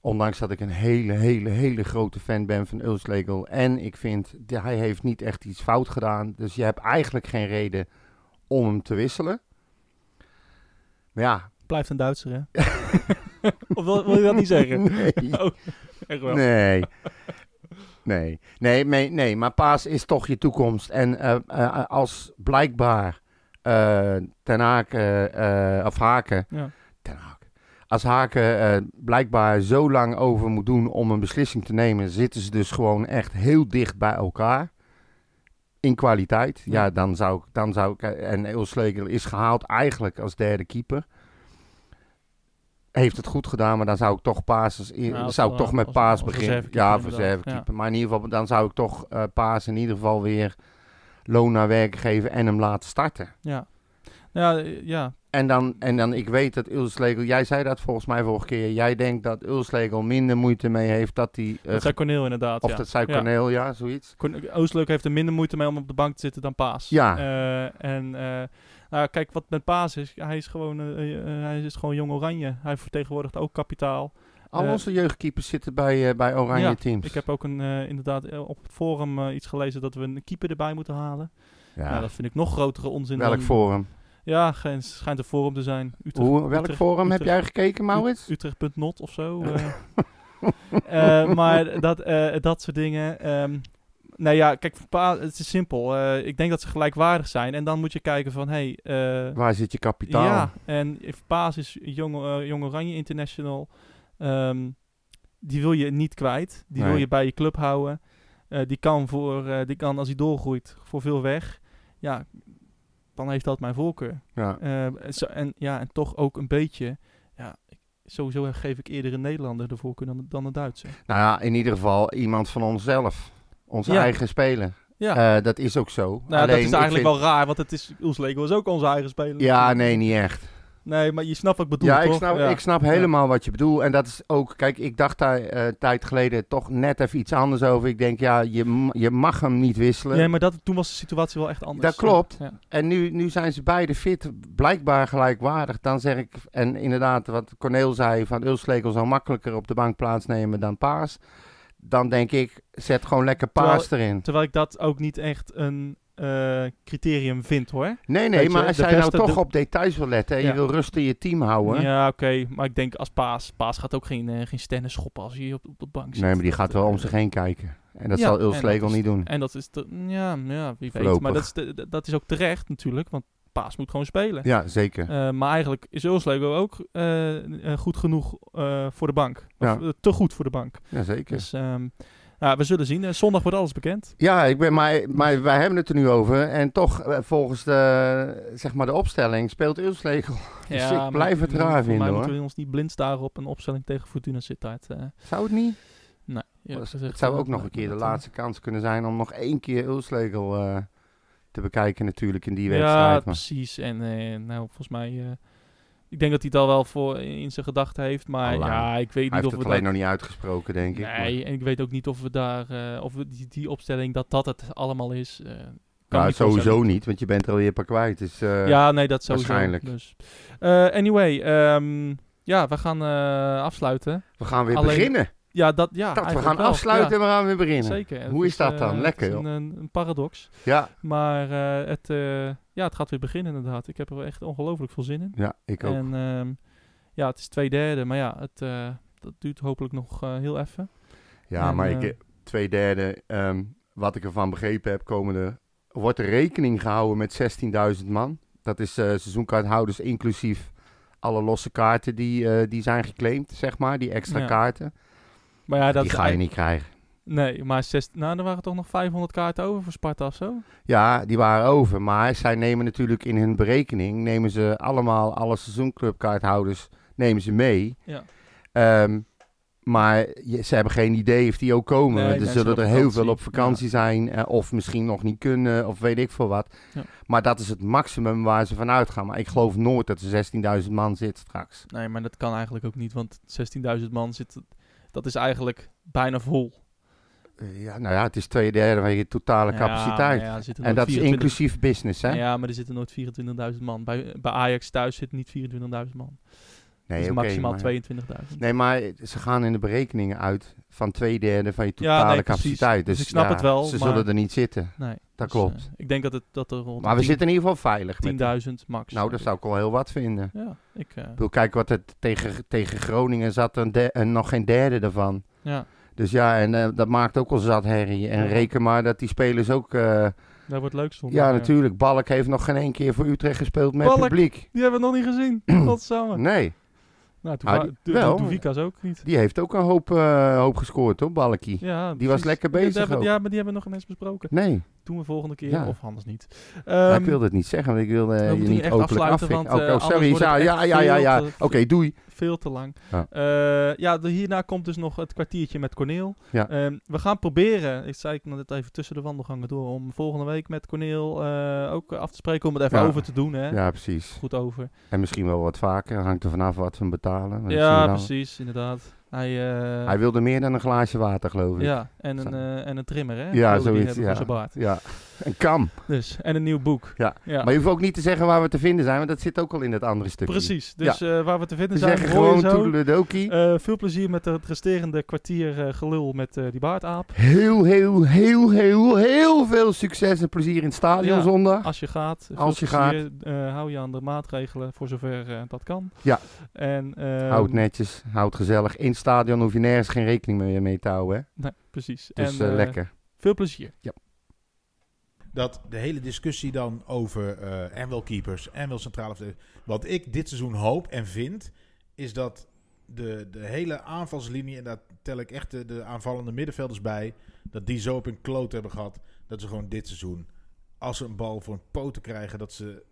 Speaker 1: Ondanks dat ik een hele, hele, hele grote fan ben van Ulslegel. En ik vind, de- hij heeft niet echt iets fout gedaan. Dus je hebt eigenlijk geen reden om hem te wisselen. Maar ja.
Speaker 2: Blijft een Duitser, hè? of wil, wil je dat niet zeggen?
Speaker 1: Nee.
Speaker 2: Echt wel.
Speaker 1: Nee. Nee. Nee, nee, nee, maar Paas is toch je toekomst. En eh, eh, als blijkbaar eh, Ten Haak, eh, eh, of Haken,
Speaker 2: Ja.
Speaker 1: Ten Haak, als Haken eh, blijkbaar zo lang over moet doen om een beslissing te nemen, zitten ze dus gewoon echt heel dicht bij elkaar. In kwaliteit. Ja,
Speaker 2: Ja.
Speaker 1: dan zou ik, dan zou ik, eh, en Eelsleutel is gehaald eigenlijk als derde keeper. Heeft het goed gedaan, maar dan zou ik toch Paas, als, eer-
Speaker 2: Ja, als-
Speaker 1: zou ik toch
Speaker 2: eh,
Speaker 1: met
Speaker 2: als-
Speaker 1: Paas
Speaker 2: als
Speaker 1: beginnen.
Speaker 2: reservekeeper
Speaker 1: Ja,
Speaker 2: inderdaad,
Speaker 1: reservekeeper. Maar in ieder geval, dan zou ik toch eh, Paas in ieder geval weer loon naar werk geven en hem laten starten.
Speaker 2: Ja. Ja, eh, ja,
Speaker 1: En dan, en dan ik weet dat Ulslegel, jij zei dat volgens mij vorige keer, jij denkt dat Ulslegel minder moeite mee heeft dat hij, eh,
Speaker 2: dat zei Corneel inderdaad.
Speaker 1: of
Speaker 2: ja.
Speaker 1: dat zei Corneel, ja, zoiets.
Speaker 2: Corn- Oostleuk heeft er minder moeite mee om op de bank te zitten dan Paas.
Speaker 1: Ja.
Speaker 2: Eh, en eh, nou, kijk, wat met Paas is, hij is gewoon, eh, eh, hij is gewoon jong oranje. Hij vertegenwoordigt ook kapitaal.
Speaker 1: Al
Speaker 2: Eh,
Speaker 1: onze jeugdkeepers zitten bij, eh, bij oranje
Speaker 2: Ja,
Speaker 1: teams.
Speaker 2: Ik heb ook een, eh, inderdaad eh, op het forum eh, iets gelezen dat we een keeper erbij moeten halen.
Speaker 1: ja.
Speaker 2: Nou, dat vind ik nog grotere onzin.
Speaker 1: welk
Speaker 2: dan-
Speaker 1: forum?
Speaker 2: Ja, geen, schijnt een forum te zijn. Utrecht,
Speaker 1: Hoe, welk
Speaker 2: Utrecht-
Speaker 1: forum heb
Speaker 2: Utrecht-
Speaker 1: jij gekeken, Maurits?
Speaker 2: Utrecht.not of zo. eh. Eh, maar dat, eh, dat soort dingen. ehm nou ja, kijk, voor Pa- het is simpel. Eh, ik denk dat ze gelijkwaardig zijn. En dan moet je kijken van, hé... Hey, eh,
Speaker 1: Waar zit je kapitaal?
Speaker 2: ja, en if Paas is Jong, eh, Jong Oranje International. Ehm, die wil je niet kwijt. Die wil
Speaker 1: Nee.
Speaker 2: je bij je club houden. Eh, die, kan voor, eh, die kan, als hij doorgroeit, voor veel weg. Ja, dan heeft dat mijn voorkeur.
Speaker 1: Ja.
Speaker 2: Eh, zo- en, ja, en toch ook een beetje. Ja, ik- sowieso geef ik eerder een Nederlander de voorkeur dan, dan een Duitser.
Speaker 1: Nou ja, in ieder geval iemand van onszelf. Onze
Speaker 2: Ja.
Speaker 1: eigen speler.
Speaker 2: Ja,
Speaker 1: Eh, dat is ook zo.
Speaker 2: nou, dat
Speaker 1: Alleen,
Speaker 2: is
Speaker 1: ik
Speaker 2: eigenlijk
Speaker 1: vind-
Speaker 2: wel raar, want het is, Ulf Lego is ook onze eigen speler.
Speaker 1: Ja,
Speaker 2: natuurlijk.
Speaker 1: nee, niet echt.
Speaker 2: Nee, maar je snapt wat ik bedoel,
Speaker 1: ja, ik
Speaker 2: toch?
Speaker 1: snap,
Speaker 2: Ja.
Speaker 1: ik snap helemaal wat je bedoelt. En dat is ook... Kijk, ik dacht daar eh, een tijd geleden toch net even iets anders over. Ik denk, ja, je, m- je mag hem niet wisselen.
Speaker 2: Nee, maar dat, toen was de situatie wel echt anders.
Speaker 1: Dat klopt.
Speaker 2: Ja.
Speaker 1: En nu, nu zijn ze beide fit, blijkbaar gelijkwaardig. Dan zeg ik, en inderdaad wat Corneel zei, van Ulslekel zou makkelijker op de bank plaatsnemen dan Paas. Dan denk ik, zet gewoon lekker Paas erin.
Speaker 2: Terwijl ik dat ook niet echt een eh, criterium vind hoor.
Speaker 1: Nee, nee,
Speaker 2: weet je,
Speaker 1: maar als
Speaker 2: de
Speaker 1: jij nou
Speaker 2: beste
Speaker 1: toch
Speaker 2: doe-
Speaker 1: op details wil letten en
Speaker 2: Ja.
Speaker 1: je wil rust in je team houden.
Speaker 2: Ja, oké. Maar ik denk als Paas. Paas gaat ook geen, eh, geen stennen schoppen als hij op, op de bank zit.
Speaker 1: nee, maar die
Speaker 2: Dat,
Speaker 1: gaat wel
Speaker 2: eh,
Speaker 1: om zich heen kijken. En dat
Speaker 2: Ja,
Speaker 1: zal
Speaker 2: en dat
Speaker 1: Ulslekel
Speaker 2: is-
Speaker 1: niet doen.
Speaker 2: En dat is, te- ja, ja, wie weet.
Speaker 1: Voorlopig.
Speaker 2: Maar dat is, de- de- dat is ook terecht natuurlijk, want Paas moet gewoon spelen.
Speaker 1: Ja, zeker.
Speaker 2: Eh, maar eigenlijk is Ulslego ook eh, eh, goed genoeg eh, voor de bank. Of,
Speaker 1: Ja.
Speaker 2: eh, te goed voor de bank.
Speaker 1: Ja, zeker.
Speaker 2: Dus ehm, nou, we zullen zien. Eh, zondag wordt alles bekend.
Speaker 1: Ja, ik ben, maar, maar wij hebben het er nu over. En toch, eh, volgens de, zeg maar de opstelling, speelt Ulslekel. Dus ik
Speaker 2: maar
Speaker 1: blijf het raar
Speaker 2: Voor
Speaker 1: vinden,
Speaker 2: mij
Speaker 1: hoor.
Speaker 2: moeten we ons niet blind staren op een opstelling tegen Fortuna Sittard. eh.
Speaker 1: Zou het niet?
Speaker 2: Nee, eerlijk
Speaker 1: Dat
Speaker 2: gezegd,
Speaker 1: het zou
Speaker 2: eh,
Speaker 1: ook nog
Speaker 2: nee,
Speaker 1: een keer de
Speaker 2: dat,
Speaker 1: laatste kans kunnen zijn om nog één keer Ulslegel eh, te bekijken natuurlijk in die
Speaker 2: eh, Ja,
Speaker 1: wedstrijd. Maar
Speaker 2: precies. En eh, nou, volgens mij eh, Ik denk dat hij het al wel voor in zijn gedachten heeft. Maar
Speaker 1: Allang.
Speaker 2: ja, ik weet
Speaker 1: Hij
Speaker 2: niet
Speaker 1: heeft
Speaker 2: of
Speaker 1: het
Speaker 2: we
Speaker 1: alleen
Speaker 2: dat...
Speaker 1: nog niet uitgesproken, denk ik. maar-
Speaker 2: Nee, en ik weet ook niet of we daar... eh, of we die, die opstelling, dat dat het allemaal is. eh, kan ik
Speaker 1: Nou,
Speaker 2: niet voorstellen.
Speaker 1: sowieso niet, want je bent er alweer een paar kwijt. Dus, eh,
Speaker 2: ja, nee, dat sowieso.
Speaker 1: waarschijnlijk.
Speaker 2: Dus. Eh, anyway, ehm, ja, we gaan eh, afsluiten.
Speaker 1: We gaan weer
Speaker 2: Alleen-
Speaker 1: beginnen.
Speaker 2: Ja, dat... Ja,
Speaker 1: Dat, we
Speaker 2: eigenlijk
Speaker 1: gaan
Speaker 2: wel.
Speaker 1: afsluiten
Speaker 2: Ja,
Speaker 1: en we gaan weer beginnen.
Speaker 2: zeker. En
Speaker 1: Hoe
Speaker 2: het
Speaker 1: is dat dan?
Speaker 2: eh,
Speaker 1: Lekker,
Speaker 2: het is
Speaker 1: joh.
Speaker 2: een, een, een paradox.
Speaker 1: Ja,
Speaker 2: Maar eh, het, eh, ja, het gaat weer beginnen inderdaad. Ik heb er wel echt ongelooflijk veel zin in.
Speaker 1: ja, ik ook.
Speaker 2: En ehm, ja, het is twee derde, maar ja, het, eh, dat duurt hopelijk nog eh, heel even.
Speaker 1: ja,
Speaker 2: en,
Speaker 1: maar ik,
Speaker 2: eh,
Speaker 1: eh, twee derde, ehm, wat ik ervan begrepen heb, komende, wordt er rekening gehouden met 16.000 man. Dat is eh, seizoenkaarthouders inclusief alle losse kaarten die, eh, die zijn geclaimd, zeg maar, die extra
Speaker 2: Ja.
Speaker 1: kaarten.
Speaker 2: Maar ja, dat
Speaker 1: die
Speaker 2: is
Speaker 1: ga je
Speaker 2: eigenlijk-
Speaker 1: niet krijgen.
Speaker 2: Nee, maar zes, nou, er waren toch nog 500 kaarten over voor Sparta of zo?
Speaker 1: Ja, die waren over. Maar zij nemen natuurlijk in hun berekening, nemen ze allemaal, alle seizoenclubkaarthouders, nemen ze mee.
Speaker 2: Ja.
Speaker 1: Ehm, maar je- ze hebben geen idee of die ook komen.
Speaker 2: Nee,
Speaker 1: Want er
Speaker 2: mensen
Speaker 1: zullen
Speaker 2: op
Speaker 1: er heel veel
Speaker 2: vakantie.
Speaker 1: op vakantie zijn. eh, of misschien nog niet kunnen. Of weet ik veel wat.
Speaker 2: Ja.
Speaker 1: Maar dat is het maximum waar ze van uitgaan. Maar ik geloof nooit dat er 16.000 man zit straks.
Speaker 2: Nee, maar dat kan eigenlijk ook niet, want 16.000 man zit, dat is eigenlijk bijna vol.
Speaker 1: Eh, ja, nou ja, het is twee derde van je totale capaciteit. en dat is inclusief business, hè?
Speaker 2: Ja, maar er zitten nooit 24.000 man. Bij, bij Ajax thuis zit niet 24.000 man.
Speaker 1: nee,
Speaker 2: dus
Speaker 1: oké,
Speaker 2: maximaal
Speaker 1: maar-
Speaker 2: 22.000.
Speaker 1: Nee, maar ze gaan in de berekeningen uit van twee derde van je
Speaker 2: Ja, nee,
Speaker 1: totale
Speaker 2: precies.
Speaker 1: capaciteit. Dus,
Speaker 2: Dus ik snap
Speaker 1: ja,
Speaker 2: het wel,
Speaker 1: Ze
Speaker 2: maar-
Speaker 1: zullen er niet zitten.
Speaker 2: Nee,
Speaker 1: Dat
Speaker 2: dus, eh,
Speaker 1: klopt.
Speaker 2: ik denk dat, het, dat er rond
Speaker 1: maar we
Speaker 2: 10
Speaker 1: zitten in ieder geval veilig. met-
Speaker 2: 10.000 max.
Speaker 1: Nou, dat
Speaker 2: denk
Speaker 1: zou ik wel heel wat vinden.
Speaker 2: ik. Ja, ik... eh,
Speaker 1: Ik bedoel, kijk wat het tegen, tegen Groningen zat, een de- en nog geen derde daarvan.
Speaker 2: ja,
Speaker 1: Dus ja, en eh, dat maakt ook al zat herrie. En
Speaker 2: Ja.
Speaker 1: reken maar dat die spelers ook... eh,
Speaker 2: dat wordt leuk zondag.
Speaker 1: ja, natuurlijk, Balk heeft nog geen één keer voor Utrecht gespeeld met
Speaker 2: Balk?
Speaker 1: publiek.
Speaker 2: Die hebben we nog niet gezien. Godsamme.
Speaker 1: Nee,
Speaker 2: Nou, toen
Speaker 1: Ah,
Speaker 2: wa-
Speaker 1: die-
Speaker 2: toen-
Speaker 1: wel.
Speaker 2: toen toen Vika's ook niet.
Speaker 1: die heeft ook een hoop, eh, hoop gescoord, hoor, Balkie.
Speaker 2: Ja,
Speaker 1: Die
Speaker 2: precies.
Speaker 1: was lekker
Speaker 2: Die
Speaker 1: bezig
Speaker 2: hebben-
Speaker 1: ook.
Speaker 2: Ja, maar die hebben we nog geen eens besproken.
Speaker 1: Nee,
Speaker 2: Doen we volgende keer,
Speaker 1: Ja.
Speaker 2: of anders niet.
Speaker 1: maar
Speaker 2: Ehm,
Speaker 1: ik wilde het niet zeggen, want ik wilde eh,
Speaker 2: we
Speaker 1: je
Speaker 2: moeten
Speaker 1: niet
Speaker 2: hier echt
Speaker 1: openlijk
Speaker 2: afsluiten,
Speaker 1: afvinden.
Speaker 2: want,
Speaker 1: Oké,
Speaker 2: eh,
Speaker 1: oh, sorry,
Speaker 2: anders
Speaker 1: ja,
Speaker 2: wordt het
Speaker 1: ja,
Speaker 2: echt eh,
Speaker 1: ja, ja,
Speaker 2: veel
Speaker 1: ja.
Speaker 2: te-
Speaker 1: Oké, doei.
Speaker 2: Veel te lang.
Speaker 1: Ja.
Speaker 2: Eh, ja, de- hierna komt dus nog het kwartiertje met Corneel.
Speaker 1: Ja.
Speaker 2: Ehm, we gaan proberen, ik zei ik net even tussen de wandelgangen door, om volgende week met Corneel eh, ook af te spreken, om het even
Speaker 1: Ja.
Speaker 2: over te doen. Hè?
Speaker 1: Ja, precies.
Speaker 2: Goed over.
Speaker 1: En misschien wel wat vaker, hangt er vanaf wat we hem betalen. Dat zien
Speaker 2: ja,
Speaker 1: we dan.
Speaker 2: precies, inderdaad. Hij, eh,
Speaker 1: Hij wilde meer dan een glaasje water, geloof ik.
Speaker 2: ja, en een,
Speaker 1: Zo.
Speaker 2: eh, en een trimmer, hè?
Speaker 1: Ja,
Speaker 2: Wilde die
Speaker 1: zoiets,
Speaker 2: hebben
Speaker 1: ja.
Speaker 2: Voor zijn baard.
Speaker 1: ja. een kam.
Speaker 2: Dus, en een nieuw boek.
Speaker 1: Ja,
Speaker 2: ja.
Speaker 1: Maar je hoeft ook niet te zeggen waar we te vinden zijn, want dat zit ook al in dat andere stukje.
Speaker 2: precies. Dus eh, waar we te
Speaker 1: We
Speaker 2: vinden zijn,
Speaker 1: zeggen
Speaker 2: hoor je
Speaker 1: gewoon
Speaker 2: zo.
Speaker 1: toedeledokie.
Speaker 2: Eh, veel plezier met het resterende kwartier eh, gelul met eh, die baardaap.
Speaker 1: Heel, heel, heel, heel, heel veel succes en plezier in het stadion
Speaker 2: Ja. Ah,
Speaker 1: zondag.
Speaker 2: Als je gaat, veel
Speaker 1: Als je
Speaker 2: plezier, eh, hou je aan de maatregelen voor zover eh, dat kan.
Speaker 1: Ja.
Speaker 2: En, ehm,
Speaker 1: Houd netjes, houd gezellig. In het stadion hoef je nergens geen rekening meer mee te houden. Hè?
Speaker 2: Nee, precies.
Speaker 1: Dus
Speaker 2: en,
Speaker 1: eh,
Speaker 2: eh,
Speaker 1: lekker.
Speaker 2: Veel plezier.
Speaker 5: dat de hele discussie dan over eh, en wel keepers en wel centrale verdedigers. Wat ik dit seizoen hoop en vind, is dat de, de hele aanvalslinie, en daar tel ik echt de, de aanvallende middenvelders bij, dat die zo op hun kloot hebben gehad, dat ze gewoon dit seizoen, als ze een bal voor een poten krijgen, dat ze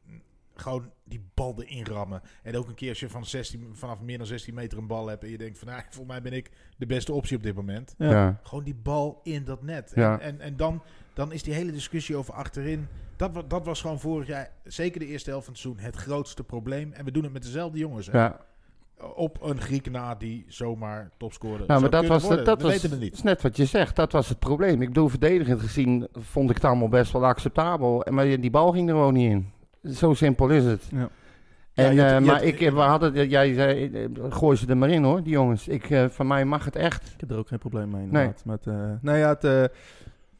Speaker 5: gewoon die bal erin rammen. En ook een keer als je van 16, vanaf meer dan 16 meter een bal hebt en je denkt van, nou, volgens mij ben ik de beste optie op dit moment.
Speaker 1: Ja.
Speaker 2: Ja.
Speaker 5: Gewoon die bal in dat net.
Speaker 1: Ja.
Speaker 5: En, en, en dan, dan is die hele discussie over achterin. Dat, wa- dat was gewoon vorig jaar, zeker de eerste helft van het seizoen, het grootste probleem. En we doen het met dezelfde jongens. hè.
Speaker 1: Ja.
Speaker 5: Op een Griek na die zomaar topscorer
Speaker 1: Nou,
Speaker 5: zou
Speaker 1: maar dat
Speaker 5: kunnen
Speaker 1: was,
Speaker 5: worden.
Speaker 1: dat
Speaker 5: we
Speaker 1: was
Speaker 5: weten het niet.
Speaker 1: is net wat je zegt. Dat was het probleem. Ik bedoel, verdedigend gezien vond ik het allemaal best wel acceptabel. En Maar die bal ging er gewoon niet in. Zo simpel is het.
Speaker 2: Ja.
Speaker 1: En,
Speaker 5: Ja, je had-
Speaker 1: eh,
Speaker 5: je
Speaker 1: maar
Speaker 5: had-
Speaker 1: ik, we hadden, het- jij zei, eh, gooi ze er maar in hoor, die jongens. Ik, eh, van mij mag het echt.
Speaker 6: Ik heb er ook geen probleem mee. Inderdaad. Met, eh, nou ja, het, eh,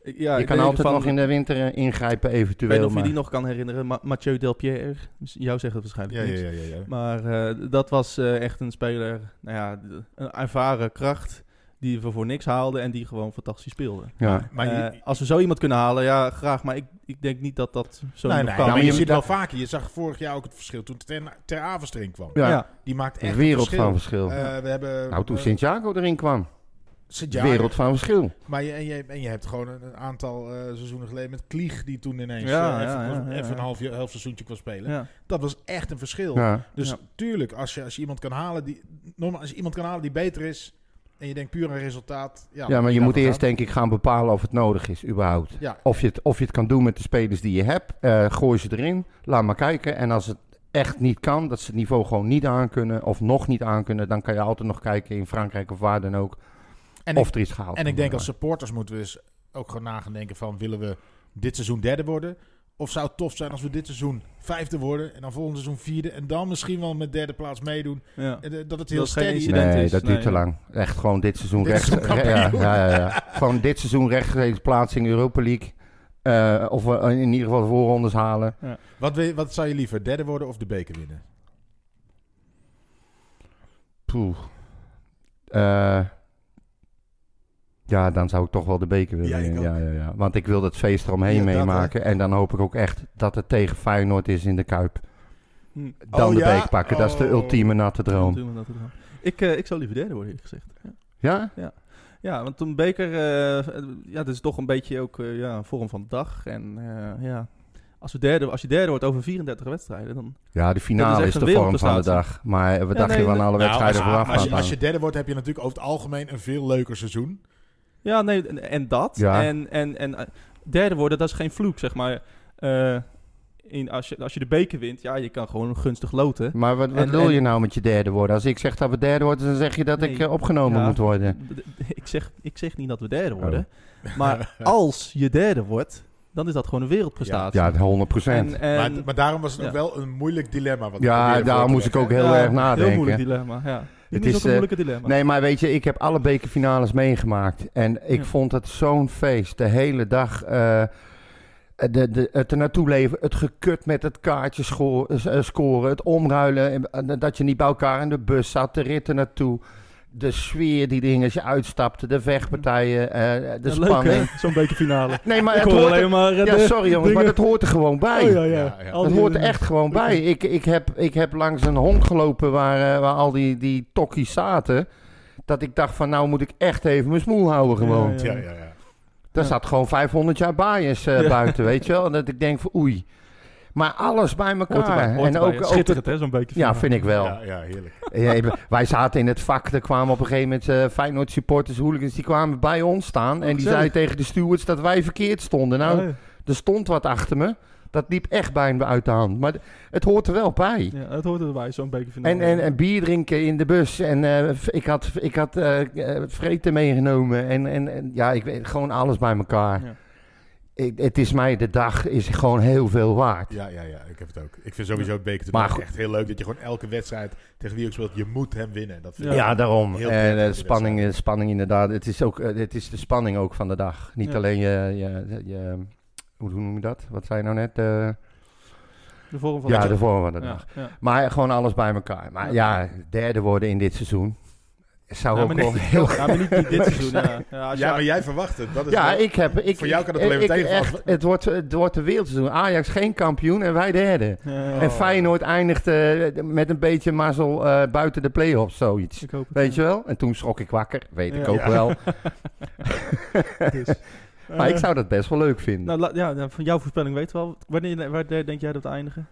Speaker 6: ik- ja,
Speaker 1: je
Speaker 6: ik
Speaker 1: kan
Speaker 6: weet
Speaker 1: altijd
Speaker 6: van-
Speaker 1: nog in de winter eh, ingrijpen
Speaker 6: Ik weet
Speaker 1: eventueel.
Speaker 6: niet of je
Speaker 1: maar-
Speaker 6: die nog kan herinneren. Ma Mathieu Delpierre. Dus Jou zegt het waarschijnlijk
Speaker 5: Ja,
Speaker 6: niks.
Speaker 5: ja, ja, ja, ja.
Speaker 6: Maar eh, dat was eh, echt een speler, nou ja, d- een ervaren kracht die we voor niks haalden en die gewoon fantastisch speelde.
Speaker 1: Ja.
Speaker 5: Maar je,
Speaker 6: Eh, als we zo iemand kunnen halen, ja, graag. Maar ik, ik denk niet dat dat zo
Speaker 5: nee, nee,
Speaker 6: nog
Speaker 5: maar
Speaker 6: kan.
Speaker 1: maar
Speaker 5: je,
Speaker 1: je-
Speaker 5: ziet wel vaker. Je zag vorig jaar ook het verschil toen Ter, ter Averstring kwam.
Speaker 1: Ja,
Speaker 6: Ja.
Speaker 5: Die maakt echt
Speaker 1: een
Speaker 5: een
Speaker 1: wereld
Speaker 5: verschil.
Speaker 1: van verschil.
Speaker 5: Eh, we hebben...
Speaker 1: nou, toen
Speaker 5: eh,
Speaker 1: Santiago erin kwam,
Speaker 5: Sint-Jaren.
Speaker 1: wereld van verschil.
Speaker 5: Maar je, en, je, en je hebt gewoon een, een aantal eh, seizoenen geleden met Klieg, die toen ineens
Speaker 6: Ja,
Speaker 5: eh, even,
Speaker 6: ja,
Speaker 5: kon-
Speaker 6: ja, ja,
Speaker 5: even een
Speaker 6: ja.
Speaker 5: half, jaar- half seizoentje kon spelen.
Speaker 6: Ja.
Speaker 5: Dat was echt een verschil.
Speaker 1: Ja.
Speaker 5: Dus
Speaker 6: Ja.
Speaker 5: tuurlijk, als je, als je iemand kan halen die. Normaal, als je iemand kan halen die beter is. En je denkt puur aan resultaat. Ja,
Speaker 1: ja, maar je
Speaker 5: dan
Speaker 1: moet
Speaker 5: gaan.
Speaker 1: eerst denk ik gaan bepalen of het nodig is, überhaupt.
Speaker 5: Ja,
Speaker 1: Of je, het, of je het kan doen met de spelers die je hebt. eh, gooi ze erin. Laat maar kijken. En als het echt niet kan, dat ze het niveau gewoon niet aankunnen of nog niet aankunnen, dan kan je altijd nog kijken in Frankrijk of waar dan ook
Speaker 5: En
Speaker 1: of
Speaker 5: ik,
Speaker 1: er iets gehaald
Speaker 5: en ik
Speaker 1: kan
Speaker 5: denk als
Speaker 1: worden.
Speaker 5: supporters moeten we dus ook gewoon nagaan denken van... willen we dit seizoen derde worden? Of zou het tof zijn als we dit seizoen vijfde worden... en dan volgend seizoen vierde... en dan misschien wel met derde plaats meedoen?
Speaker 2: Ja.
Speaker 5: Eh, Dat het heel
Speaker 2: Dat is geen
Speaker 5: steady is.
Speaker 2: incident. student
Speaker 1: Nee,
Speaker 2: is.
Speaker 1: dat
Speaker 2: Nee,
Speaker 1: duurt te
Speaker 2: ja.
Speaker 1: lang. Echt gewoon dit seizoen
Speaker 5: Dit
Speaker 1: rechts.
Speaker 5: seizoen
Speaker 1: ja,
Speaker 5: kampioen.
Speaker 1: ja, ja, ja. Gewoon dit seizoen rechtstreeks plaatsing Europa League. Eh, of we in ieder geval de voorrondes halen.
Speaker 5: Wat, wil je- wat zou je liever, derde worden of de beker winnen?
Speaker 1: Poeh. Eh, ja, dan zou ik toch wel de beker willen
Speaker 5: Ja, ik
Speaker 1: winnen.
Speaker 5: ook.
Speaker 1: Ja, ja, ja. Want ik wil dat feest eromheen
Speaker 5: Ja, dat,
Speaker 1: meemaken. en dan hoop ik ook echt dat het tegen Feyenoord is in de Kuip.
Speaker 2: Hm.
Speaker 1: Dan
Speaker 5: Oh,
Speaker 1: de
Speaker 5: ja?
Speaker 1: beker pakken. Dat is de
Speaker 5: Oh.
Speaker 1: ultieme natte droom.
Speaker 2: Natuurlijk dat wel. Ik, eh, ik zou liever derde worden, eerlijk gezegd. Ja,
Speaker 1: Ja?
Speaker 2: ja want een beker, eh, ja, dat is toch een beetje ook eh, ja, een vorm van de dag. En eh, ja, als, we derde, als je derde wordt over 34 wedstrijden, dan...
Speaker 1: Ja, de
Speaker 2: Dat
Speaker 1: finale
Speaker 2: is
Speaker 1: is,
Speaker 2: echt
Speaker 1: de
Speaker 2: een
Speaker 1: vorm van de
Speaker 2: wereldprestatie.
Speaker 1: dag. Maar we
Speaker 2: Ja,
Speaker 1: dachten
Speaker 2: nee,
Speaker 1: wel
Speaker 2: dat- Nou,
Speaker 1: alle wedstrijden
Speaker 5: Nou, als,
Speaker 1: vooraf.
Speaker 5: als, je,
Speaker 1: gaan.
Speaker 5: als je derde wordt heb je natuurlijk over het algemeen een veel leuker seizoen.
Speaker 2: Ja, nee, en, en dat.
Speaker 1: Ja.
Speaker 2: En, en, en eh, derde worden, dat is geen vloek, zeg maar. Eh, in, als, je, als je de beker wint, ja, je kan gewoon gunstig loten.
Speaker 1: Maar wat, wat
Speaker 2: En-
Speaker 1: wil
Speaker 2: en-
Speaker 1: je nou met je derde worden? Als ik zeg dat we derde worden, dan zeg je dat ik
Speaker 2: Nee.
Speaker 1: eh, opgenomen
Speaker 2: Ja.
Speaker 1: moet worden.
Speaker 2: Ik zeg, ik zeg niet dat we derde
Speaker 1: Oh.
Speaker 2: worden. Maar als je derde wordt, dan is dat gewoon een wereldprestatie.
Speaker 1: Ja, 100 procent.
Speaker 2: En, en,
Speaker 5: maar, maar daarom was het ook
Speaker 2: ja.
Speaker 5: wel een moeilijk dilemma. Wat ik
Speaker 1: Ja,
Speaker 5: probeerde voor
Speaker 1: daar
Speaker 5: te
Speaker 1: moest ik
Speaker 5: leggen,
Speaker 1: ook heel
Speaker 2: ja,
Speaker 1: erg
Speaker 2: Heel
Speaker 1: nadenken.
Speaker 2: moeilijk dilemma, ja.
Speaker 1: Het
Speaker 2: Het
Speaker 1: is,
Speaker 2: is ook een
Speaker 1: eh,
Speaker 2: moeilijke dilemma.
Speaker 1: nee, maar weet je, ik heb alle bekerfinales meegemaakt. En ik
Speaker 2: Ja.
Speaker 1: vond het zo'n feest. De hele dag eh, de, de, het er naartoe leven. Het gekut met het kaartje scho- eh, scoren. Het omruilen. eh, Dat je niet bij elkaar in de bus zat. De ritten naartoe. De sfeer die erin als je uitstapte. De vechtpartijen. eh, de
Speaker 2: Ja,
Speaker 1: spanning.
Speaker 2: Leuk, hè? Zo'n bekerfinale.
Speaker 1: Nee, maar
Speaker 2: ik
Speaker 1: het
Speaker 2: hoor
Speaker 1: hoort er-
Speaker 2: alleen maar... eh,
Speaker 1: Ja,
Speaker 2: de
Speaker 1: sorry jongens, maar
Speaker 2: dingen.
Speaker 1: dat hoort er gewoon bij.
Speaker 2: Oh, ja, ja.
Speaker 5: Ja, ja.
Speaker 2: Al
Speaker 1: Dat
Speaker 2: die-
Speaker 1: hoort er echt gewoon bij. Ik, ik, heb, ik heb langs een honk gelopen waar, eh, waar al die, die tokkies zaten. Dat ik dacht van nou moet ik echt even mijn smoel houden gewoon.
Speaker 2: Ja,
Speaker 5: Ja, ja, ja.
Speaker 1: Daar
Speaker 2: Ja.
Speaker 1: zat gewoon 500 jaar bias eh,
Speaker 2: Ja.
Speaker 1: buiten, weet je wel. En dat ik denk van oei. Maar alles bij
Speaker 2: Hoort erbij,
Speaker 1: elkaar.
Speaker 2: hoort
Speaker 1: en
Speaker 2: erbij.
Speaker 1: ook,
Speaker 2: Het
Speaker 1: ook
Speaker 2: is
Speaker 1: het-
Speaker 2: Schitterend, hè, zo'n bekerfinale.
Speaker 1: ja, vind ik wel.
Speaker 5: Ja, ja, heerlijk.
Speaker 1: Ja, wij zaten in het vak, er kwamen op een gegeven moment eh, Feyenoord supporters, hooligans, die kwamen bij ons staan. En die
Speaker 2: Oh, gezellig. Oh,
Speaker 1: zeiden tegen de stewards dat wij verkeerd stonden. Nou,
Speaker 2: Ja,
Speaker 1: er stond wat achter me. Dat liep echt bijna uit de hand. Maar d- het hoort er wel bij.
Speaker 2: Ja, dat hoort erbij, zo'n bekerfinale.
Speaker 1: En, en, en bier drinken in de bus. En eh, f- ik had, ik had eh, eh, vreten meegenomen. En, en, en ja, ik weet gewoon alles bij elkaar.
Speaker 2: Ja.
Speaker 1: Ik- het is mij, de dag is gewoon heel veel waard.
Speaker 5: Ja, ja, ja, ik heb het ook. Ik vind sowieso het beker
Speaker 1: Maar goed.
Speaker 5: echt heel leuk dat je gewoon elke wedstrijd tegen wie ook speelt, je moet hem winnen. Dat vind
Speaker 1: Ja,
Speaker 5: ik.
Speaker 1: daarom.
Speaker 5: Heel prettig
Speaker 1: En eh,
Speaker 5: in de
Speaker 1: spanning, eh, spanning inderdaad. Het is, ook, eh, het is de spanning ook van de dag. Niet
Speaker 2: Ja.
Speaker 1: alleen je, je, je- hoe hoe noem je dat? Wat zei je nou net? Eh,
Speaker 2: De vorm van
Speaker 1: ja,
Speaker 2: de-
Speaker 1: de vorm van de dag.
Speaker 2: ja, ja.
Speaker 1: Maar gewoon alles bij elkaar. Maar ja, derde worden in dit seizoen zou
Speaker 2: Ja,
Speaker 1: ook
Speaker 2: Nou, maar
Speaker 1: wel
Speaker 2: niet-
Speaker 1: heel...
Speaker 2: Ja, maar niet, niet dit seizoen. Ja, ja, als
Speaker 5: Ja,
Speaker 2: je-
Speaker 5: maar jij verwacht het. Dat is
Speaker 1: Ja,
Speaker 5: wel-
Speaker 1: ik heb... Ik,
Speaker 5: Voor jou kan het
Speaker 1: ik-
Speaker 5: alleen maar
Speaker 1: ik
Speaker 5: tegenvallen.
Speaker 1: echt, het, wordt, het wordt de wereldseizoen. Ajax geen kampioen en wij derde.
Speaker 2: Ja,
Speaker 5: Oh.
Speaker 1: En Feyenoord eindigt eh, met een beetje mazzel eh, buiten de play-offs, zoiets.
Speaker 2: ik hoop het,
Speaker 1: Weet
Speaker 2: ja.
Speaker 1: je wel? En toen schrok ik wakker, weet ik
Speaker 2: Ja.
Speaker 1: ook
Speaker 5: Ja.
Speaker 1: wel.
Speaker 2: Dus,
Speaker 1: Maar
Speaker 2: eh,
Speaker 1: ik zou dat best wel leuk vinden.
Speaker 2: Nou, la- ja, nou, van jouw voorspelling weten we al. Wanneer, waar denk jij dat we eindigen?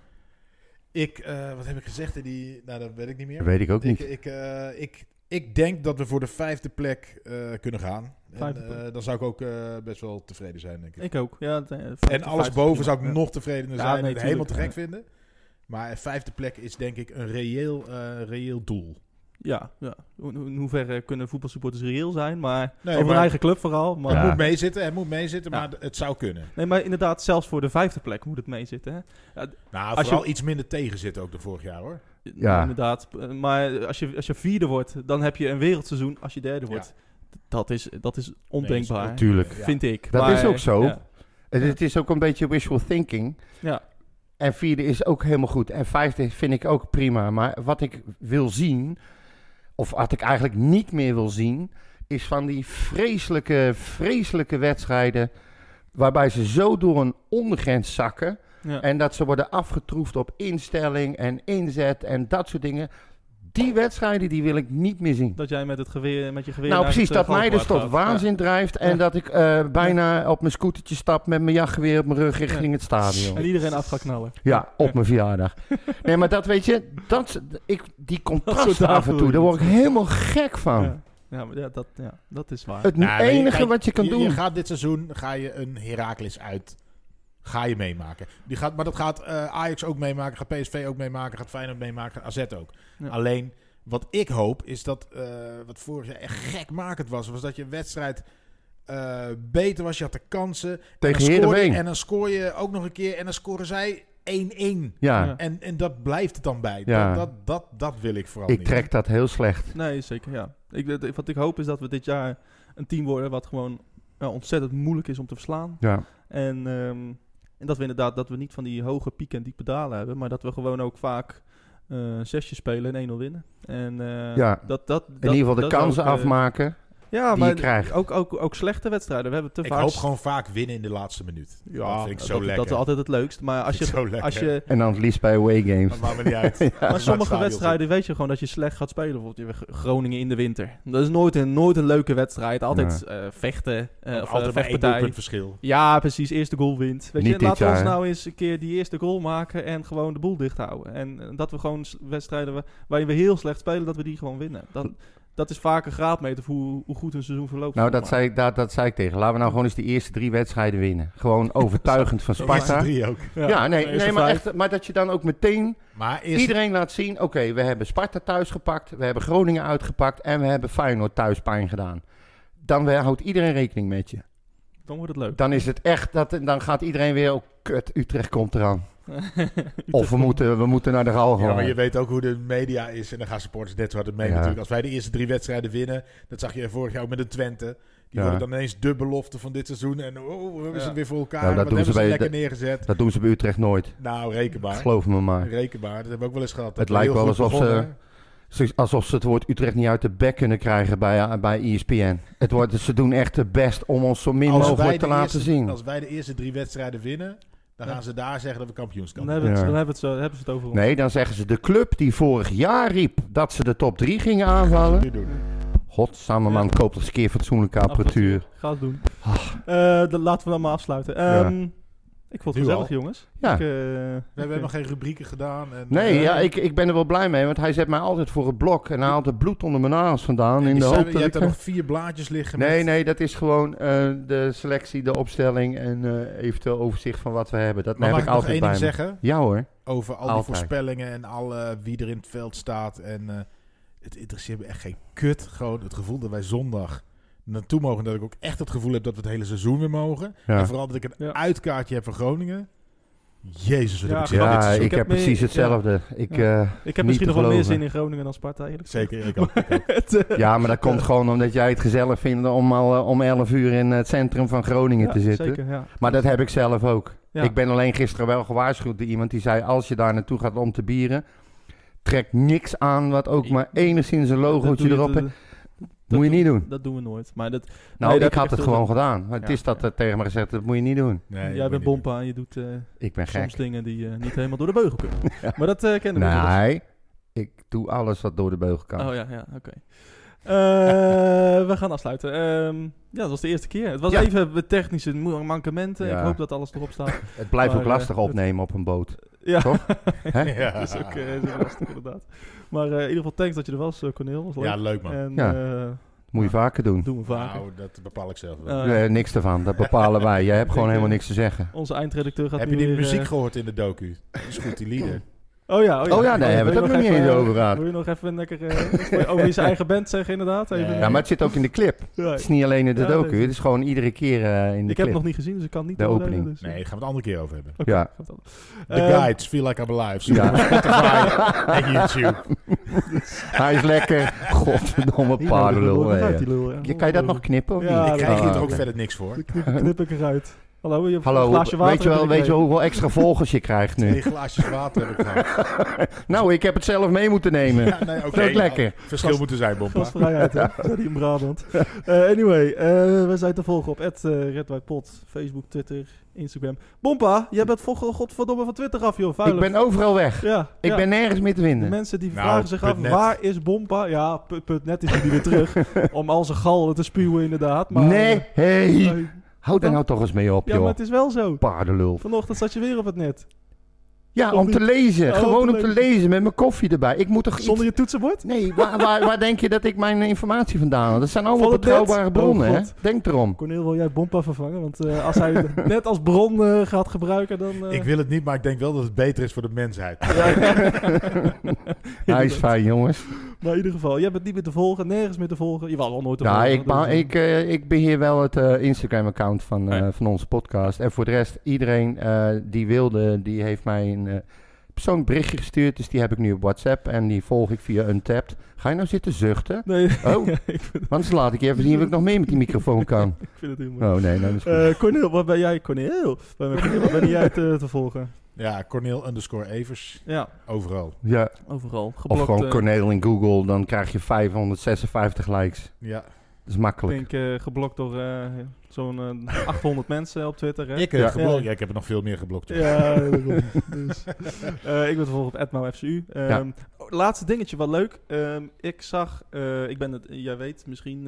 Speaker 5: Ik, eh, wat heb ik gezegd in die... Nou, dat weet ik niet meer.
Speaker 1: dat weet ik ook
Speaker 5: ik,
Speaker 1: niet.
Speaker 5: ik, eh, ik, ik denk dat we voor de vijfde plek eh, kunnen gaan. En,
Speaker 2: Vijfde plek.
Speaker 5: eh, dan zou ik ook eh, best wel tevreden zijn, denk ik.
Speaker 2: Ik ook. Ja, het, eh,
Speaker 5: en
Speaker 2: vijftig,
Speaker 5: alles
Speaker 2: vijftig,
Speaker 5: boven
Speaker 2: prima.
Speaker 5: zou ik
Speaker 2: Ja.
Speaker 5: nog tevredener
Speaker 2: Ja,
Speaker 5: zijn en
Speaker 2: nee,
Speaker 5: het helemaal te gek
Speaker 2: tuurlijk.
Speaker 5: vinden. Maar vijfde plek is denk ik een reëel, eh, reëel doel.
Speaker 2: Ja, ja. Ho- ho- In hoeverre kunnen voetbalsupporters reëel zijn, maar over
Speaker 5: Nee, maar-
Speaker 2: hun eigen club vooral. Maar,
Speaker 5: Het
Speaker 1: Ja.
Speaker 5: moet meezitten, het moet meezitten,
Speaker 2: Ja.
Speaker 5: maar het zou kunnen.
Speaker 2: Nee, maar inderdaad, zelfs voor de vijfde plek moet het meezitten. Hè?
Speaker 5: Nou,
Speaker 2: Als je-
Speaker 5: vooral iets minder tegenzitten ook de vorig jaar, hoor.
Speaker 1: Ja.
Speaker 2: Inderdaad. Eh, Maar als je, als je vierde wordt, dan heb je een wereldseizoen. Als je derde
Speaker 5: Ja.
Speaker 2: wordt, dat is, dat is
Speaker 5: Nee,
Speaker 2: ondenkbaar.
Speaker 5: is-
Speaker 1: Tuurlijk.
Speaker 5: Ja.
Speaker 2: Vind ik.
Speaker 1: Dat
Speaker 2: Maar,
Speaker 1: is ook zo.
Speaker 2: Ja.
Speaker 1: Het, het is ook een beetje wishful thinking.
Speaker 2: Ja.
Speaker 1: En vierde is ook helemaal goed. En vijfde vind ik ook prima. Maar wat ik wil zien, of wat ik eigenlijk niet meer wil zien, is van die vreselijke, vreselijke wedstrijden. Waarbij ze zo door een ondergrens zakken.
Speaker 2: Ja.
Speaker 1: En dat ze worden afgetroefd op instelling en inzet en dat soort dingen. Die wedstrijden die wil ik niet meer zien.
Speaker 2: Dat jij met, het geweer, met je geweer...
Speaker 1: Nou,
Speaker 2: naar
Speaker 1: precies,
Speaker 2: het,
Speaker 1: dat
Speaker 2: eh,
Speaker 1: mij dus
Speaker 2: galgenwaard
Speaker 1: tot
Speaker 2: gaat.
Speaker 1: waanzin drijft. En
Speaker 2: Ja.
Speaker 1: dat ik eh, bijna op mijn scootertje stap met mijn jachtgeweer op mijn rug richting het
Speaker 2: Ja. En
Speaker 1: stadion.
Speaker 2: iedereen af gaat knallen.
Speaker 1: Ja, op mijn verjaardag. Nee, maar dat weet je, dat, ik, die
Speaker 2: Dat
Speaker 1: contrast
Speaker 2: soort
Speaker 1: af en toe,
Speaker 2: dagen
Speaker 1: daar
Speaker 2: wil je
Speaker 1: word ik helemaal gek van.
Speaker 2: Ja. Ja, maar ja, dat, ja, dat is waar.
Speaker 1: Het
Speaker 5: Nou, weet je,
Speaker 1: enige
Speaker 5: kijk,
Speaker 1: wat je kan
Speaker 5: Je
Speaker 1: doen.
Speaker 5: gaat dit seizoen ga je een Heracles uit Ga je meemaken. Die gaat, maar dat gaat eh, Ajax ook meemaken, gaat PSV ook meemaken, gaat Feyenoord meemaken, gaat AZ ook.
Speaker 7: Ja.
Speaker 5: Alleen, wat ik hoop, is dat, eh, wat vorig jaar echt gekmakend was, was dat je wedstrijd eh, beter was, je had de kansen.
Speaker 1: Tegen
Speaker 5: en dan scoor je-
Speaker 1: Heerenveen.
Speaker 5: En dan scoor je ook nog een keer en dan scoren zij 1-1.
Speaker 1: Ja,
Speaker 7: Ja.
Speaker 5: En, en dat blijft het dan bij.
Speaker 1: Ja.
Speaker 5: Dat, dat, dat, dat wil ik vooral
Speaker 1: ik
Speaker 5: niet.
Speaker 1: trek dat heel slecht.
Speaker 2: Nee, zeker, ja. Ik, dat- wat ik hoop is dat we dit jaar een team worden wat gewoon ja, ontzettend moeilijk is om te verslaan.
Speaker 1: Ja.
Speaker 2: En, ehm, en dat we inderdaad dat we niet van die hoge pieken en diepe dalen hebben, maar dat we gewoon ook vaak eh zesjes spelen en 1-0 winnen. En eh,
Speaker 1: Ja.
Speaker 2: dat, dat, dat,
Speaker 1: In ieder geval de
Speaker 2: dat
Speaker 1: kansen
Speaker 2: ook, eh,
Speaker 1: afmaken.
Speaker 2: ja,
Speaker 1: die je
Speaker 2: maar
Speaker 1: krijgt.
Speaker 2: Ook, ook, ook slechte wedstrijden. We hebben te
Speaker 5: Ik
Speaker 2: vaak...
Speaker 5: hoop gewoon vaak winnen in de laatste minuut. Ja, dat vind ik zo
Speaker 2: dat,
Speaker 5: lekker.
Speaker 2: Dat is altijd het leukst. Maar als je...
Speaker 5: Zo lekker.
Speaker 2: Als je
Speaker 1: En dan het liefst bij away games.
Speaker 5: Dat maakt me niet uit.
Speaker 2: maar sommige wedstrijden weet je gewoon dat je slecht gaat spelen. Bijvoorbeeld je hebt Groningen in de winter. Dat is nooit een, nooit een leuke wedstrijd. Altijd eh, vechten. eh, of eh,
Speaker 5: altijd maar één
Speaker 2: vechtpartij.
Speaker 5: doelpunt verschil.
Speaker 2: Ja, precies. Eerste goal wint. Weet
Speaker 1: Niet
Speaker 2: je,
Speaker 1: dit
Speaker 2: laten we ons
Speaker 1: jaar, hè?
Speaker 2: nou eens een keer die eerste goal maken en gewoon de boel dicht houden. En eh, dat we gewoon s- wedstrijden wa- waarin we heel slecht spelen, dat we die gewoon winnen. Dat, dat is vaak een graadmeter voor hoe, hoe goed een seizoen verloopt.
Speaker 1: Nou,
Speaker 2: zeg
Speaker 1: dat
Speaker 2: maar.
Speaker 1: zei, ik, dat, dat zei ik tegen. Laten we nou gewoon eens die eerste drie wedstrijden winnen. Gewoon overtuigend van
Speaker 5: Eerste
Speaker 1: Sparta.
Speaker 5: drie ook.
Speaker 1: Ja, nee,
Speaker 2: Eerste
Speaker 1: nee maar,
Speaker 2: vijf.
Speaker 1: echt, maar dat je dan ook meteen
Speaker 5: Maar eerst
Speaker 1: iedereen laat zien... Oké, we hebben Sparta thuis gepakt. We hebben Groningen uitgepakt. En we hebben Feyenoord thuis pijn gedaan. Dan we- houdt iedereen rekening met je.
Speaker 2: Dan wordt het leuk.
Speaker 1: Dan is het echt... Dat, dan gaat iedereen weer... Oh, kut, Utrecht komt eraan. Of we moeten, we moeten naar de Galgo.
Speaker 5: Ja, maar je weet ook hoe de media is. En dan gaan supporters net zo hard mee
Speaker 1: Ja.
Speaker 5: natuurlijk. Als wij de eerste drie wedstrijden winnen... dat zag je vorig jaar ook met de Twente. Die
Speaker 1: Ja.
Speaker 5: worden dan ineens de belofte van dit seizoen. En oh, we hebben ze
Speaker 2: Ja.
Speaker 5: weer voor elkaar.
Speaker 1: Nou, dat
Speaker 5: Wat
Speaker 1: doen
Speaker 5: hebben
Speaker 1: ze
Speaker 5: ze
Speaker 1: bij de-
Speaker 5: lekker neergezet.
Speaker 1: Dat doen ze bij Utrecht nooit.
Speaker 5: Nou, reken maar.
Speaker 1: Geloof me maar.
Speaker 5: Reken maar. Dat hebben we ook wel eens gehad. Dat
Speaker 1: Het
Speaker 5: we
Speaker 1: lijkt
Speaker 5: heel
Speaker 1: wel
Speaker 5: goed
Speaker 1: alsof ze-
Speaker 5: begonnen.
Speaker 1: Ze- Alsof ze het woord Utrecht niet uit de bek kunnen krijgen bij, E bij ESPN. Het wordt, ze doen echt het best om ons zo min
Speaker 5: Als wij
Speaker 1: mogelijk
Speaker 5: de
Speaker 1: te laten
Speaker 5: eerste-
Speaker 1: zien.
Speaker 5: Als wij de eerste drie wedstrijden winnen... dan
Speaker 2: Ja.
Speaker 5: gaan ze daar zeggen dat we kampioenskap
Speaker 2: Dan hebben, we het,
Speaker 1: Ja.
Speaker 2: dan hebben, we het, zo- hebben ze het over ons.
Speaker 1: Nee, dan zeggen ze de club die vorig jaar riep dat ze de top 3 gingen aanvallen.
Speaker 5: nu doen.
Speaker 1: Godsamme man, koopt eens een keer fatsoenlijke apparatuur.
Speaker 2: Ga het doen.
Speaker 1: Ah.
Speaker 2: Eh, dan laten we dan maar afsluiten. Ehm, Ik vond het
Speaker 5: Nu
Speaker 2: gezellig,
Speaker 5: al?
Speaker 2: jongens.
Speaker 1: Ja.
Speaker 2: Ik, eh,
Speaker 5: We hebben nog geen rubrieken gedaan. En,
Speaker 1: Nee,
Speaker 5: eh,
Speaker 1: ja, ik, ik ben er wel blij mee, want hij zet mij altijd voor het blok. En hij haalt het bloed onder mijn nagels vandaan in
Speaker 5: je
Speaker 1: de
Speaker 5: zei-
Speaker 1: hoop
Speaker 5: Je
Speaker 1: dat ik...
Speaker 5: hebt er nog vier blaadjes liggen.
Speaker 1: Nee,
Speaker 5: met-
Speaker 1: nee, dat is gewoon eh, de selectie, de opstelling en eh, eventueel overzicht van wat we hebben. Dat
Speaker 5: Maar
Speaker 1: heb
Speaker 5: mag
Speaker 1: ik
Speaker 5: ik nog
Speaker 1: altijd
Speaker 5: één
Speaker 1: bij
Speaker 5: ding
Speaker 1: me.
Speaker 5: zeggen?
Speaker 1: Ja hoor.
Speaker 5: over al
Speaker 1: Altijd.
Speaker 5: die voorspellingen en al eh, wie er in het veld staat. En eh, het interesseert me echt geen kut. Gewoon het gevoel dat wij zondag naartoe mogen. Dat ik ook echt het gevoel heb dat we het hele seizoen weer mogen.
Speaker 1: Ja.
Speaker 5: En vooral dat ik een
Speaker 2: Ja.
Speaker 5: uitkaartje heb voor Groningen. Jezus, wat
Speaker 2: Ja,
Speaker 5: heb dus ik zin in dit
Speaker 1: Ja,
Speaker 5: seizoen.
Speaker 1: ik
Speaker 2: heb
Speaker 1: heb
Speaker 2: mee-
Speaker 1: precies
Speaker 2: ja.
Speaker 1: hetzelfde. Ik, eh,
Speaker 2: ik heb misschien nog wel meer
Speaker 1: geloven.
Speaker 2: zin in Groningen dan Sparta, eerlijk gezegd.
Speaker 5: Zeker, ik ook. ik ook.
Speaker 2: Het, eh,
Speaker 1: ja, maar dat komt gewoon omdat jij het gezellig vindt om al eh, om 11 uur in het centrum van Groningen
Speaker 2: ja,
Speaker 1: te zitten.
Speaker 2: Zeker, ja.
Speaker 1: Maar dat heb ik zelf ook.
Speaker 2: Ja.
Speaker 1: Ik ben alleen gisteren wel gewaarschuwd door iemand die zei: als je daar naartoe gaat om te bieren, trek niks aan wat ook maar enigszins een
Speaker 2: Dat
Speaker 1: logootje
Speaker 2: doe je-
Speaker 1: erop
Speaker 2: dat-
Speaker 1: heeft.
Speaker 2: dat
Speaker 1: Moet je
Speaker 2: doe-
Speaker 1: niet doen.
Speaker 2: Dat doen we nooit. Maar dat,
Speaker 1: Nou,
Speaker 2: Nee, dat
Speaker 1: ik had
Speaker 2: heb
Speaker 1: het
Speaker 2: ik
Speaker 1: gewoon
Speaker 2: veel-
Speaker 1: gedaan. Maar het
Speaker 2: Ja,
Speaker 1: is dat
Speaker 2: ja.
Speaker 1: er tegen me gezegd: dat moet je niet doen.
Speaker 5: Nee, dat moet
Speaker 2: jij
Speaker 5: je
Speaker 2: bent
Speaker 5: niet
Speaker 2: bompa en je doet eh,
Speaker 1: Ik ben gek.
Speaker 2: soms dingen die eh, niet helemaal door de beugel kunnen. Maar dat eh, kennen
Speaker 1: Nou,
Speaker 2: we. inmiddels.
Speaker 1: Nee, ik doe alles wat door de beugel kan.
Speaker 2: Oh ja, ja oké. Eh, we gaan afsluiten. Ehm, ja, dat was de eerste keer. Het was
Speaker 1: Ja.
Speaker 2: even met technische mo- mankementen.
Speaker 1: Ja.
Speaker 2: Ik hoop dat alles erop staat.
Speaker 1: Het blijft
Speaker 2: Maar,
Speaker 1: ook
Speaker 2: eh,
Speaker 1: lastig
Speaker 2: het-
Speaker 1: opnemen op een boot.
Speaker 2: ja.
Speaker 1: Toch? Hè?
Speaker 5: doen. Ja.
Speaker 2: Dat is ook eh, is ook lastig inderdaad. Maar eh, in ieder geval thanks dat je er was, eh, Cornel. Was leuk.
Speaker 5: ja, leuk man.
Speaker 2: En
Speaker 1: Ja.
Speaker 2: eh,
Speaker 1: Moet je vaker doen.
Speaker 2: doen we vaker.
Speaker 5: Nou, dat bepaal ik zelf wel.
Speaker 2: Eh,
Speaker 1: Eh, niks ervan, dat bepalen wij. Jij hebt gewoon
Speaker 2: Ik, eh,
Speaker 1: helemaal niks te zeggen.
Speaker 2: onze eindredacteur gaat
Speaker 5: heb
Speaker 2: nu
Speaker 5: je die
Speaker 2: weer, eh,
Speaker 5: muziek gehoord in de docu? Dat is goed, die lieder.
Speaker 2: oh ja, oh ja.
Speaker 1: Oh ja, daar
Speaker 2: Wil
Speaker 1: hebben
Speaker 2: je
Speaker 1: we het
Speaker 2: nog
Speaker 1: ook nog
Speaker 2: even- eh,
Speaker 1: niet eens over gehad.
Speaker 2: Wil je nog even lekker eh, iets voor- over zijn eigen band zeggen inderdaad? Even,
Speaker 5: Nee.
Speaker 1: Ja, maar het zit ook in de clip.
Speaker 2: Ja.
Speaker 1: Het is niet alleen in de
Speaker 2: Ja,
Speaker 1: docu,
Speaker 2: deze-
Speaker 1: het is gewoon iedere keer eh, in de
Speaker 2: Ik heb
Speaker 1: clip.
Speaker 2: hem nog niet gezien, dus ik kan het niet
Speaker 1: De
Speaker 2: oordelen,
Speaker 1: opening.
Speaker 2: dus, eh,
Speaker 5: Nee, gaan we het een andere keer over hebben.
Speaker 2: oké,
Speaker 1: Ja.
Speaker 2: gaat dan.
Speaker 5: The
Speaker 2: Ehm,
Speaker 5: Guides, Feel Like I'm Alive. Zoek
Speaker 1: Ja.
Speaker 5: hem op Spotify en YouTube.
Speaker 1: Hij is lekker. Godverdomme
Speaker 2: hier nou,
Speaker 1: paardenlul.
Speaker 2: dat
Speaker 1: hè,
Speaker 2: gaat
Speaker 1: ja.
Speaker 2: die lul, ja.
Speaker 1: Je- Kan je dat nog knippen of
Speaker 2: Ja,
Speaker 1: niet?
Speaker 5: Ik krijg
Speaker 1: Ah,
Speaker 5: hier toch ook
Speaker 1: oké.
Speaker 5: verder niks voor.
Speaker 2: Dan knip, knip ik eruit. Hallo, je hebt een
Speaker 1: Hallo,
Speaker 2: glaasje water.
Speaker 1: weet je wel,
Speaker 2: heb ik
Speaker 1: weet je wel
Speaker 2: gekregen.
Speaker 1: hoeveel extra volgers je krijgt nu?
Speaker 5: Twee glaasjes water heb ik gehad.
Speaker 1: Nou, ik heb het zelf mee moeten nemen.
Speaker 5: Ja, nee,
Speaker 1: Dat is ook lekker.
Speaker 5: Verschil moeten zijn, Bompa.
Speaker 2: Gastvrijheid, hè? Zei die in Brabant. Eh, anyway, eh, we zijn te volgen op at, eh, Red White Pot, Facebook, Twitter, Instagram. Bompa, jij bent vol- oh, godverdomme van Twitter af, joh.
Speaker 1: Ik
Speaker 2: Vuilig.
Speaker 1: ben overal weg.
Speaker 2: Ja,
Speaker 1: Ik
Speaker 2: ja.
Speaker 1: ben nergens meer te
Speaker 2: De
Speaker 1: vinden.
Speaker 2: mensen die
Speaker 5: Nou,
Speaker 2: vragen zich af,
Speaker 5: punt net.
Speaker 2: waar is Bompa? Ja, pu- punt net is hij niet weer terug. om al zijn gal te spuwen, inderdaad. Maar,
Speaker 1: Nee,
Speaker 2: eh,
Speaker 1: hey.
Speaker 2: eh,
Speaker 1: Houd daar nou toch eens mee op,
Speaker 2: ja, maar
Speaker 1: joh.
Speaker 2: het is wel zo.
Speaker 1: Paardenlul.
Speaker 2: Vanochtend zat je weer op het net.
Speaker 1: Ja, om te lezen. Gewoon om te lezen met mijn koffie erbij. Ik moet toch
Speaker 2: Zonder
Speaker 1: iets...
Speaker 2: je toetsenbord?
Speaker 1: Nee, waar, waar, waar denk je dat ik mijn informatie vandaan haal? Dat zijn allemaal
Speaker 2: Van het
Speaker 1: betrouwbare
Speaker 2: net?
Speaker 1: bronnen,
Speaker 2: Oh,
Speaker 1: hè?
Speaker 2: God.
Speaker 1: Denk erom.
Speaker 2: Cornel, wil jij Bompa vervangen? Want eh, als hij het net als bron eh, gaat gebruiken, dan... eh,
Speaker 5: Ik wil het niet, maar ik denk wel dat het beter is voor de mensheid.
Speaker 1: Hij is fijn, jongens.
Speaker 2: Maar in ieder geval, jij bent niet meer te volgen, nergens meer te volgen. Je was al nooit te
Speaker 1: Ja,
Speaker 2: volgen.
Speaker 1: ik, maar
Speaker 2: dus, eh,
Speaker 1: ik, eh, ik beheer wel het eh, Instagram-account van, eh,
Speaker 8: Ja.
Speaker 1: van onze podcast. En voor de rest, iedereen eh, die wilde, die heeft mij een eh, persoonlijk berichtje gestuurd. Dus die heb ik nu op WhatsApp en die volg ik via Untapped. Ga je nou zitten zuchten?
Speaker 2: Nee,
Speaker 1: Oh.
Speaker 2: ik, vind,
Speaker 1: Want dan laat ik je even zien of ik nog meer met die microfoon kan.
Speaker 2: ik vind het heel mooi.
Speaker 1: Oh nee, dat is goed.
Speaker 2: Eh, Cornel, wat ben jij? Cornel, waar ben, Cornel, wat ben jij te, te volgen?
Speaker 5: Ja, Cornel underscore Evers.
Speaker 2: Ja,
Speaker 5: Overal.
Speaker 1: ja.
Speaker 2: overal. Geblokt,
Speaker 1: Of gewoon
Speaker 2: eh,
Speaker 1: Cornel in Google, dan krijg je 556 likes.
Speaker 5: Ja.
Speaker 1: Dat is makkelijk.
Speaker 2: Ik denk eh, geblokt door eh, zo'n eh, 800 mensen op Twitter. Hè?
Speaker 5: Ik, heb
Speaker 1: Ja.
Speaker 5: geblokt. Ja, ik heb er nog veel meer geblokt. hoor.
Speaker 2: Ja, daarom. dus, eh, ik ben te volgen op @mauFCU. Ehm,
Speaker 1: Ja.
Speaker 2: oh, Laatste dingetje, wat leuk. Ehm, ik zag, eh, ik ben het, jij weet misschien,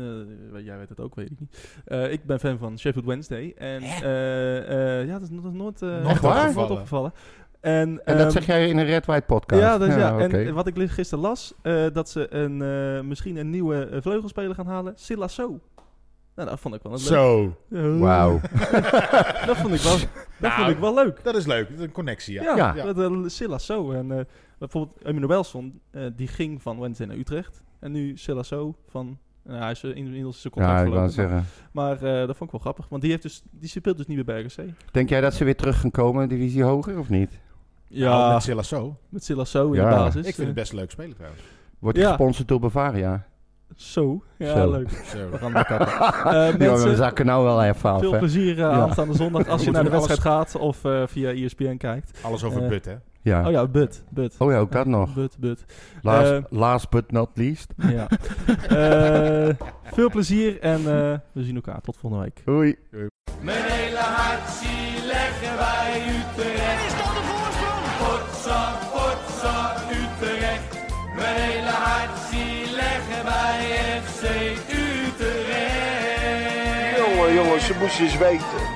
Speaker 2: eh, jij weet het ook, weet ik niet. Eh, ik ben fan van Sheffield Wednesday. En eh, eh, ja, dat is nog nooit, eh,
Speaker 5: Nog
Speaker 1: waar?
Speaker 2: nooit opgevallen. En,
Speaker 1: En dat
Speaker 2: ehm,
Speaker 1: zeg jij in een Red White podcast.
Speaker 2: Ja, dat is- ja.
Speaker 1: oké.
Speaker 2: en wat ik li- gisteren las, eh, dat ze een, eh, misschien een nieuwe eh, vleugelspeler gaan halen. Silla So. Nou, dat vond ik wel een leuk.
Speaker 5: Zo.
Speaker 2: Eh,
Speaker 1: Wauw.
Speaker 2: Dat vond ik wel, dat
Speaker 5: Nou,
Speaker 2: vond ik wel leuk.
Speaker 5: Dat is leuk. Dat is een connectie, ja.
Speaker 2: Ja,
Speaker 1: Ja.
Speaker 2: dat eh, Silla So. En eh, bijvoorbeeld Emmanuel Belson, die ging van Wednesday naar Utrecht. En nu Silla So van... Nou, hij is eh, in- inmiddels zijn contract
Speaker 1: Ja, ik wou
Speaker 2: verlopen.
Speaker 1: zeggen.
Speaker 2: Maar eh, dat vond ik wel grappig. Want die, heeft dus, die speelt dus niet meer bij RKC.
Speaker 1: Denk jij dat ze weer terug gaan komen, divisie hoger of niet?
Speaker 5: Nou,
Speaker 2: Ja,
Speaker 5: met Silla So.
Speaker 2: met Silla So in
Speaker 1: Ja.
Speaker 2: de basis.
Speaker 5: Ik vind het
Speaker 2: Eh,
Speaker 5: best leuk spelen trouwens.
Speaker 1: Wordt
Speaker 2: Ja.
Speaker 1: gesponsord door Bavaria.
Speaker 2: So. Ja,
Speaker 1: Zo.
Speaker 2: leuk.
Speaker 5: Zo.
Speaker 2: We gaan het kappen. Eh,
Speaker 1: Ja,
Speaker 2: mensen-
Speaker 1: we zakken nou wel even af.
Speaker 2: Veel
Speaker 1: hè.
Speaker 2: plezier eh,
Speaker 1: Ja.
Speaker 2: aanstaande zondag als je
Speaker 5: Moeten
Speaker 2: naar de
Speaker 5: we
Speaker 2: wedstrijd gaat of eh, via ESPN kijkt.
Speaker 5: Alles over
Speaker 2: Eh,
Speaker 5: put, hè?
Speaker 1: Ja.
Speaker 2: Oh ja, but, but.
Speaker 1: Oh ja, ook dat nog.
Speaker 2: But, but.
Speaker 1: Last,
Speaker 2: Eh,
Speaker 1: last but not least.
Speaker 2: Ja. Eh, veel plezier en eh, we zien elkaar. Tot volgende week.
Speaker 1: Hoi.
Speaker 3: Mijn hele hart zie leggen wij Utrecht. Is dat de voorsprong? Potsa, potsa, Utrecht. Mijn hele hart zie leggen wij FC Utrecht.
Speaker 9: Jongen, jongen, ze moest je eens weten.